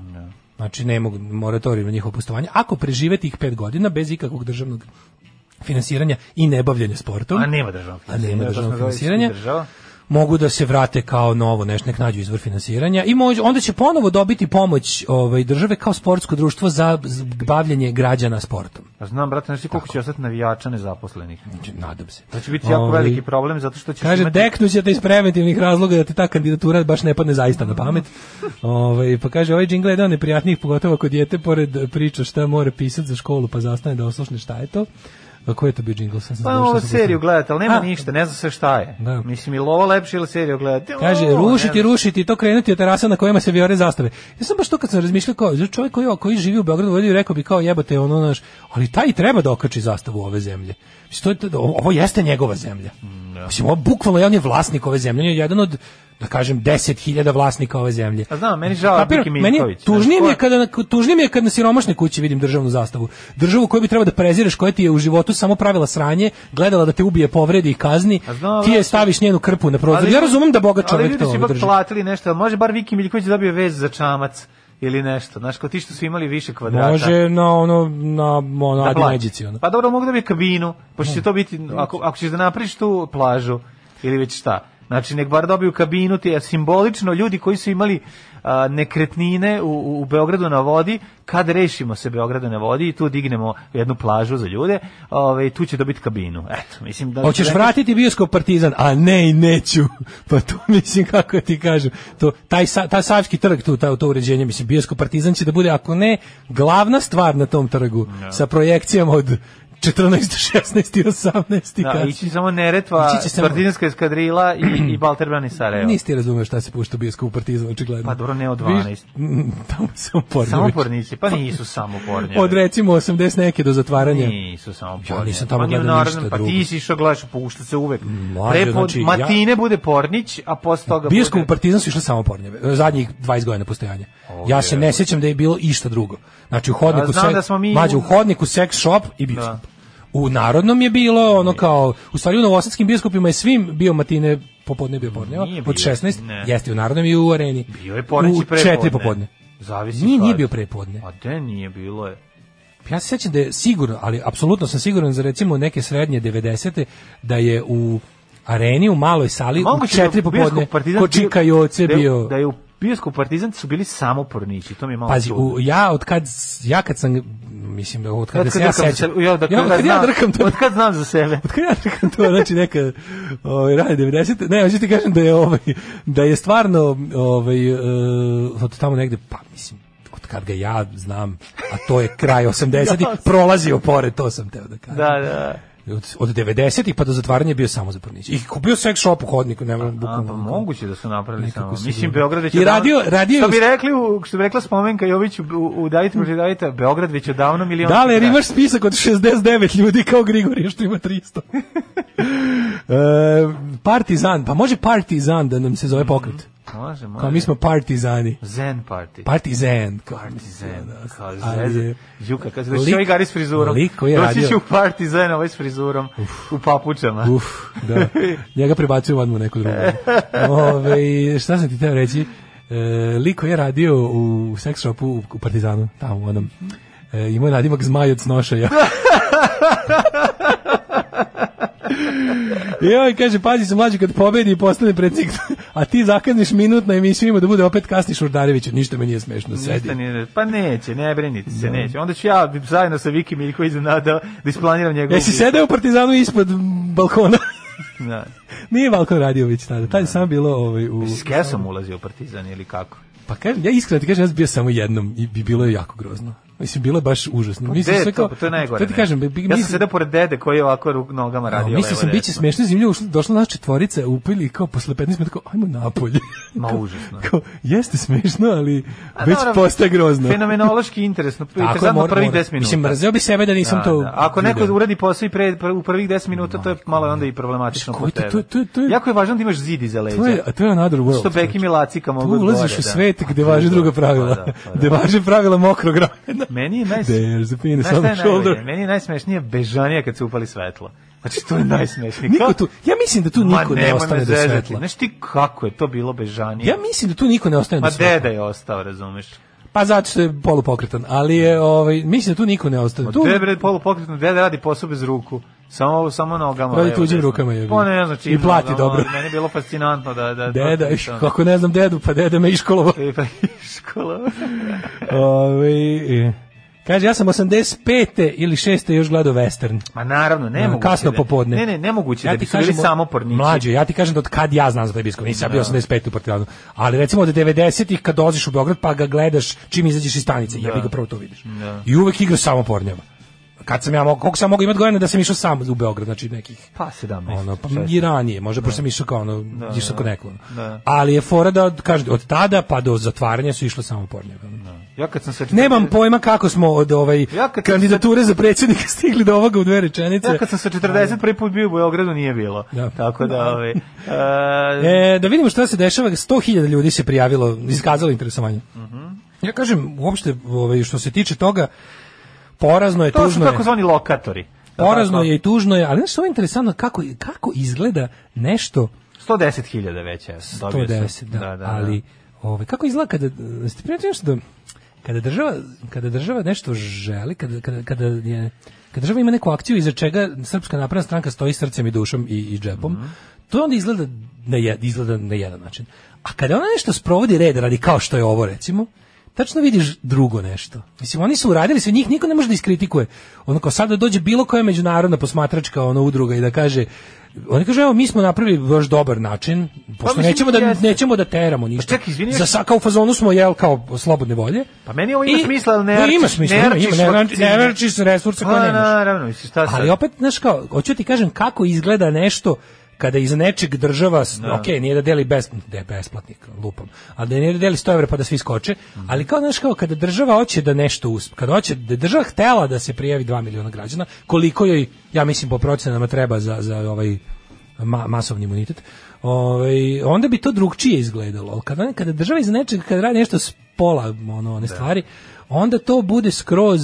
S7: Znači ne mogu moratorij na njihovo postovanje. Ako prežive tih pet godina bez ikakvog državnog finansiranja i nebavljenja sportom,
S6: A nema državnog
S7: a nema
S6: finansiranja, to smo
S7: državnog
S6: zavisni
S7: finansiranja,
S6: država.
S7: mogu da se vrate kao novo, nešto nek nađu izvor finansiranja i moć- onda će ponovo dobiti pomoć ovaj, države kao sportsko društvo za z- bavljenje građana sportom.
S6: Pa znam, brate, znaš ti koliko će ostati navijača nezaposlenih?
S7: Znači, Nadam se.
S6: To će biti jako
S7: Ovaj,
S6: veliki problem, zato što ćeš
S7: Kaže,
S6: imati...
S7: deknuće te iz preventivnih razloga da ti ta kandidatura baš ne padne zaista na pamet. Ove, pa kaže, ovaj džingle je jedan od neprijatnijih, pogotovo kod djete, pored eh, priča šta mora pisati za školu, pa zastane da oslušne šta je to. A koji je to bio džingl? Sam se
S6: Pa
S7: zaboravio šta
S6: ovo
S7: sam
S6: seriju
S7: postavio.
S6: gledati, ali nema
S7: A.
S6: ništa, ne zna se šta je.
S7: Da.
S6: Mislim, ili ovo lepše ili seriju gledati.
S7: Kaže,
S6: O,
S7: rušiti,
S6: ne znam.
S7: rušiti, i to krenuti od terasa na kojima se vijore zastave. Ja sam baš to kad sam razmišljao kao, znaš, čovjek koji, koji živi u Beogradu, vodio rekao bi kao jebate ono naš, ali taj i treba da okači zastavu ove zemlje. Mislim, to je, ovo jeste njegova zemlja.
S6: Mm,
S7: Mislim, ovo bukvalno je on je vlasnik ove zemlje, on je jedan od da kažem 10.000 vlasnika ove zemlje.
S6: A Pa znam, meni žao
S7: Kapiraš?
S6: Miki
S7: Meni je-
S6: Miljković.
S7: tužnije mi je
S6: Znaš, ko-
S7: kada na- tužnije mi je kad na siromašnoj kući vidim državnu zastavu. Državu koju bi trebao da prezireš, koja ti je u životu samo pravila sranje, gledala da te ubije, povredi i kazni.
S6: A znam,
S7: ti je
S6: ali-
S7: staviš njenu krpu na prozor.
S6: Ali-
S7: ja razumem da boga
S6: Ali
S7: čovjek
S6: ljudi
S7: to
S6: su
S7: ono
S6: ipak
S7: drži.
S6: platili nešto, ali može bar Viki Miljković da dobije vez za čamac ili nešto. Znaš, kao ti što su imali više kvadrata.
S7: Može na ono na ono Adi
S6: plati.
S7: Međici, ono.
S6: Pa dobro, mogu da bi kabinu, pošto će to biti, ako, ako ćeš da napriš tu plažu ili već šta. Znači, nek bar dobiju kabinu, te, jer simbolično ljudi koji su imali a, nekretnine u- u, u Beogradu na vodi, kad rešimo se Beogradu na vodi i tu dignemo jednu plažu za ljude, ove, tu će dobiti kabinu. Eto, mislim da...
S7: Hoćeš vratiti bioskop Partizan, a ne i neću. Pa to mislim kako ti kažem. To taj sa, taj Savski trg tu ta, to uređenje mislim bioskop Partizan će da bude ako ne glavna stvar na tom trgu sa projekcijama od 14, 16 i 18 i
S6: Da,
S7: kad-
S6: ići samo Neretva,
S7: Ići će samo-
S6: Partizanska eskadrila i, i Balterbrani Sarajevo.
S7: Nisi ti razumeo šta se pušta u bioskopu Partizan, očigledno.
S6: Pa dobro, ne od
S7: Viš-
S6: 12.
S7: Mm, Tamo samo porno.
S6: Samo pornici, pa nisu samo pornjevi.
S7: Od recimo 80 neke do zatvaranja.
S6: Nisu samo pornje.
S7: nisam tamo
S6: Pa ni u
S7: gledao ništa
S6: narodnom, Pa
S7: drugo.
S6: ti si išao gledaš puštace uvek.
S7: mlađe,
S6: Prepod,
S7: znači, ja-
S6: matine bude Pornić, a posle toga
S7: Bioskop u
S6: bude...
S7: Partizan su išle samo pornjeve. e, Zadnjih 20 godina postojanja. ja se ne sjećam da je bilo išta drugo. Znači u hodniku
S6: A znam
S7: sek,
S6: da smo mi-
S7: mlađe, u hodniku sex shop i bioskop.
S6: Da.
S7: U narodnom je bilo ono kao u stvari u novosadskim bioskopima je svim bio matine popodne je bio pornjeva.
S6: Nije bio,
S7: Od 16
S6: ne.
S7: jeste u narodnom i u areni.
S6: Bio je Pornić
S7: u
S6: i prepodne.
S7: 4 popodne.
S6: Zavisi
S7: Nije, nije
S6: kad.
S7: bio prepodne.
S6: A de nije bilo je.
S7: Ja se sjećam da je sigurno, ali apsolutno sam siguran za recimo neke srednje 90. da je u areni u maloj sali u
S6: Moguće da je
S7: četiri
S6: Bioskop
S7: popodne
S6: Partizan
S7: ko
S6: bio-
S7: čika i oce
S6: da je-
S7: bio.
S6: Da je u Bioskop Partizan su bili samo pornići, to mi je malo
S7: Pazi,
S6: čudno.
S7: u, ja od kad ja kad sam mislim, od kada
S6: Kad
S7: se ja
S6: drkam za
S7: sećam.
S6: sebe, ja, dakle,
S7: Ja, od kad ja drkam, to
S6: Od kad znam za sebe.
S7: Od kada ja drkam to, znači neka ovaj radi 90. Ne, hoću ti kažem da je ovaj da je stvarno ovaj eh, od tamo negde pa mislim od kad ga ja znam, a to je kraj 80-ih, prolazio pored, to sam teo da kažem.
S6: Da, da.
S7: Od, od 90-ih pa do zatvaranja je bio samo za pornić. I kupio sex shop u hodniku, nema
S6: A, pa
S7: bukvalno. ono
S6: moguće da su napravili
S7: Nekako
S6: samo.
S7: su
S6: Mislim,
S7: bili.
S6: Beograd već
S7: I radio- radio je
S6: Što bi
S7: u-
S6: rekli, u, što bi rekla Spomenka Jović u, u Davit protiv Davita, Beograd već odavno milion...
S7: Da li jer imaš spisak od 69 ljudi kao Grigorije što ima 300? e, partizan, pa može partizan da nam se zove pokret.
S6: Može, može.
S7: Kao mi smo partizani.
S6: Zen party.
S7: Partizan. kao-
S6: Partizan. Kao
S7: Ali
S6: zezan.
S7: je-
S6: Juka, kad se
S7: Lik-
S6: doći ovaj gari s frizurom.
S7: lik koji je
S6: Doći će
S7: radio-
S6: u partizan ovaj s frizurom. U papučama.
S7: Uf, da. Njega prebacuju odmah u neku drugu. Ove, šta sam ti teo reći? E, liko je radio u sex shopu u, u Partizanu, tamo u onom. E, imao je nadimak zmaj od snošaja. I ovaj kaže, pazi se mlađi kad pobedi i postane predsjednik, a ti zakazniš minut na emisiju ima da bude opet kasni Šurdarević, ništa me nije smešno, sedi.
S6: Ništa nije, pa neće, ne brinite se, neće. Onda ću ja zajedno sa Viki Miljković da, da, da isplaniram njegovu...
S7: Jesi sedeo u Partizanu ispod balkona?
S6: Da.
S7: Nije Valko Radiović tada, tad je samo bilo ovaj, u...
S6: S kesom ulazio u partizan ili kako?
S7: Pa kažem, ja iskreno ti kažem, ja sam bio samo jednom i bi bilo je jako grozno. Mislim, bilo je baš užasno.
S6: Pa
S7: Mislim,
S6: gde
S7: sve
S6: je
S7: kao,
S6: to, Pa to je najgore.
S7: To ti
S6: ne.
S7: kažem, bi, bi,
S6: ja sam
S7: mislim-
S6: sedao pored dede koji je ovako ruk nogama
S7: a,
S6: radio.
S7: mislio sam,
S6: levo,
S7: bit će
S6: desno.
S7: smiješno zemlje, ušla, došla naša četvorica, upili i kao posle 15 minuta, kao, ajmo napolje.
S6: Ma
S7: Kao-
S6: užasno.
S7: Kao, jeste smiješno, ali
S6: A,
S7: već
S6: naravno,
S7: postaje grozno.
S6: Fenomenološki interesno, interesantno prvih 10 minuta.
S7: Mislim, mrzeo bi sebe da nisam
S6: Da,
S7: to...
S6: da. Ako neko
S7: video.
S6: uradi posao i pre, pre- u prvih 10 minuta, to je malo onda i problematično
S7: Znači, Koji
S6: po
S7: to-
S6: tebe.
S7: to- to- to je-
S6: Jako je važno da imaš zid iza leđa.
S7: To je, a to je another world.
S6: Što Beki
S7: čoveče.
S6: Milacika mogu
S7: Tu ulaziš u svet
S6: Pa
S7: gde važe druga pravila.
S6: Da, pa
S7: Gde
S6: da.
S7: važe pravila mokrog ramena.
S6: Meni je najs...
S7: There's the penis
S6: Znaš
S7: on
S6: šta je
S7: the shoulder.
S6: najbolje? Meni je najsmešnije bežanija kad se upali svetlo. Znači, to je najsmešnije.
S7: Niko
S6: Kao-
S7: tu, ja mislim da tu
S6: Ma
S7: niko ne
S6: nemoj me
S7: ostane do
S6: zezati.
S7: svetla.
S6: Znaš ti kako je to bilo bežanije?
S7: Ja mislim da tu niko ne ostane
S6: Ma
S7: do svetla.
S6: deda Pa je ostao, razumeš?
S7: Pa zato što je polupokretan, ali je ovaj mislim da tu niko ne
S6: Ma
S7: ostane. Tu
S6: tu... dede je polupokretno, dede radi posao bez ruku. Samo, samo nogama.
S7: Radi
S6: levo,
S7: tuđim
S6: desno.
S7: rukama, jebi.
S6: Pa ne znam čim.
S7: I plati
S6: nogama,
S7: dobro.
S6: Meni je bilo fascinantno da... da
S7: deda,
S6: da-
S7: iš, kako ne znam dedu, pa deda me iškolovao.
S6: E, pa škola.
S7: Ovaj, e. Kaže, ja sam 85. ili 6. još gledao western.
S6: Ma naravno, ne mogu.
S7: Ono, kasno popodne.
S6: E, Ne, ne, nemoguće
S7: Ja
S6: da
S7: ti
S6: bi su bili
S7: kažem,
S6: samo pornici.
S7: Mlađe, ja ti kažem da od kad ja znam za taj biskop, nisam ja bio 85 u Partizanu. Ali recimo od 90-ih kad dođeš u Beograd pa ga gledaš čim izađeš iz stanice, ja jebi ga prvo to vidiš. I uvek igra samo pornjava. Kad sam ja mogao, koliko sam mogao imati godina da sam išao sam u Beograd, znači nekih
S6: Pa 17.
S7: ono pa
S6: 16.
S7: i ranije možda pošto sam išao kao ono išao sam kod nekog ono.
S6: Da.
S7: ali je fora da kaže od tada pa do zatvaranja su išle samo pornjeve
S6: Ja kad sam sa...
S7: nemam pojma kako smo od ovaj
S6: Ja kad sam
S7: kandidature za predsjednika stigli do ovoga u dve rečenice
S6: Ja kad sam sa 40 prvi put bio u Beogradu nije bilo.
S7: Da.
S6: Tako da ovaj, ove, e,
S7: E, da vidimo šta se dešava, 100.000 ljudi se prijavilo, iskazalo interesovanje. Ja kažem, uopšte, ovaj, što se tiče toga, porazno je,
S6: to su
S7: tužno je,
S6: takozvani lokatori.
S7: porazno
S6: Tako,
S7: je i tužno je, ali znaš što je interesantno, kako, kako izgleda nešto
S6: 110.000 već je. dobio sam.
S7: 110, Pa da, ali ovaj, kako izgleda kada, ste primetili nešto da, kada država, kada država nešto želi, kada, kada, kada je, kada država ima neku akciju iza čega Srpska napredna stranka stoji srcem i dušom i, i džepom,
S6: Mhm.
S7: to onda izgleda na, je- izgleda na jedan način. A kada ona nešto sprovodi red radi kao što je ovo recimo, tačno vidiš drugo nešto. Mislim, oni su uradili sve, njih niko ne može da iskritikuje. Ono kao sad da dođe bilo koja međunarodna posmatračka ono udruga i da kaže, oni kažu, evo, mi smo napravili baš dobar način, pošto
S6: Pa mislim,
S7: nećemo, da,
S6: jeste.
S7: nećemo da teramo ništa.
S6: Pa čekaj, izvini,
S7: Za sa, kao u fazonu smo, jel, kao slobodne volje.
S6: Pa meni ovo ima
S7: I-
S6: smisla, ali ne
S7: No, ima
S6: arčiš-
S7: smisla,
S6: ne
S7: ima, ima,
S6: arčiš
S7: ne, arči-
S6: vakcine.
S7: ne arčiš resurse koje
S6: Pa
S7: nemaš.
S6: naravno, mislim, šta sad?
S7: Ali opet, znaš kao, hoću ti kažem kako izgleda nešto kada iz nečeg država, no. ok, nije da deli bes, de, besplatnik, lupam, a da nije da deli 100 evra pa da svi skoče, ali kao, znaš, kao kada država hoće da nešto uspe, kada hoće, da je država htela da se prijavi 2 miliona građana, koliko joj, ja mislim, po procenama treba za, za ovaj ma, masovni imunitet, ovaj, onda bi to drugčije izgledalo. Ali Kada, kada država iz nečeg, kada radi nešto s pola ono, one stvari, onda to bude skroz,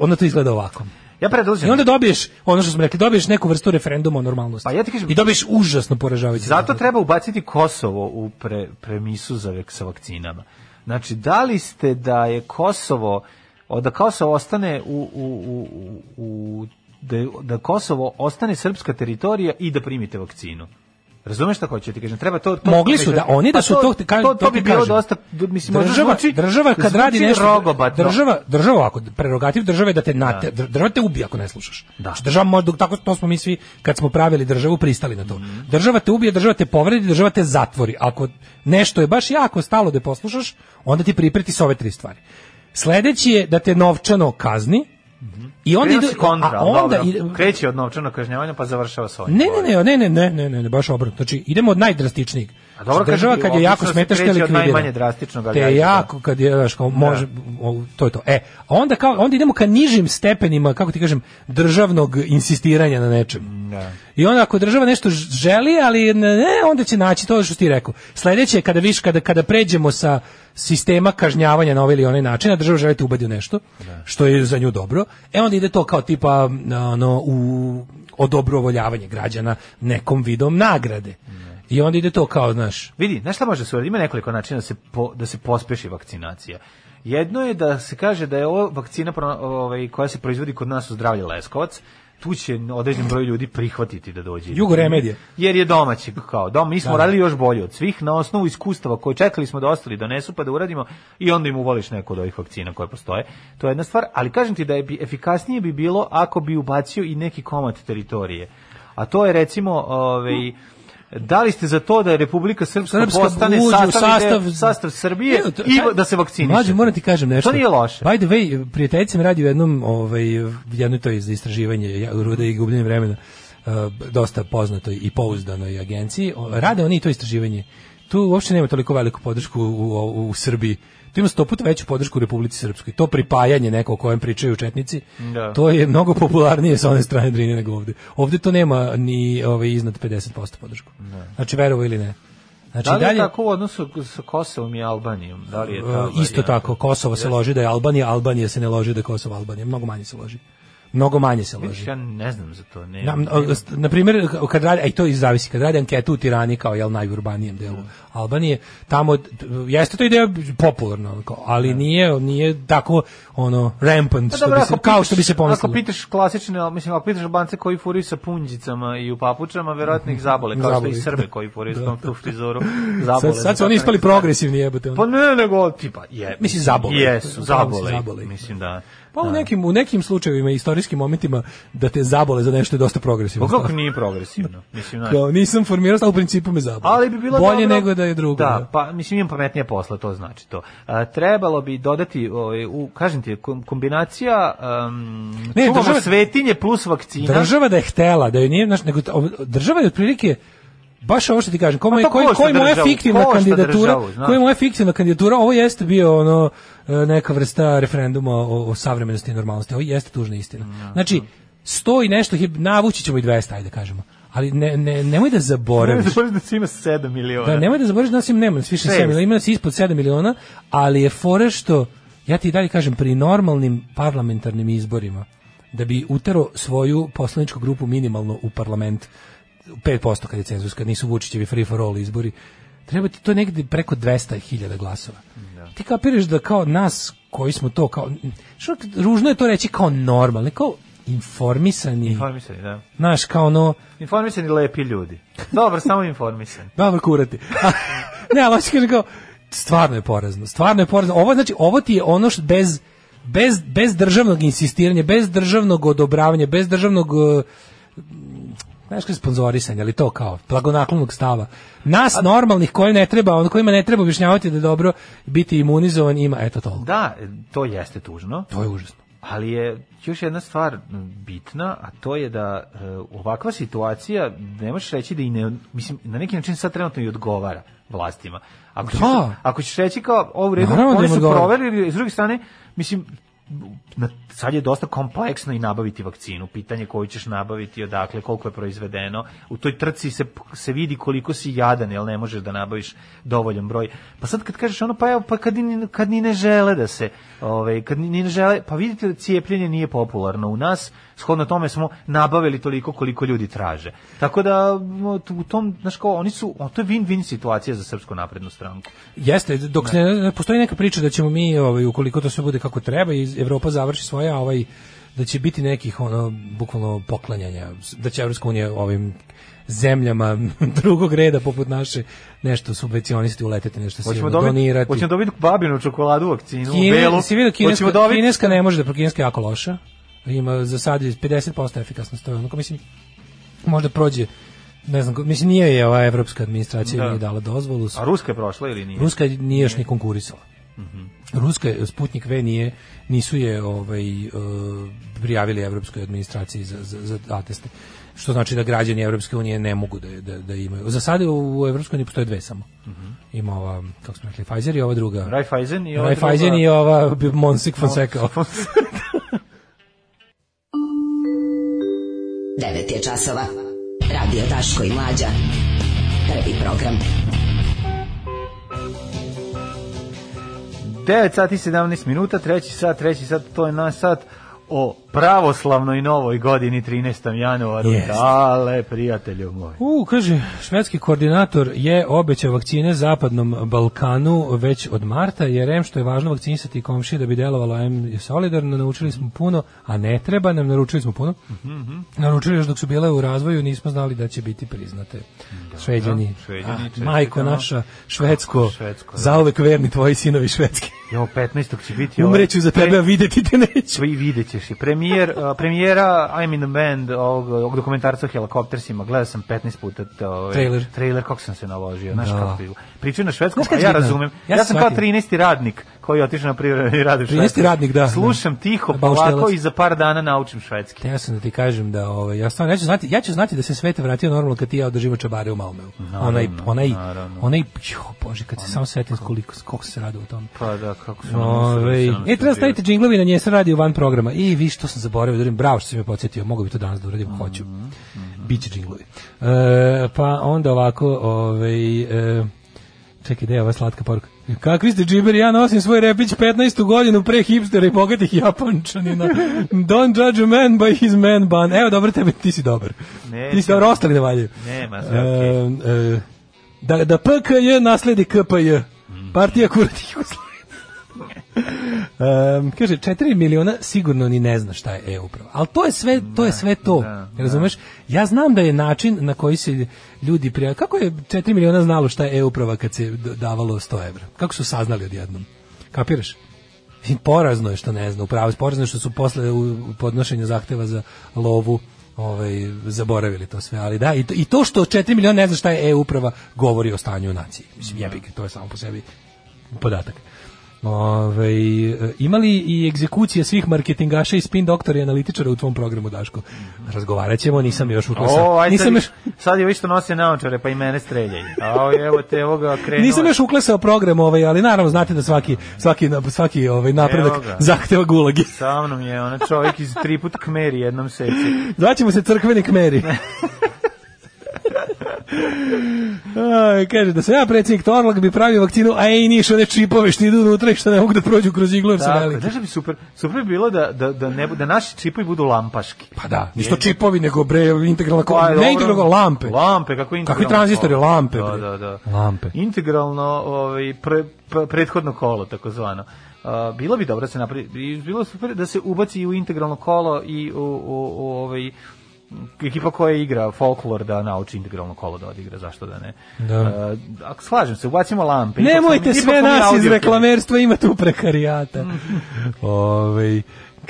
S7: onda to izgleda ovako.
S6: Ja predlažem.
S7: I onda dobiješ, ono što smo rekli, dobiješ neku vrstu referenduma o normalnosti.
S6: Pa ja ti kažem-
S7: I dobiješ užasno poražavajući.
S6: Zato
S7: rezultat.
S6: treba ubaciti Kosovo u pre, premisu za vek sa vakcinama. Znači, da li ste da je Kosovo, o, da Kosovo ostane u, u, u, u- u da, je- da Kosovo ostane srpska teritorija i da primite vakcinu. Razumeš šta hoću ti kažem? Treba to, to
S7: Mogli su da oni da
S6: Pa
S7: su
S6: to
S7: to kažem,
S6: to, to bi
S7: ti
S6: bilo
S7: kažem.
S6: dosta mislim možda
S7: država,
S6: zvuči-
S7: država kad
S6: zvuči
S7: radi nešto
S6: rogobatno.
S7: država država ovako prerogativ države je da te nate, država te ubije ako ne slušaš.
S6: Da.
S7: Znači, Država može tako to smo mi svi kad smo pravili državu pristali na to. Država te ubije, država te povredi, država te zatvori. Ako nešto je baš jako stalo da je poslušaš, onda ti pripreti s ove tri stvari. Sledeći je da te novčano kazni. I onda
S6: Krenuo
S7: ide
S6: si kontra,
S7: a onda
S6: dobro.
S7: ide-
S6: kreće od novčanog kažnjavanja pa završava sa ovim.
S7: ne, ne, ne, ne, ne, ne, ne, ne, baš obrnuto. Znači, idemo od najdrastičnijeg.
S6: A dobro,
S7: Znači, država
S6: kažem ti,
S7: kad je jako
S6: obično se
S7: smetaš te
S6: kreće od
S7: likvidira.
S6: najmanje drastičnog, ali
S7: Te
S6: ajde, da.
S7: jako kad je, znaš, kao može, o, to je to. E, a onda, kao, onda idemo ka nižim stepenima, kako ti kažem, državnog insistiranja na nečem. I onda ako država nešto ž- želi, ali ne, ne, onda će naći to što ti rekao. Sledeće je kada viš kada kada pređemo sa sistema kažnjavanja na ovaj ili onaj način, a država želi te ubadi u nešto, što je za nju dobro. E onda ide to kao tipa m, ono u odobrovoljavanje građana nekom vidom nagrade. I onda ide to kao, znaš,
S6: Vidi, znaš šta može se uraditi? Ima nekoliko načina da se, po, da se pospeši vakcinacija. Jedno je da se kaže da je ovo vakcina pro- ovaj, koja se proizvodi kod nas u zdravlje Leskovac, tu će određen broj ljudi prihvatiti da dođe.
S7: Jugo remedije.
S6: Jer je domaći, kao dom. Mi smo
S7: Da.
S6: radili još bolje od svih na osnovu iskustava koje čekali smo da ostali donesu pa da uradimo i onda im uvoliš neku od ovih vakcina koje postoje. To je jedna stvar, ali kažem ti da je bi efikasnije bi bilo ako bi ubacio i neki komad teritorije. A to je recimo, ovaj, da li ste za to da je Republika Srpska,
S7: Srpska
S6: postane
S7: uđe
S6: sastav,
S7: u sastav,
S6: sastav, sastav Srbije
S7: Ne, to-
S6: i
S7: taj-
S6: da se vakciniše?
S7: Mlađe, moram ti kažem nešto.
S6: To nije loše.
S7: By the way, prijateljica mi radi u jednom, ovaj, jedno to je za istraživanje ja- ruda i gubljenje vremena, eh, dosta poznatoj i pouzdanoj agenciji. O, Rade oni to istraživanje. Tu uopšte nema toliko veliku podršku u, u, u Srbiji. Tu ima sto puta veću podršku u Republici Srpskoj. To pripajanje neko o kojem pričaju četnici,
S6: Da.
S7: to je mnogo popularnije sa one strane Drine nego ovde. Ovde to nema ni ovaj, iznad 50% podršku. Znači, verovo ili ne. Znači,
S6: Da li je
S7: dalje,
S6: tako u odnosu sa Kosovom i Albanijom? Da li je ta
S7: E, Isto
S6: varijanta?
S7: tako, Kosovo se loži da je Albanija, Albanija se ne loži da je Kosovo Albanija, mnogo manje se loži. Mnogo manje se
S6: Vidiš,
S7: loži.
S6: Ja ne znam za to. Ne,
S7: znači. Na, e, na, na primjer, kad radi, a i to i zavisi, kad radi anketu u Tirani kao jel, najurbanijem delu Albanije, tamo, d- jeste to ideja popularna, ono, kao, ali nije, nije tako, ono, rampant,
S6: Pa
S7: što
S6: dobro,
S7: bi se,
S6: ako
S7: kao
S6: pitaš-
S7: što bi se
S6: Ako
S7: pomislilo.
S6: pitaš klasične, mislim, ako pitaš bance koji furaju sa punđicama i u papučama, verovatno ih zabole, kao
S7: Zabole
S6: što i
S7: ih,
S6: Srbe
S7: da.
S6: koji furaju
S7: Da,
S6: sa tom tu frizoru,
S7: Sad,
S6: zabole.
S7: sad su oni ispali progresivni jebote. ono.
S6: Pa ne, nego, tipa, je.
S7: Mislim, zabole.
S6: Jesu,
S7: Pravo si
S6: zabole.
S7: zabole.
S6: Mislim, da.
S7: Pa u
S6: da.
S7: nekim, u nekim slučajevima, istorijskim momentima, da te zabole za nešto je dosta progresivno.
S6: Pa kako nije progresivno? Mislim, znaš.
S7: Kao, nisam formirao, ali u principu me zabavlja.
S6: Ali bi bilo
S7: Bolje
S6: dobro-
S7: nego da je drugo.
S6: Da, pa mislim imam pametnije posla, to znači to. A, trebalo bi dodati, ovaj, u, kažem ti, kom- kombinacija um,
S7: Ne,
S6: čuvamo
S7: država-
S6: svetinje plus vakcina.
S7: Država da je htela, da je nije, znaš, nego, država je otprilike baš ovo što ti kažem, kome,
S6: Pa to
S7: koji,
S6: košta
S7: koji moja
S6: državu,
S7: fiktivna
S6: košta
S7: kandidatura,
S6: državu, znaš.
S7: koji moja fiktivna kandidatura, ovo jeste bio ono e, neka vrsta referenduma o, o savremenosti i normalnosti, ovo jeste tužna istina. Znači, sto i nešto, hib- navući ćemo i 200, ajde kažemo. Ali ne, ne, nemoj da
S6: Ne
S7: zaboraviš.
S6: znam da se ima 7 miliona.
S7: Da, nemoj Pa da zaboraviš da nas ima nema nas više
S6: Šest.
S7: 7 miliona, ima nas ispod 7 miliona, ali je fore što, ja ti i dalje kažem, pri normalnim parlamentarnim izborima, da bi utero svoju poslaničku grupu minimalno u parlament, 5% kad je cenzus, kad nisu Vučićevi free for all izbori, treba ti to negde preko 200.000 glasova. Ti kapiraš da kao nas koji smo to kao, što ružno je to reći kao normalni, kao informisani,
S6: Informisani, da.
S7: znaš, kao ono,
S6: Informisani lepi ljudi. Dobro, samo informisani.
S7: Dobro kurati. ne, ali hoće kažem kao, stvarno je porazno, stvarno je porazno. Ovo, znači, ovo ti je ono što bez, bez, bez državnog insistiranja, bez državnog odobravanja, bez državnog eh, znaš kako sponzorisanja, ali to kao blagonaklonog stava. Nas normalnih koji ne treba, on kojima ne treba objašnjavati da je dobro biti imunizovan, ima eto toliko.
S6: Da, to jeste tužno,
S7: To je užasno.
S6: ali je još jedna stvar bitna, a to je da e, ovakva situacija, ne možeš reći da i ne, mislim, na neki način sad trenutno i odgovara vlastima. Ako ćeš,
S7: Da.
S6: ako ćeš reći kao, ovo u redu,
S7: Naravno da
S6: oni
S7: im
S6: su
S7: odgovara.
S6: proverili, s druge strane, mislim, na, sad je dosta kompleksno i nabaviti vakcinu, pitanje koju ćeš nabaviti, odakle, koliko je proizvedeno. U toj trci se, se vidi koliko si jadan, jel ne možeš da nabaviš dovoljan broj. Pa sad kad kažeš ono, pa evo, pa kad ni, kad ni ne žele da se, ovaj, kad ni, ni ne žele, pa vidite da cijepljenje nije popularno u nas, shodno tome smo nabavili toliko koliko ljudi traže. Tako da mo, tu- u tom, znaš kao, oni su, o, to je win-win situacija za Srpsku naprednu stranku.
S7: Jeste, dok ne, ne postoji neka priča da ćemo mi, ovaj, ukoliko to sve bude kako treba i Evropa završi svoje, a ovaj da će biti nekih ono bukvalno poklanjanja, da će Evropska unija ovim zemljama drugog reda poput naše nešto subvencionisti uleteti nešto
S6: Hoćemo
S7: silno
S6: dobiti,
S7: donirati.
S6: hoćemo dobiti babinu čokoladu, vakcinu,
S7: Kine-
S6: belu.
S7: si vidio
S6: Hoćemo
S7: kineska,
S6: dobiti
S7: kineska ne može da pro kineska je jako loša. Ima za sad je 50% efikasnost, to je onako mislim možda prođe ne znam, ko- mislim nije je ova evropska administracija
S6: Da.
S7: nije dala dozvolu. s-
S6: A Ruska je prošla ili nije?
S7: Ruska nije još ni konkurisala.
S6: Mhm.
S7: Ruska je- Sputnik V nije nisu je ovaj e, prijavili evropskoj administraciji za za, za ateste. Što znači da građani Evropske unije ne mogu da, da, da imaju. Za sada u Evropskoj uniji postoje dve samo. Ima ova, kako smo rekli, Pfizer i ova druga.
S6: Mhm. Raiffeisen i ova
S7: Raiffeisen
S6: druga-
S7: i ova bi- Monsik Fonseca.
S8: 9 je časova. Radio Daško i Mlađa. Prvi program.
S6: 9 sati i 17 minuta, treći sat, treći sat, to je naš sat o pravoslavnoj novoj godini 13. januaru.
S7: Jeste.
S6: Dale, prijatelju moj.
S7: U, kaže, švedski koordinator je obećao vakcine zapadnom Balkanu već od marta, jer em što je važno vakcinisati komšije da bi delovalo em je solidarno, naučili smo puno, a ne treba nam, naručili smo puno.
S6: Mhm.
S7: Naručili još dok su bile u razvoju, nismo znali da će biti priznate. Šveđani,
S6: Šveđani,
S7: A,
S6: čestitamo.
S7: majko naša, švedsko,
S6: Švedsko, da.
S7: zauvek verni tvoji sinovi švedski.
S6: Jo, 15. će biti... ovaj-
S7: Umreću za tebe, a videti te neću.
S6: Sve i vidjet ćeš. I Premijer, a, premijera I'm in the band ovog, ovog dokumentarca o helikoptersima. Gledao sam 15 puta t- ovaj,
S7: Trailer.
S6: trailer, kako sam se naložio. Znaš
S7: Da.
S6: kako je bilo. Pričaju na švedskom,
S7: Znaš kad
S6: a
S7: će
S6: ja
S7: biti,
S6: razumem.
S7: da?
S6: Ja,
S7: Ja sam
S6: sam kao
S7: shvatio.
S6: 13. radnik koji je otišao na privremeni rad u
S7: 13.
S6: Švedsku.
S7: radnik, da.
S6: Slušam tiho,
S7: Da, bauštelac.
S6: polako i za par dana naučim švedski.
S7: Te ja sam da ti kažem da ovaj ja stvarno ja ću znati ja ću znati da se svet vratio normalno kad ti i ja održimo čabare u Malmeu. onaj onaj
S6: naravno.
S7: onaj jo, bože kad se samo setim koliko koliko se raduje o tom.
S6: Pa da, kako sam...
S7: Ove,
S6: sam- sam-
S7: e, treba staviti džinglovi na nje se radi van programa. I vi što sam zaboravio da uradim, bravo što si me podsjetio, mogu bi to danas da uradim,
S6: Mhm,
S7: hoću. Biće džinglovi. E, pa onda ovako, ovaj, e, čekaj, gde je ova slatka poruka? Kakvi ste džiberi, ja nosim svoj repić 15. godinu pre hipstera i bogatih japančanina. Don't judge a man by his man bun. Evo, dobro tebe, ti si dobar.
S6: Neće.
S7: Ti si dobar, ostali ne valjaju.
S6: Nema, sve okej.
S7: E, e, da, da PKJ nasledi KPJ.
S6: Mm.
S7: Partija kuratih Um, kaže, 4 miliona sigurno ni ne zna šta je e-uprava. Ali to je sve to. Je sve to razumeš? Ja znam da je način na koji se ljudi prija... Kako je 4 miliona znalo šta je e-uprava kad se d- davalo 100 evra? Kako su saznali odjednom? Kapiraš? I porazno je što ne zna, upravo porazno je što su posle u- u podnošenja zahteva za lovu ovaj, zaboravili to sve, ali da, i to, i to što 4 miliona ne zna šta je e-uprava govori o stanju u naciji. Mislim, jebi ga, to je samo po sebi podatak. Ove, imali i egzekucije svih marketingaša i spin doktora i analitičara u tvom programu, Daško? Razgovarat ćemo, nisam još u to sad-
S6: Mhm. O, ajde, sad,
S7: nisam još,
S6: sad je ovi što nose naočare, pa i mene streljaju. A ovo, evo te, evo ga krenuo.
S7: nisam još uklesao program, ovaj, ali naravno znate da svaki, svaki, svaki ovaj, napredak
S6: Evo ga.
S7: zahteva gulagi.
S6: Sa mnom je ona čovjek iz tri put kmeri jednom seci.
S7: Zvaćemo se crkveni kmeri. Aj, kaže, da sam ja predsjednik Torlak bi pravio vakcinu, a ej, niš, one čipove što idu unutra i što ne mogu da prođu kroz iglu, jer su
S6: Tako,
S7: velike.
S6: znaš da bi super, super bi bilo da, da, da, ne, bu- da naši čipovi budu lampaški.
S7: Pa da, ništo čipovi, nego bre, integralna, ko-
S6: Pa, dobro.
S7: ne integralna, nego lampe.
S6: Lampe, kako integralno.
S7: Kakvi tranzistori,
S6: kolo.
S7: lampe,
S6: Da,
S7: bre.
S6: da, da.
S7: Lampe.
S6: Integralno, ovaj, pre, pre- prethodno kolo, takozvano. A, bilo bi dobro da se napravi, bi- bilo super da se ubaci i u integralno kolo i u, u, u ovaj, ekipa koja igra folklor da nauči integralno kolo da odigra, zašto da ne.
S7: Da.
S6: A, ak- slažem se, ubacimo lampe. Ipak smo
S7: Nemojte
S6: mi-
S7: sve
S6: ipak smo mi
S7: nas iz
S6: audiofili.
S7: reklamerstva ima tu prekarijata. Ovaj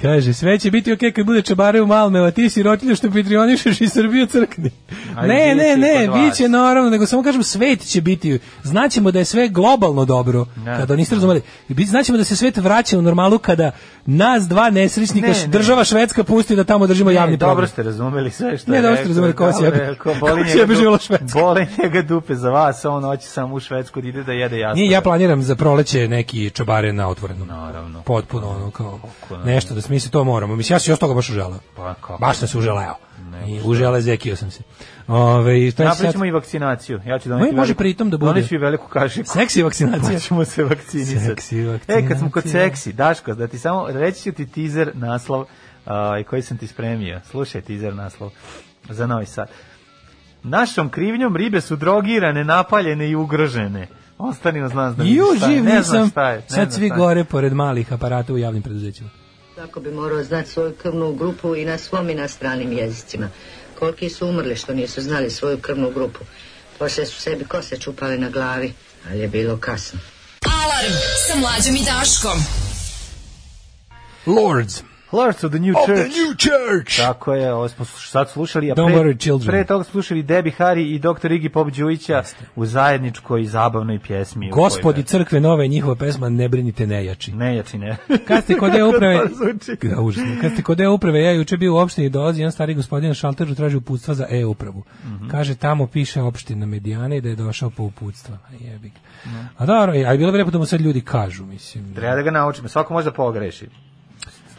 S7: Kaže, sve će biti okej kad bude čabare u Malme, a ti si rotilja što pitrionišeš i Srbiju crkni.
S6: Ajde,
S7: ne,
S6: idite
S7: ne, ne,
S6: kod vas.
S7: bit će naravno, nego samo kažem, svet će biti, znaćemo da je sve globalno dobro, kada niste razumeli, Bit- znaćemo da se svet vraća u normalu kada nas dva nesrećnika,
S6: Ne, ne.
S7: država Švedska pusti da tamo držimo
S6: Ne,
S7: javni
S6: dobro
S7: program.
S6: ste razumeli sve što
S7: Ne,
S6: je
S7: dobro ste
S6: rekao,
S7: razumeli ko vas
S6: dobro
S7: jebe.
S6: je rekao, boli
S7: Ko vas
S6: njega
S7: jebe
S6: dupe-
S7: živjela Švedska.
S6: Boli njega dupe za vas, a on hoće samo u Švedsku da ide da jede jasno.
S7: Nije, ja planiram za proleće neki čabare na otvorenom.
S6: Naravno.
S7: Potpuno ono kao
S6: ne?
S7: nešto da smisli to moramo. Mislim, ja se još toga baš uželao.
S6: Pa kako?
S7: Baš sam se uželeo. I užele zekio sam se. Ove, i šta je sad?
S6: Napravićemo i vakcinaciju. Ja ću doneti.
S7: Može
S6: veliku-
S7: pritom da bude.
S6: Doneću i veliku kašiku.
S7: Seksi vakcinacija.
S6: Pa ćemo se vakcinisati.
S7: Znači, Seksi
S6: E, kad smo kod
S7: vakcinacija.
S6: seksi, Daško, da ti samo reći ću ti teaser naslov ovaj, koji sam ti spremio. Slušaj teaser naslov za Novi Sad. Našom krivnjom ribe su drogirane, napaljene i ugrožene. Ostani uz nas da
S7: Ju,
S6: vidiš šta je.
S7: živ
S6: Ne znam
S7: nisam.
S6: šta je. ne
S7: Sad
S6: znam
S7: svi
S6: šta je.
S7: gore pored malih aparata u javnim preduzećima.
S11: Tako bi morao znati svoju krvnu grupu i na svom i na stranim jezicima. Koliki su umrli što nisu znali svoju krvnu grupu. Poslije su sebi kose čupali na glavi, ali je bilo kasno.
S12: Alarm sa mlađom i Daškom.
S7: Lords.
S6: Lords of the New
S7: Of the
S6: Church.
S7: New Church.
S6: Tako je, ovo smo sad slušali, a pre,
S7: Don't worry, children.
S6: pre toga slušali Debbie Harry i Dr. Iggy Pop Đujića u zajedničkoj zabavnoj pjesmi. u kojoj-
S7: Gospodi crkve nove je njihova pesma Ne brinite nejači.
S6: Nejači ne.
S7: Kad ste kod E uprave,
S6: To zvuči.
S7: Da, užasno. Kad ste kod E uprave, ja juče bio u opštini i dolazi jedan stari gospodin na šalteru traži uputstva za E upravu.
S6: Mhm.
S7: Kaže tamo piše opština Medijana i da je došao po uputstva. A Jebi ga. A dobro, je, ali bilo bi lepo da mu sad ljudi kažu, mislim.
S6: Mhm. Treba da ga naučimo, svako može da pogreši.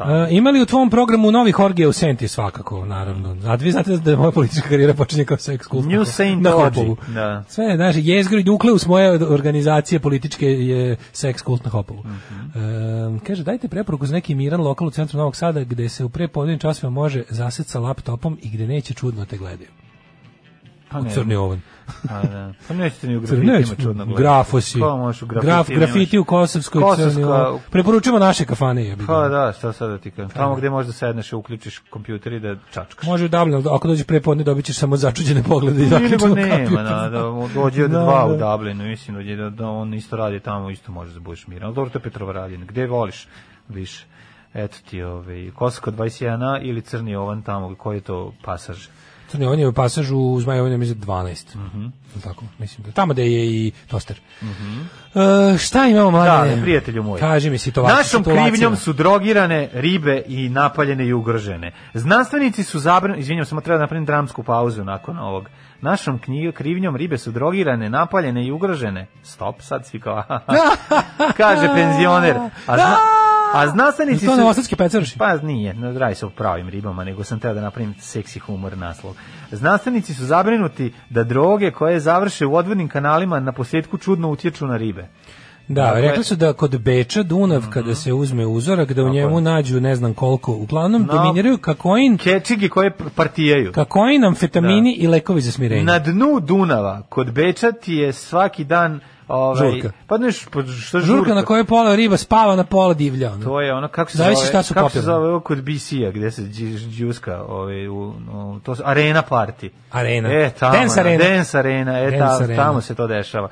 S7: E, ima li u tvom programu novih orgija u Senti svakako, naravno. A vi znate da moja politička karijera počinje kao seks kult.
S6: New Saint
S7: na
S6: Orgy.
S7: Hopovu.
S6: Da.
S7: Sve, znaš, jezgro i nukleus moje od- organizacije političke je seks kult na Hopovu.
S6: Mhm.
S7: E, kaže, dajte preporuku za neki miran lokal u centru Novog Sada gde se u prepodnevnim časima može zasjeti sa laptopom i gde neće čudno te gledaju.
S6: Pa
S7: u
S6: ne.
S7: crni ovan.
S6: A, da. Pa nećete ni u
S7: Crni,
S6: grafitima čudno gledati.
S7: grafosi.
S6: Ko može u grafitima?
S7: Graf, grafiti u Kosovskoj, crni
S6: Kosovska-
S7: ovan. Preporučujemo naše kafane. jebi ga.
S6: Pa da, šta sad da ti kažem. Tamo gde možda sedneš i uključiš kompjuter i da čačkaš.
S7: Može u Dublinu, ali ako dođeš prepodne dobit ćeš samo začuđene poglede i
S6: Ili
S7: zaključenu kapiju.
S6: nema, na, da, dođe od
S7: Da,
S6: dva u
S7: da.
S6: Dublinu, mislim, dođe da, da on isto radi tamo, isto može da budeš miran. Ali dobro, to je Petrovaradin. Gde voliš više? Eto ti, ovaj, Kosovsko 21 ili Crni Ovan tamo, koji je to pasaž?
S7: Crni on je u pasažu u Zmajovinu mislim 12. Mhm. tako, mislim da tamo da je i toster. Mhm. šta imamo mlade?
S6: Da, prijatelju moj.
S7: Kaži mi situacija.
S6: Našom
S7: situacija.
S6: krivnjom su drogirane ribe i napaljene i ugrožene. Znanstvenici su zabranili, izvinjam se, treba da napravim dramsku pauzu nakon ovog. Našom knji- krivnjom ribe su drogirane, napaljene i ugrožene. Stop, sad svi kao, "Aha." kaže penzioner. A, zna, a znanstvenici
S7: To
S6: su...
S7: ne osadski pecarši.
S6: Pa nije, ne radi se o pravim ribama, nego sam teo da napravim seksi humor naslov. Znanstvenici su zabrinuti da droge koje završe u odvodnim kanalima na posljedku čudno utječu na ribe.
S7: Da,
S6: Dakle-
S7: rekli su da kod Beča Dunav
S6: Mhm.
S7: kada se uzme uzorak da u njemu nađu ne znam koliko, uglavnom dominiraju kakoin,
S6: Kečigi koje pr- partijaju.
S7: kakoin, amfetamini i lekovi za smirenje.
S6: Na dnu Dunava, kod Beča ti je svaki dan... Ovaj,
S7: Žurka.
S6: Pa neš, pa šta žurka?
S7: Žurka na kojoj pola riba spava na pola divlja. ono.
S6: To je ono, kako se
S7: Zavisi
S6: zove,
S7: šta su
S6: kako se
S7: popili.
S6: zove ovo kod BC-a, gde se dži- džuska, ovaj, u, u- to su arena party.
S7: Arena.
S6: E, tamo,
S7: Dance arena.
S6: Dance arena, e,
S7: Dance
S6: ta-
S7: arena.
S6: tamo se to dešava.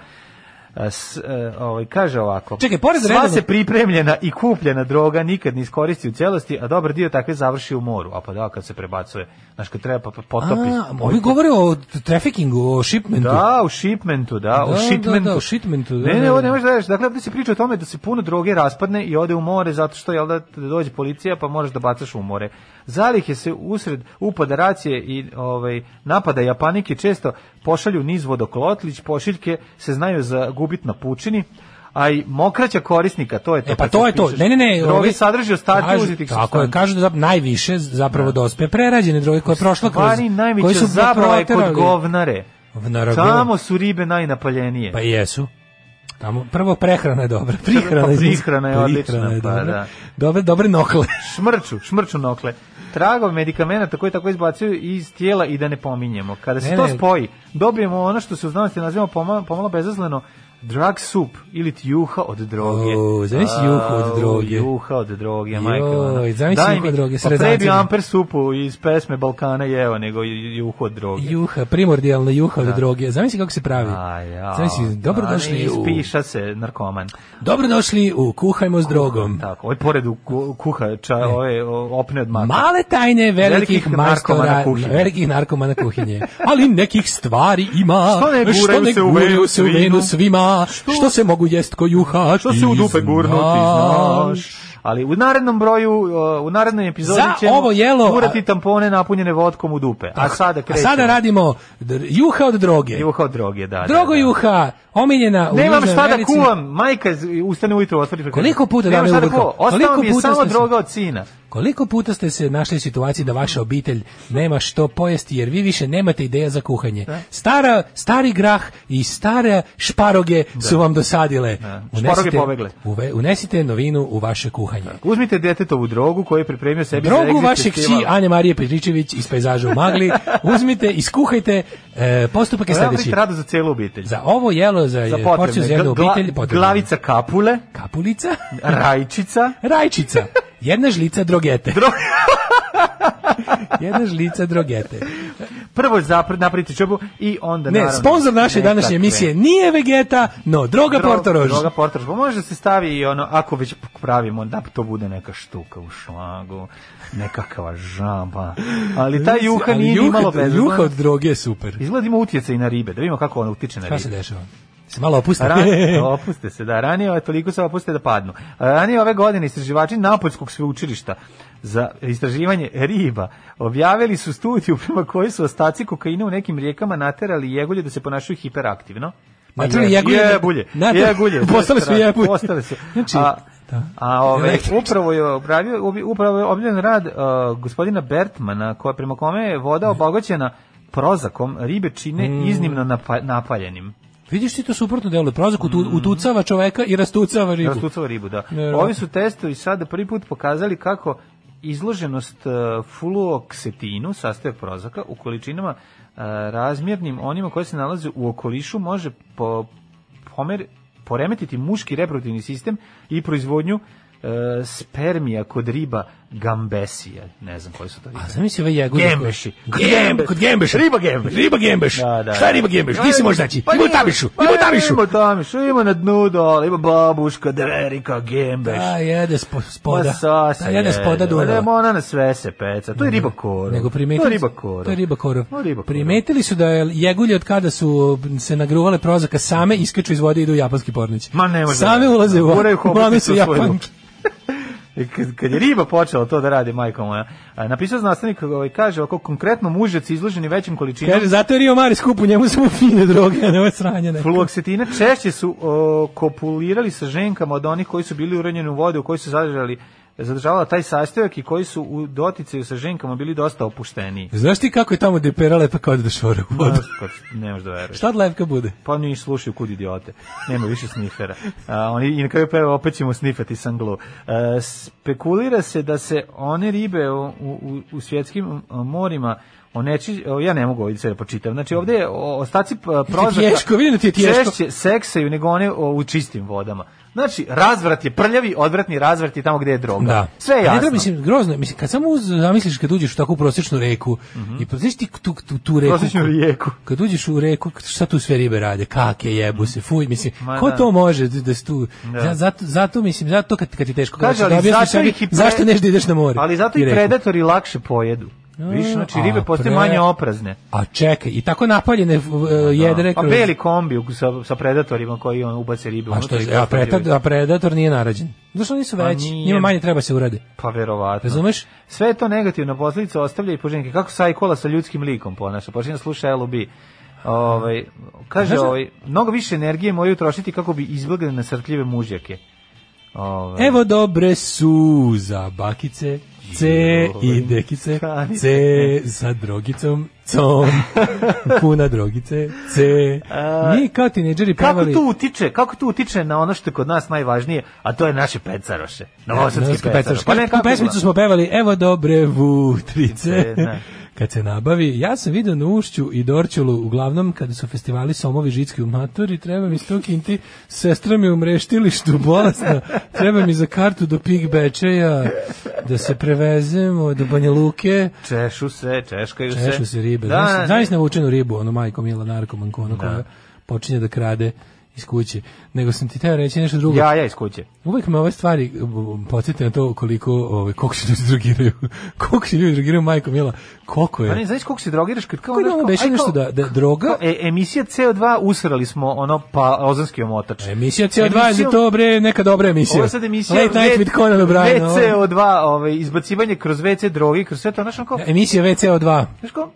S6: A, S, e, ovaj, kaže ovako
S7: Čekaj, pored
S6: Sva
S7: redovnog-
S6: se pripremljena i kupljena droga nikad ne iskoristi u cijelosti, a dobar dio takve završi u moru. A pa da, kad se prebacuje, znaš, kad treba pa pa potopi.
S7: A, ovi govore o trafikingu, o shipmentu.
S6: Da, u shipmentu, da,
S7: Da,
S6: u shipmentu.
S7: da, da, u shipmentu, da,
S6: Ne,
S7: da,
S6: ne, ovo
S7: da.
S6: ne možeš da veruješ. Dakle, ovdje se priča o tome da se puno droge raspadne i ode u more zato što jel da da dođe policija pa moraš da bacaš u more. Zalihe se usred upada racije i ovaj napada Japanike često pošalju niz vodoklotlić, pošiljke se znaju za gubit na pučini a i mokraća korisnika, to je to.
S7: E pa
S6: kad se
S7: to je to.
S6: pišeš.
S7: Ne, ne, ne.
S6: Droge
S7: ovi-
S6: sadrži ostatke
S7: Kažu-
S6: uzetih
S7: Tako je,
S6: supstanci.
S7: kažu da zap- najviše zapravo dospe prerađene droge koje je prošla kroz...
S6: Stvari najveća
S7: koje su
S6: zapravo je kod
S7: proterali. Pa
S6: govnare.
S7: V naravno.
S6: Tamo su ribe najnapaljenije.
S7: Pa jesu. Tamo, prvo prehrana je dobra. Prihrana,
S6: Pa
S7: je-
S6: prihrana je odlična,
S7: prihrana je
S6: pa
S7: dobra.
S6: da.
S7: Dobre, dobre nokle.
S6: šmrču, šmrču nokle. Tragove medikamenata koje tako izbacuju iz tijela i da ne pominjemo. Kada se
S7: Ne,
S6: to
S7: ne.
S6: spoji, dobijemo ono što se u znanosti nazivamo pomalo, pomalo bezazleno drug soup ili ti juha od droge.
S7: O, zamisli juhu od
S6: Au,
S7: droge.
S6: Juha od droge, majka. ona.
S7: Joj, zamisli
S6: Daj
S7: juhu
S6: mi-
S7: od droge s
S6: Pa pre bi
S7: rezancima.
S6: amper supu iz pesme Balkana jeo nego ju- juhu od droge.
S7: Juha, primordijalna juha od droge. Zamisli kako se pravi.
S6: A ja.
S7: Zamisli, dobrodošli u...
S6: Spiša se narkoman.
S7: Dobrodošli u Kuhajmo s drogom.
S6: Tako, ovaj pored u ku- kuha, ča, ove o, opne od maka.
S7: Male tajne velikih,
S6: Velikih narkomana
S7: majstora,
S6: kuhinje.
S7: velikih narkomana kuhinje. Ali nekih stvari ima,
S6: Što ne guraju se u
S7: guraju
S6: venu
S7: se u
S6: svima?
S7: venu svima, što? se mogu jest ko juha,
S6: Što se u dupe gurnuti,
S7: znaš.
S6: znaš. Ali u narednom broju, uh, u narednoj epizodi
S7: Za
S6: ćemo
S7: ovo jelo,
S6: gurati tampone napunjene vodkom u dupe. A sada
S7: A
S6: krećemo.
S7: sada radimo dr- juha od droge.
S6: Juha od droge, da.
S7: Drogo
S6: da, da.
S7: juha, omiljena u
S6: Nemam
S7: Južnoj
S6: šta da
S7: Americi.
S6: kuvam, majka z- ustane ujutro, otvori preko.
S7: Koliko puta
S6: Nemam
S7: dame
S6: šta da
S7: ubrkao?
S6: kuvam, ostao
S7: Koliko
S6: mi je
S7: puta
S6: samo
S7: ste se-
S6: droga od sina.
S7: Koliko puta ste se našli u situaciji da vaša obitelj nema što pojesti jer vi više nemate ideja za kuhanje. Stara, stari grah i stare šparoge su vam dosadile.
S6: Šparoge pobegle.
S7: uve- unesite novinu u vaše kuhanje.
S6: Uzmite detetovu drogu koju je pripremio sebi za
S7: Drogu
S6: Exit
S7: vaše kći
S6: festival.
S7: Ane Marije Petričević iz pejzaža u magli uzmite, iskuhajte, e, postupak je
S6: Treba biti
S7: sljedeći.
S6: rado za celu obitelj.
S7: Za ovo jelo, za,
S6: Za
S7: e,
S6: potrebne.
S7: porciju za jednu
S6: Gla-
S7: obitelj, potrebno je
S6: glavica kapule,
S7: kapulica,
S6: rajčica,
S7: rajčica, Jedna žlica drogete. Jedna žlica drogete.
S6: Prvo zapr, napravite čobu i onda
S7: Ne,
S6: naravno...
S7: sponsor naše
S6: nekakve-
S7: današnje emisije nije Vegeta, no droga
S6: Dro-
S7: Portorož.
S6: Droga Portorož. Pa može da se stavi i ono, ako već pravimo, da to bude neka štuka u šlagu, nekakva žamba. Ali ta juha
S7: Ali
S6: nije
S7: juha-
S6: ni malo bezazna.
S7: Juha od droge je super.
S6: Izgleda ima utjecaj i na ribe, da vidimo kako ona utiče na ribe.
S7: Šta se dešava? Se malo opusti.
S6: Ran, opuste se, da. Ranije ove toliko se opuste da padnu. Ranije ove godine istraživači Napoljskog sveučilišta za istraživanje riba objavili su studiju prema kojoj su ostaci kokaina u nekim rijekama naterali jegulje da se ponašaju hiperaktivno. Ma
S7: Naterali
S6: je-
S7: jegulje da-
S6: Jebulje.
S7: nater-
S6: jegulje,
S7: Postale su jebulje.
S6: Postale su.
S7: Znači,
S6: a,
S7: da.
S6: a ove,
S7: Električni.
S6: upravo je obravio, obi- upravo je objavljen rad a, gospodina Bertmana, koja prema kome je voda obogaćena prozakom, ribe čine
S7: Mm.
S6: iznimno napa- napaljenim.
S7: Vidiš ti to suprotno delo. Prozak utu-
S6: Mm.
S7: utucava čoveka i rastucava ribu.
S6: Rastucava ribu, da.
S7: Vjerovatno.
S6: Ovi su testovi sada prvi put pokazali kako izloženost e, fluoksetinu, sastoje prozaka, u količinama e, razmjernim onima koje se nalaze u okolišu može po, pomer, poremetiti muški reproduktivni sistem i proizvodnju e, spermija kod riba gambesija. Ne znam koje su to ribe.
S7: A zamisli ove jegulje. koje-
S6: Gembeši.
S7: Kod gembe- Kod gembeš.
S6: Riba gembeš.
S7: Riba gembeš.
S6: Da, da.
S7: Šta je riba gembeš? Gdje se može naći?
S6: Pa
S7: Ima u
S6: nije-
S7: tabišu.
S6: pa
S7: Ima u tabišu.
S6: Ima u tabišu, ima na dnu dole, ima babuška, derika, gembeš.
S7: Da, jede spo, spoda.
S6: Pa sasa
S7: Da, jede spoda Dunava.
S6: Da, Pa ona na sve se peca. To je riba korov.
S7: Nego
S6: To je
S7: primetili,
S6: riba korov.
S7: to je riba korov.
S6: To je riba korov.
S7: Primetili su da je jegulje od kada su se nagruvale prozaka same iskaču iz vode i idu u japanski pornić.
S6: Ma ne može.
S7: Same ulaze u
S6: Guraju hobotnicu
S7: Mlame su
S6: u svoju
S7: Japan.
S6: ruku. I Kad, kad je riba počela to da radi, majko moja, a, napisao znanstvenik, ovaj, kaže, ako konkretno mužac izloženi većim količinom
S7: Kaže, zato je Rio Mare skup, u njemu su mu fine droge, a ne ove sranje. neko.
S6: Fluoksetina češće su o, kopulirali sa ženkama od onih koji su bili uranjeni u vode u kojoj su zadržali zadržavala taj sastojak i koji su u doticaju sa ženkama bili dosta opušteniji.
S7: Znaš ti kako je tamo depera lepa kad da šore u vodu?
S6: Kako, ne možeš da veruješ.
S7: Šta od levka bude?
S6: Pa ni slušaju kud idiote. Nema više snifera. A, oni, I na kraju prvo opet ćemo snifati sanglu. E, spekulira se da se one ribe u, u, u svjetskim a, morima oneči, o, ja ne mogu ovdje sve da počitam. Znači ovdje je o- ostaci p- prozraka
S7: tješko, vidim da ti je tješko.
S6: češće seksaju nego one o, u čistim vodama. Znači, razvrat je prljavi, odvratni razvrat je tamo gdje je droga.
S7: Da.
S6: Sve je jasno.
S7: Ne treba, mislim, grozno. je. Mislim, kad samo uz- zamisliš kad uđeš u takvu prosječnu reku i pa, znaš ti tu, tu, tu reku.
S6: Mhm. Prosječnu rijeku.
S7: Kad uđeš u reku, k- šta tu sve ribe rade? Kake, jebu se, fuj, mislim,
S6: Ma
S7: ko
S6: da.
S7: to može da, da se tu... za- Zato, zato, mislim, zato kad, kad ti je teško. kad
S6: Kaže,
S7: hoćeš da
S6: ali
S7: objasniš
S6: zato
S7: Znači, sebi
S6: ih i pre-
S7: Zašto neš da ideš na more?
S6: Ali zato i
S7: reku.
S6: predatori lakše pojedu. Viš, znači ribe
S7: a
S6: postaju
S7: pre-
S6: manje oprazne.
S7: A čekaj, i tako napaljene e, jedre
S6: Pa
S7: kroz-
S6: beli kombi u- sa, sa predatorima koji on ubace ribe.
S7: A, što,
S6: unutra i
S7: a,
S6: gospođe
S7: predator,
S6: vidi.
S7: a predator nije narađen. Zašto nisu
S6: Pa
S7: veći?
S6: nije.
S7: Njima manje treba se urade.
S6: Pa verovatno.
S7: Razumeš?
S6: Sve je to negativna posljedica ostavlja i poženke. Kako sajkola sa ljudskim likom ponaša? Počinje da sluša LB. Ovaj, kaže,
S7: Znaš da-
S6: ovaj, mnogo više energije moraju trošiti kako bi izbjegli nasrtljive mužjake. Ovaj,
S7: Evo dobre su za bakice, C i dekice, C sa drogicom, com, puna drogice, C. Mi kao tineđeri
S6: Kako
S7: pevali...
S6: to utiče? Kako to utiče na ono što je kod nas najvažnije, a to je naše pecaroše. Novosadski Pa
S7: Novosadski
S6: pecaroš.
S7: pecaroš. Tu pesmicu smo pevali, evo dobre vutrice.
S6: Ne.
S7: Kad se nabavi, ja sam vidio na Ušću i Dorčulu, uglavnom kada su festivali Somovi Žitski u Maturi, treba mi sto kinti, sestra mi u mreštilištu bolesna, treba mi za kartu do Pig Bečeja, da se prevezemo do Banja Luke,
S6: Češu se, češkaju se.
S7: češu se ribe.
S6: Da,
S7: Da, Znaš navučenu ribu, ono majko Mila narkomanko, ono koja počinje da krade iz kuće. Nego sam ti teo reći nešto drugo.
S6: jaja iz kuće.
S7: Uvek me ove stvari podsjeti na to koliko, ovaj, koliko se ljudi drogiraju. koliko se ljudi drogiraju, majko mila. Koliko
S6: Pa ne,
S7: je?
S6: znaš koliko se drogiraš kad kao...
S7: Kako je
S6: znaš,
S7: ono
S6: kao,
S7: beše
S6: aj,
S7: nešto
S6: kao-
S7: da, da droga...
S6: kao, e, emisija CO2 usrali smo ono pa ozonski omotač.
S7: Emisija CO2 je za to, bre, neka dobra E, emisija.
S6: Ovo je sad emisija
S7: Late Night
S6: V-
S7: with Conan O'Brien. ono. ovo.
S6: VCO2, ovaj, izbacivanje kroz WC droge, kroz sve to, znaš, ono kao,
S7: Emisija VCO2.
S6: znaš, kao,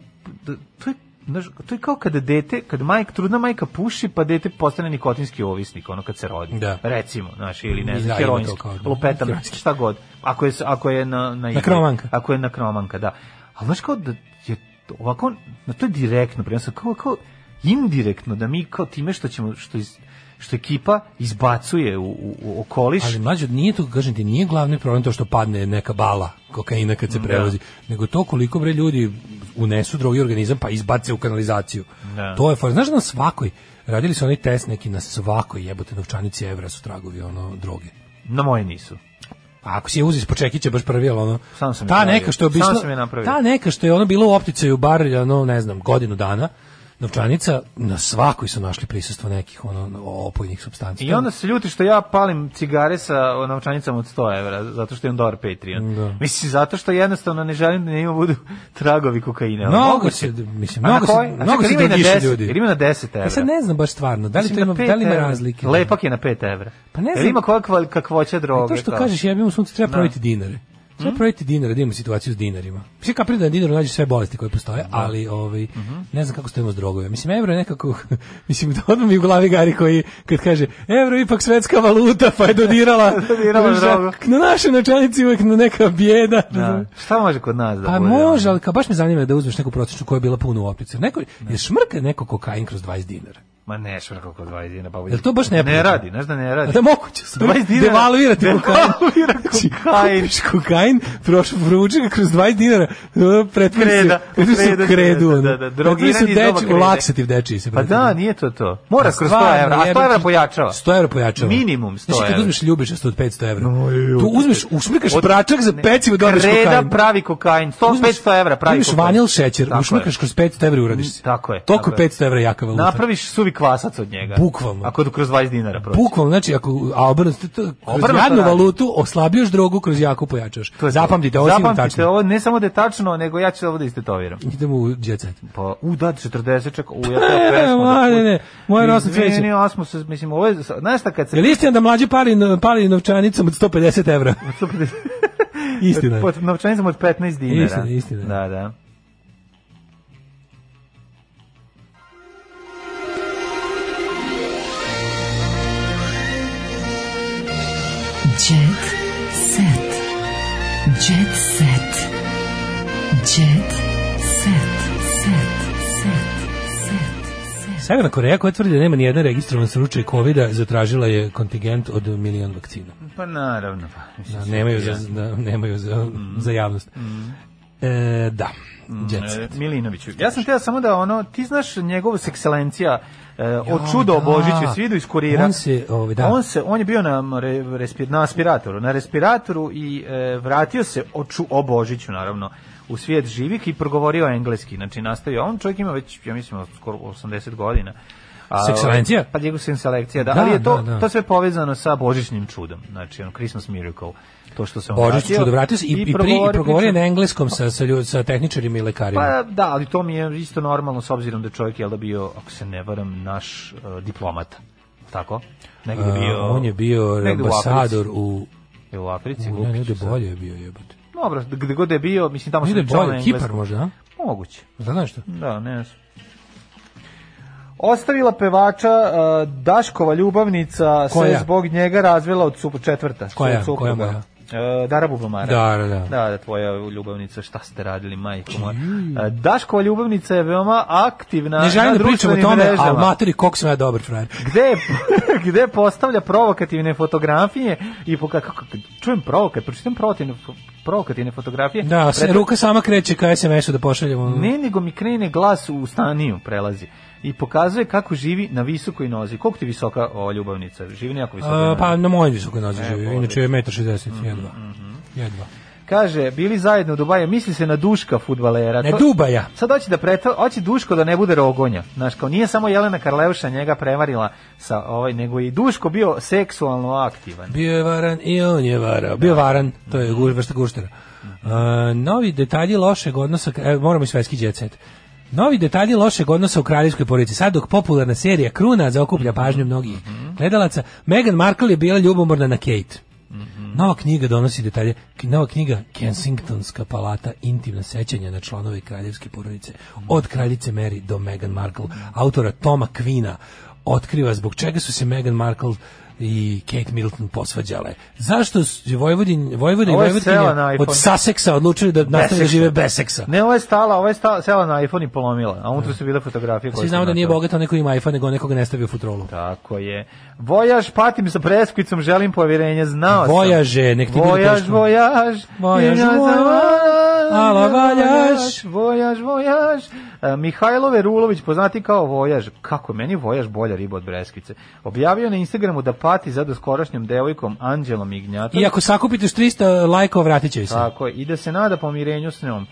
S6: d- to je, znaš, to je kao kada dete, kad majka, trudna majka puši, pa dete postane nikotinski ovisnik, ono kad se rodi.
S7: Da.
S6: Recimo, znaš, ili ne
S7: Da, ima
S6: znam,
S7: to
S6: heroinski,
S7: kao, da.
S6: lupetan,
S7: Heroinski.
S6: šta god. Ako je, s- ako je na, na, igri,
S7: kromanka.
S6: Ako je na kromanka, da. Ali znaš kao da je to- ovako, na to je direktno, prenosa, kao, kao indirektno, da mi kao time što ćemo, što iz, što ekipa izbacuje u, u, u okoliš,
S7: Ali mlađo, nije to, kažem ti, nije glavni problem to što padne neka bala kokaina kad se prevozi, nego to koliko bre ljudi unesu drugi organizam pa izbace u kanalizaciju.
S6: Da.
S7: To je for, znaš da na svakoj, radili su oni test neki na svakoj jebote novčanici evra su tragovi ono droge.
S6: na moje nisu.
S7: Pa ako si je uzis po čekiće baš prvi, ali ono,
S6: Sam sam je
S7: ta
S6: pravio.
S7: neka što je obišla,
S6: Sam sam je napravio.
S7: ta neka što je ono bilo u opticaju bar, ono, ne znam, godinu dana, novčanica, na svakoj su našli prisustvo nekih ono, opojnih substanci.
S6: I onda se ljuti što ja palim cigare sa o, novčanicama od 100 evra, zato što je on dobar Patreon.
S7: Da.
S6: Mislim, zato što jednostavno ne želim da njima budu tragovi kokaina. ali
S7: Mnogo
S6: moguće.
S7: se, mislim,
S6: A na
S7: mnogo se-
S6: koji? A
S7: mnogo
S6: čekaj,
S7: se
S6: ima i na
S7: drogišu
S6: 10,
S7: ljudi.
S6: jer ima na 10 evra.
S7: Ja sad ne znam baš stvarno, da li, to
S6: Mislim, na
S7: ima, da li ima
S6: pet evra.
S7: razlike?
S6: Lepak je na 5 evra.
S7: Pa ne
S6: Jer
S7: znam. Pa
S6: ima koja kval- kakvoća droge.
S7: To što
S6: kao.
S7: kažeš, ja bih mu sunce
S6: Da.
S7: treba
S6: Mm.
S7: praviti dinare. Treba praviti dinare, da imamo situaciju s dinarima. Svi kapiraju da na dinaru nađe sve bolesti koje postoje, ali ovaj,
S6: Mhm.
S7: ne znam kako stojimo s drogovima. Mislim, evro je nekako, mislim, da odmah mi u glavi gari koji, kad kaže, evro je ipak svetska valuta, pa je dodirala,
S6: Dodirala
S7: Znaš,
S6: drogu.
S7: na našoj novčanici uvek na neka bijeda.
S6: Da. Šta može kod nas da ono.
S7: Pa
S6: bude?
S7: može, ali kao baš me zanima da uzmeš neku prosječnu koja je bila puna u optici. Neko, je šmrka neko kokain kroz 20 dinara.
S6: Ma ne, švrko kod 20 dinara. Pa
S7: Jel to baš
S6: ne,
S7: neprirodno?
S6: radi, znaš da ne radi.
S7: A da moguće se
S6: 20 dinara.
S7: devaluirati kokain. Znači,
S6: Devaluira kokain.
S7: Kupiš kokain, prošlo provuče ga kroz 20 dinara, uh, pretvori se,
S6: Kreda,
S7: pretvori se
S6: kreda,
S7: u kredu.
S6: kreda,
S7: ono.
S6: da, da,
S7: Pretvori se u
S6: drogirani iz doba
S7: deči- u
S6: krede.
S7: laksativ dečiji se
S6: Pa da, nije to to. Mora
S7: Moraš
S6: kroz 100 evra, a 100 evra pojačava.
S7: 100 evra pojačava.
S6: Minimum 100
S7: Znači, kad
S6: evra.
S7: uzmeš ljubičastu od 500 evra,
S6: joj,
S7: tu uzmeš,
S6: Znači,
S7: ušmrkaš pračak za pecivo, dobiješ kokain.
S6: Kreda pravi kokain, 100, 500 evra pravi
S7: Uzmeš
S6: kokain.
S7: vanil šećer,
S6: Tako je. Mm,
S7: ušmrkaš kroz 500 evra i uradiš se.
S6: Tako je.
S7: Toliko je
S6: tako je.
S7: 500 evra jaka valuta.
S6: Napraviš suvi kvasac od njega.
S7: Bukvalno.
S6: Ako kroz 20 dinara proći.
S7: Bukvalno, znači, ako, a obrnuto, to- kroz
S6: Obrnuto
S7: jadnu
S6: radi.
S7: valutu oslabioš drogu, kroz jaku pojačaš.
S6: To je to.
S7: Zapamtite, ovo sigurno
S6: Zapamtite,
S7: tačno.
S6: ovo ne samo da je tačno, nego ja ću ovo da istetoviram.
S7: Idemo u jet set.
S6: Pa, u da, 40 čak, u ja to
S7: E,
S6: pesmu.
S7: ma, ne, ne, moje rosno cveće.
S6: Izvini, osmos, mislim, ovo je, znaš šta kad se...
S7: Je li istina da mlađi pali, pali novčanicom od 150 evra? Istina je.
S6: Pod novčanicom od 15 dinara.
S7: Istina, istina.
S6: Da, da.
S8: Jet set. Jet set. Jet set. Set. Set.
S7: Severna Koreja koja tvrdi da nema nijedan registrovan slučaj COVID-a zatražila je kontingent od milion vakcina.
S6: Pa naravno. pa, mislim,
S7: Da, nemaju za, da, nemaju za,
S6: Mm.
S7: za javnost. E, da, jet set.
S6: E, Milinoviću. Ja sam teo samo da ono, ti znaš njegovu ekscelencija e, o čudo o Božiću, svi idu iz kurira.
S7: On se, ovaj, da.
S6: On se, on je bio na, re, respi- na aspiratoru, na respiratoru i e, vratio se o, ču, o Božiću, naravno, u svijet živih i progovorio engleski. Znači, nastavio. On čovjek ima već, ja mislim, skoro 80 godina. A,
S7: Sekselencija?
S6: Pa njegov sekselencija, da.
S7: Da,
S6: ali je to,
S7: da, da.
S6: to sve povezano sa Božićnim čudom. Znači, ono, Christmas miracle. To što se on
S7: Božić
S6: vratio.
S7: čudo vratio se i, i, pri, i progovorio na engleskom sa, sa, ljud, sa tehničarima i lekarima.
S6: Pa da, ali to mi je isto normalno s obzirom da je čovjek je da bio, ako se ne varam, naš eh, diplomata. Tako? Negde
S7: A,
S6: Pa, bio...
S7: on je bio
S6: negde u Africi.
S7: ambasador u...
S6: Je u Africi.
S7: u ne,
S6: glupi
S7: negde
S6: su sad.
S7: bolje je bio jebote.
S6: Dobro, gde god je bio, mislim tamo se
S7: Negde
S6: pričalo na
S7: bolje, Kipar
S6: engleskom.
S7: možda, a?
S6: Moguće.
S7: Znaš što?
S6: Da, ne znam. Ostavila pevača eh, Daškova ljubavnica
S7: Koja?
S6: se zbog njega razvela od sup četvrta.
S7: Koja?
S6: od supruga.
S7: Koja moja?
S6: Eh, Dara Bubamara.
S7: Da, da, da.
S6: Da, da, tvoja ljubavnica, šta ste radili, majko moja. E, Daškova ljubavnica je veoma aktivna
S7: Ne želim
S6: na
S7: da pričam o
S6: društvenim
S7: tome,
S6: mrežama.
S7: ali materi, koliko sam ja dobar frajer.
S6: Gde, gde postavlja provokativne fotografije i po kako kako- čujem provokat, pročitam provokativne, provokativne fotografije.
S7: Da, se,
S6: Preto-
S7: ruka sama kreće ka SMS-u da pošaljemo.
S6: Ne, nego mi krene glas u staniju prelazi i pokazuje kako živi na visokoj nozi. Koliko ti je visoka ova ljubavnica? Živi nejako visoko.
S7: A, pa na mojoj visokoj nozi živi,
S6: Bože.
S7: inače je 1,60
S6: Mhm,
S7: m, jedva. Jedva.
S6: Kaže, bili zajedno u Dubaju, misli se na Duška futbalera.
S7: Ne, E, Dubaja.
S6: Sad hoće da preto, hoće Duško da ne bude rogonja. Znaš, kao nije samo Jelena Karleuša njega prevarila sa ovaj, nego je i Duško bio seksualno aktivan.
S7: Bio je varan i on je varao. Bio varan, to je guž, vrsta guštera. A, novi detalji lošeg odnosa, e, moramo i svetski jet set. Novi detalji lošeg odnosa u kraljevskoj porodici. Sad dok popularna serija Kruna zaokuplja pažnju mnogih gledalaca, Meghan Markle je bila ljubomorna na Kate. Mhm. Nova knjiga donosi detalje. K- Nova knjiga Kensingtonska palata intimna sećanja na članove kraljevske porodice od kraljice Mary do Meghan Markle, autora Toma Kvina otkriva zbog čega su se Meghan Markle i Kate Middleton posvađale. Zašto su Vojvodin, Vojvodin i
S6: Ovo je
S7: Vojvodinja
S6: sela na iPhone.
S7: od Saseksa odlučili da nastave da
S6: seksa.
S7: žive bez seksa?
S6: Ne, ova je stala, ova je stala, sela na iPhone i polomila, a unutra su bile fotografije. koje
S7: Svi
S6: su
S7: znamo da nije
S6: napravile.
S7: bogato neko ima iPhone, nego nekoga ne stavio u futrolu.
S6: Tako je. Vojaž, patim sa preskvicom, želim povjerenja, znao sam.
S7: Vojaže, nek ti bude
S6: Vojaž,
S7: teško.
S6: vojaž,
S7: Vojaž,
S6: ja sam-
S7: vojaž. Ala valjaš.
S6: Vojaž, vojaž. E, Mihajlo Verulović, poznati kao Vojaž. Kako je meni Vojaž bolja riba od Breskvice. Objavio na Instagramu da pati za doskorašnjom devojkom Anđelom Ignjatom.
S7: I ako sakupite još 300 lajkova, vratit će joj se.
S6: Tako je. I da se nada pomirenju s njom.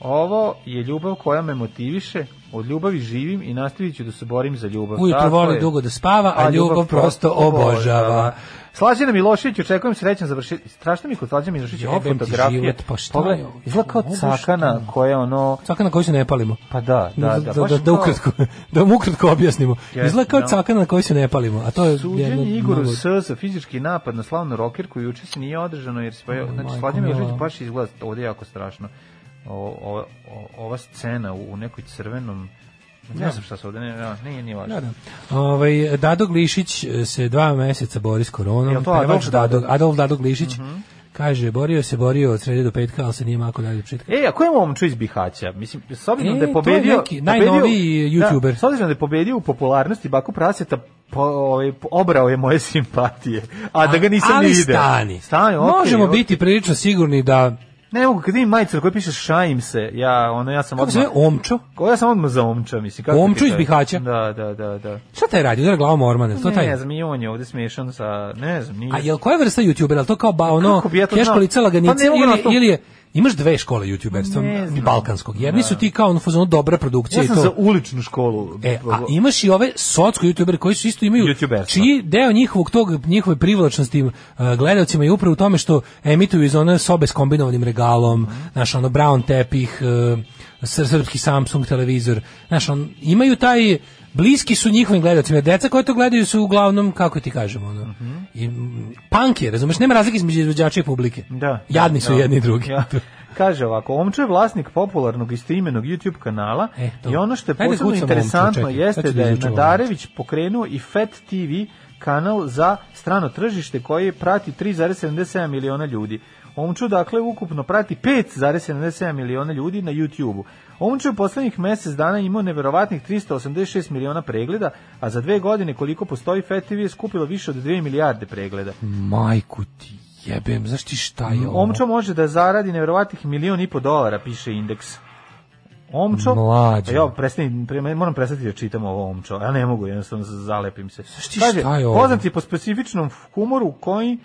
S6: Ovo je ljubav koja me motiviše, od ljubavi živim i nastavit ću da se borim za ljubav.
S7: Ujutro
S6: Tako
S7: voli
S6: je.
S7: dugo da spava, a ljubav prosto obožava.
S6: Slađana Milošević, očekujem srećan završetak. Strašno mi je kod Slađana Miloševića ova
S7: Jebem ti
S6: fotografija.
S7: život, pa šta
S6: Pogledaj,
S7: je ovo?
S6: Izgleda kao
S7: Ovo šta
S6: cakana
S7: je?
S6: koja ono...
S7: Caka na koju se ne palimo.
S6: Pa da, da, da.
S7: da,
S6: baš ono
S7: da, da
S6: kao-
S7: ukratko, da vam ukratko objasnimo.
S6: Jeste,
S7: Izgleda kao
S6: da.
S7: caka na koju se ne palimo, a to je... jedno-
S6: Suđenje Igoru
S7: mnogo-
S6: S za fizički napad na slavnu rokerku juče se nije održano jer se pojavio, znači
S7: majko
S6: Slađana
S7: mila.
S6: Milošević baš izgleda ovdje jako strašno. O, o, o- ova scena u, u nekoj crvenom Ne znam šta se ovdje, ne, ne, nije, nije važno.
S7: Da, da. Ovaj, Dado Glišić eh, se dva meseca bori s koronom.
S6: Jel to
S7: Pevač
S6: Adolf Mhm. Dado?
S7: Dado- Adolf Dado Glišić. Kaže, borio se, borio od srede do petka, ali se nije mako dalje do četka.
S6: E, a ko je momču iz Bihaća? Mislim, s obzirom
S7: E,
S6: da je
S7: to je
S6: pobedio...
S7: neki najnoviji
S6: pobedio-
S7: youtuber.
S6: Da, s obzirom da je pobedio u popularnosti Baku Praseta, po, ovaj, po- obrao je moje simpatije. A, da ga nisam
S7: ali
S6: ni vidio.
S7: stani.
S6: Stani, okej,
S7: Možemo
S6: okej.
S7: biti prilično sigurni da...
S6: Ne mogu, kad im majicu koja piše šajim se, ja, ono, ja sam
S7: Kako se
S6: odmah...
S7: zove? Omčo?
S6: Ko ja sam odmah za omča, mislim. Kako ti
S7: Omču iz
S6: kažem?
S7: Bihaća?
S6: Da, da, da, da.
S7: Šta taj radi? Udara glavom ormane. To taj...
S6: Ne znam, i on je ovde smiješan sa... Ne znam, nije... Pa
S7: A jel koja vrsta youtubera? Jel to kao ba, ono,
S6: Kako bi ja to
S7: keš
S6: znao?
S7: kolica laganice
S6: Pa ne mogu na to.
S7: ili, ili je, imaš dve škole youtuberstva
S6: Ne znam.
S7: balkanskog. Jedni su ti kao ono, fazonu dobra produkcija
S6: ja
S7: i to.
S6: sam za uličnu školu.
S7: E, a imaš i ove socko youtubere koji su isto imaju
S6: Youtuberstva.
S7: čiji deo njihovog tog njihove privlačnosti uh, gledaocima je upravo u tome što emituju iz one sobe s kombinovanim regalom, znaš, ono brown tepih, uh, sr- srpski Samsung televizor, znaš, on, imaju taj bliski su njihovim gledaocima. jer Deca koja to gledaju su uglavnom, kako ti kažemo, ono,
S6: Mhm.
S7: i, mm, punk je, razumeš, nema razlike između izvođača i publike.
S6: Da.
S7: Jadni su
S6: Da.
S7: jedni i drugi.
S6: Ja. Kaže ovako, Omčo je vlasnik popularnog istoimenog YouTube kanala
S7: E, to.
S6: i ono što je
S7: Ajde,
S6: posebno
S7: kucamo Omču,
S6: interesantno
S7: čekaj, sad
S6: jeste
S7: ću
S6: da
S7: da
S6: je
S7: izučavam.
S6: Nadarević pokrenuo i FET TV kanal za strano tržište koji prati 3,77 miliona ljudi. Omču dakle ukupno prati 5,77 miliona ljudi na YouTubeu. Omču je u poslednjih mjesec dana imao neverovatnih 386 miliona pregleda, a za dve godine koliko postoji FET TV je skupilo više od 2 milijarde pregleda.
S7: Majku ti jebem, znaš ti šta je ovo?
S6: Omčo može da zaradi nevjerovatnih milion i po dolara, piše indeks. Omčo,
S7: Mlađo.
S6: ja prestani, pre- moram prestati da čitam ovo omčo, ja ne mogu, jednostavno zalepim se.
S7: ti šta je ovo?
S6: poznat je po specifičnom humoru koji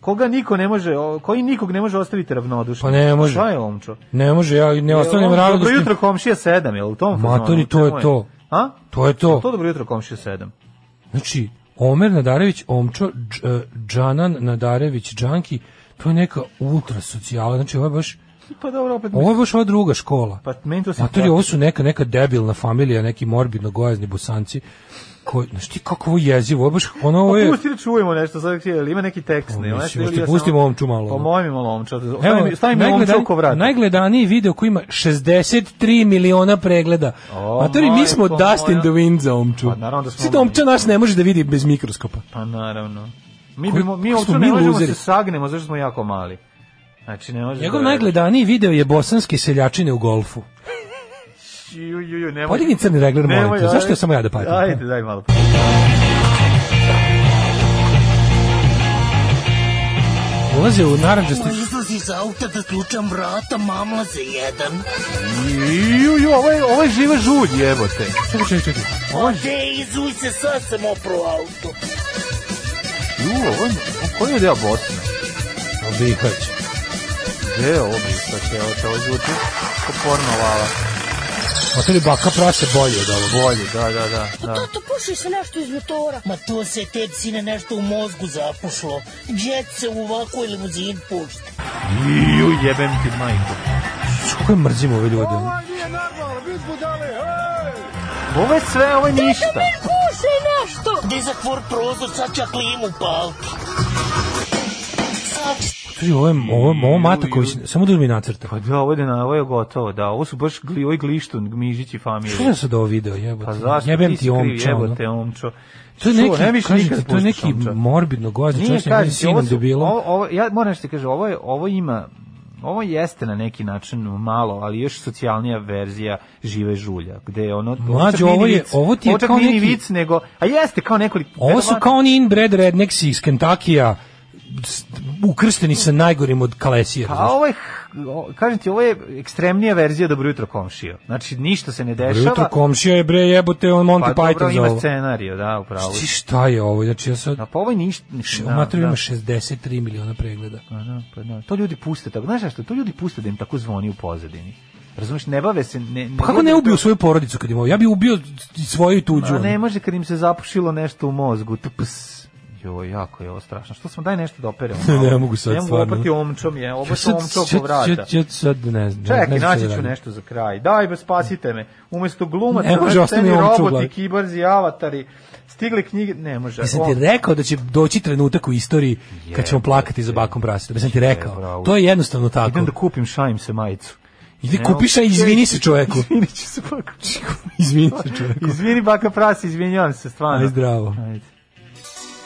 S6: koga niko ne može, o- koji nikog ne može ostaviti ravnodušnim.
S7: Pa ne može.
S6: Šta je omčo?
S7: Ne može, ja
S6: E,
S7: ne ostavljam
S6: Jel on
S7: radu.
S6: Dobro jutro komšija 7, jel u tom
S7: Ma,
S6: fazonu?
S7: to ni to je
S6: Čemu
S7: to.
S6: A?
S7: To je to.
S6: To dobro jutro komšija 7.
S7: Znači, Omer Nadarević, Omčo, Dž- e, Džanan Nadarević, Džanki, to je neka ultra socijala, znači ovo je baš,
S6: Pa dobro, opet...
S7: ovo je baš ova druga škola.
S6: Pa meni to se...
S7: Matori, ovo su neka, neka debilna familija, neki morbidno gojazni bosanci, koji, znaš ti kako ovo jezivo, ovo je baš, ono, ovo je,
S6: Pa, Pusti da čujemo nešto, sad jel ima neki tekst, ne,
S7: Pa,
S6: nešto,
S7: mislim,
S6: ili
S7: hoćete
S6: ja samo-
S7: pustimo omču malo,
S6: Pa
S7: ono?
S6: moj mi malo omča. Stavi mi- stavi mi omču
S7: najgledaniji-
S6: oko vrata.
S7: najgledaniji video koji ima 63 miliona pregleda.
S6: O,
S7: Matori, mi smo
S6: majko
S7: Dust in
S6: pa moja.
S7: the Wind za Omču.
S6: Pa, naravno da smo
S7: Sve to
S6: mi.
S7: Omča nas ne može da vidi bez mikroskopa.
S6: Pa naravno. Mi,
S7: Koji-
S6: bi, mo- mi
S7: koji
S6: omču
S7: smo
S6: ne
S7: mi
S6: možemo
S7: luzeri?
S6: se sagnemo, zato što smo jako mali. Znači, ne možemo...
S7: Njegov najgledaniji video je bosanske seljačine u golfu.
S6: Ju, ju, ju, nemoj.
S7: Podigni crni regler, molim
S6: Nemoj,
S7: te. Zašto
S6: ajde.
S7: ja samo ja da patim?
S6: Ajde, daj malo.
S7: Ulaze u naranđasti...
S5: Izlazi iz auta da ključam vrata, mamla za jedan.
S6: Ju, ju, ovo je, ovo je živa žulj, jebote.
S7: Čekaj, čekaj, čekaj.
S5: Ode, izuj se, sad sam opro auto.
S6: Ju, ovo je... Koji je deo Bosne?
S7: Bihać.
S6: Gde je ovo bistače? Evo te, ovo zvuči ko porno lala.
S7: Matori, baka prase bolje od ovog.
S6: Bolje, da, da, da. da.
S5: Tato, puši se nešto iz motora. Ma to se te sine nešto u mozgu zapušlo. Džet se u ovakvoj limuzin pušta.
S6: Ju, jebem ti majku.
S7: Kako je mrzim ove ljude? ono?
S6: Ovo je sve, ovo je ništa.
S5: Puši nešto! Gde zatvor prozor, sad čak klimu paliti. Sad
S7: Matori, ovo je, ovo, je- ovo Mataković, samo da mi nacrta.
S6: Pa da, ovo je, na, ovo je gotovo, da. Ovo su baš gli, ovo je glištun, gmižići familije.
S7: Što je sad ovo video, jebote?
S6: Pa zašto
S7: Jebem
S6: ti
S7: ti Omča,
S6: Jebo
S7: ono.
S6: te omčo.
S7: To je
S6: Čuo,
S7: neki,
S6: ne više
S7: kažem
S6: nikad
S7: ti, to je
S6: puštaš
S7: neki
S6: omča.
S7: morbidno gozni
S6: Nije,
S7: čovjek sa
S6: kažem ti, ovo
S7: sinom
S6: su-
S7: debilo.
S6: Ovo, ovo, ja moram nešto ti kažem, ovo, je, ovo ima Ovo jeste na neki način malo, ali još socijalnija verzija žive žulja, gde je ono...
S7: Mlađe,
S6: čak nije
S7: ovo
S6: ni
S7: je-
S6: vic,
S7: ovo ti je
S6: čak
S7: kao
S6: nije ni
S7: neki-
S6: vic, nego... A jeste, kao nekoliko...
S7: Ovo su kao oni inbred rednecks iz Kentakija, ukršteni sa najgorim od kalesija.
S6: Pa ovo je, o- kažem ti, ovo je ekstremnija verzija Dobro jutro komšija. Znači, ništa se ne dešava.
S7: Pa Jutro komšija je bre jebote on
S6: pa
S7: Monty
S6: dobro,
S7: Python za
S6: ima
S7: ovo.
S6: scenario, da, upravo.
S7: Ti šta je ovo? Znači ja sad...
S6: A pa ovo je ništa. mislim,
S7: u
S6: da, da.
S7: materiju ima 63 miliona pregleda.
S6: Pa da, pa da. To ljudi puste tako. Znaš šta, to ljudi puste da im tako zvoni u pozadini. Razumeš, ne bave se... Ne,
S7: Pa kako ne ono? ubio svoju porodicu kad im ovo? Ja bi ubio i svoju i tuđu.
S6: A Pa ne može kad im se zapušilo nešto u mozgu. Tps. Jo, jako je ovo strašno. Što smo, daj nešto da operemo.
S7: Ne,
S6: malo.
S7: ne mogu sad
S6: Ne mogu
S7: stvarno.
S6: opati omčom, je. Ovo
S7: Ja
S6: su
S7: sad-
S6: omčom
S7: sad-
S6: oko vrata.
S7: sad- sad- sad ne znam.
S6: Čekaj,
S7: ne znam šta
S6: naći
S7: da
S6: ću
S7: radim.
S6: nešto za kraj. Daj, be, spasite me. Umesto glumaca,
S7: Ne može,
S6: na
S7: ostane
S6: sceni
S7: mi omča u
S6: roboti,
S7: glavi.
S6: kibarzi, avatari, stigle knjige, ne može.
S7: Ja sam
S6: O,
S7: ti rekao da će doći trenutak u istoriji kad ćemo plakati za bakom praseta. Ja sam ti rekao.
S6: bravo.
S7: To je jednostavno tako.
S6: Idem da kupim šajim se majicu.
S7: Ili
S6: Ne,
S7: kupiš, a
S6: okej.
S7: izvini se pa- čoveku.
S6: Izvini ću se baka.
S7: Izvini se čoveku.
S6: Izvini baka prasi, izvinjavam se stvarno.
S7: Aj zdravo.
S6: Ajde.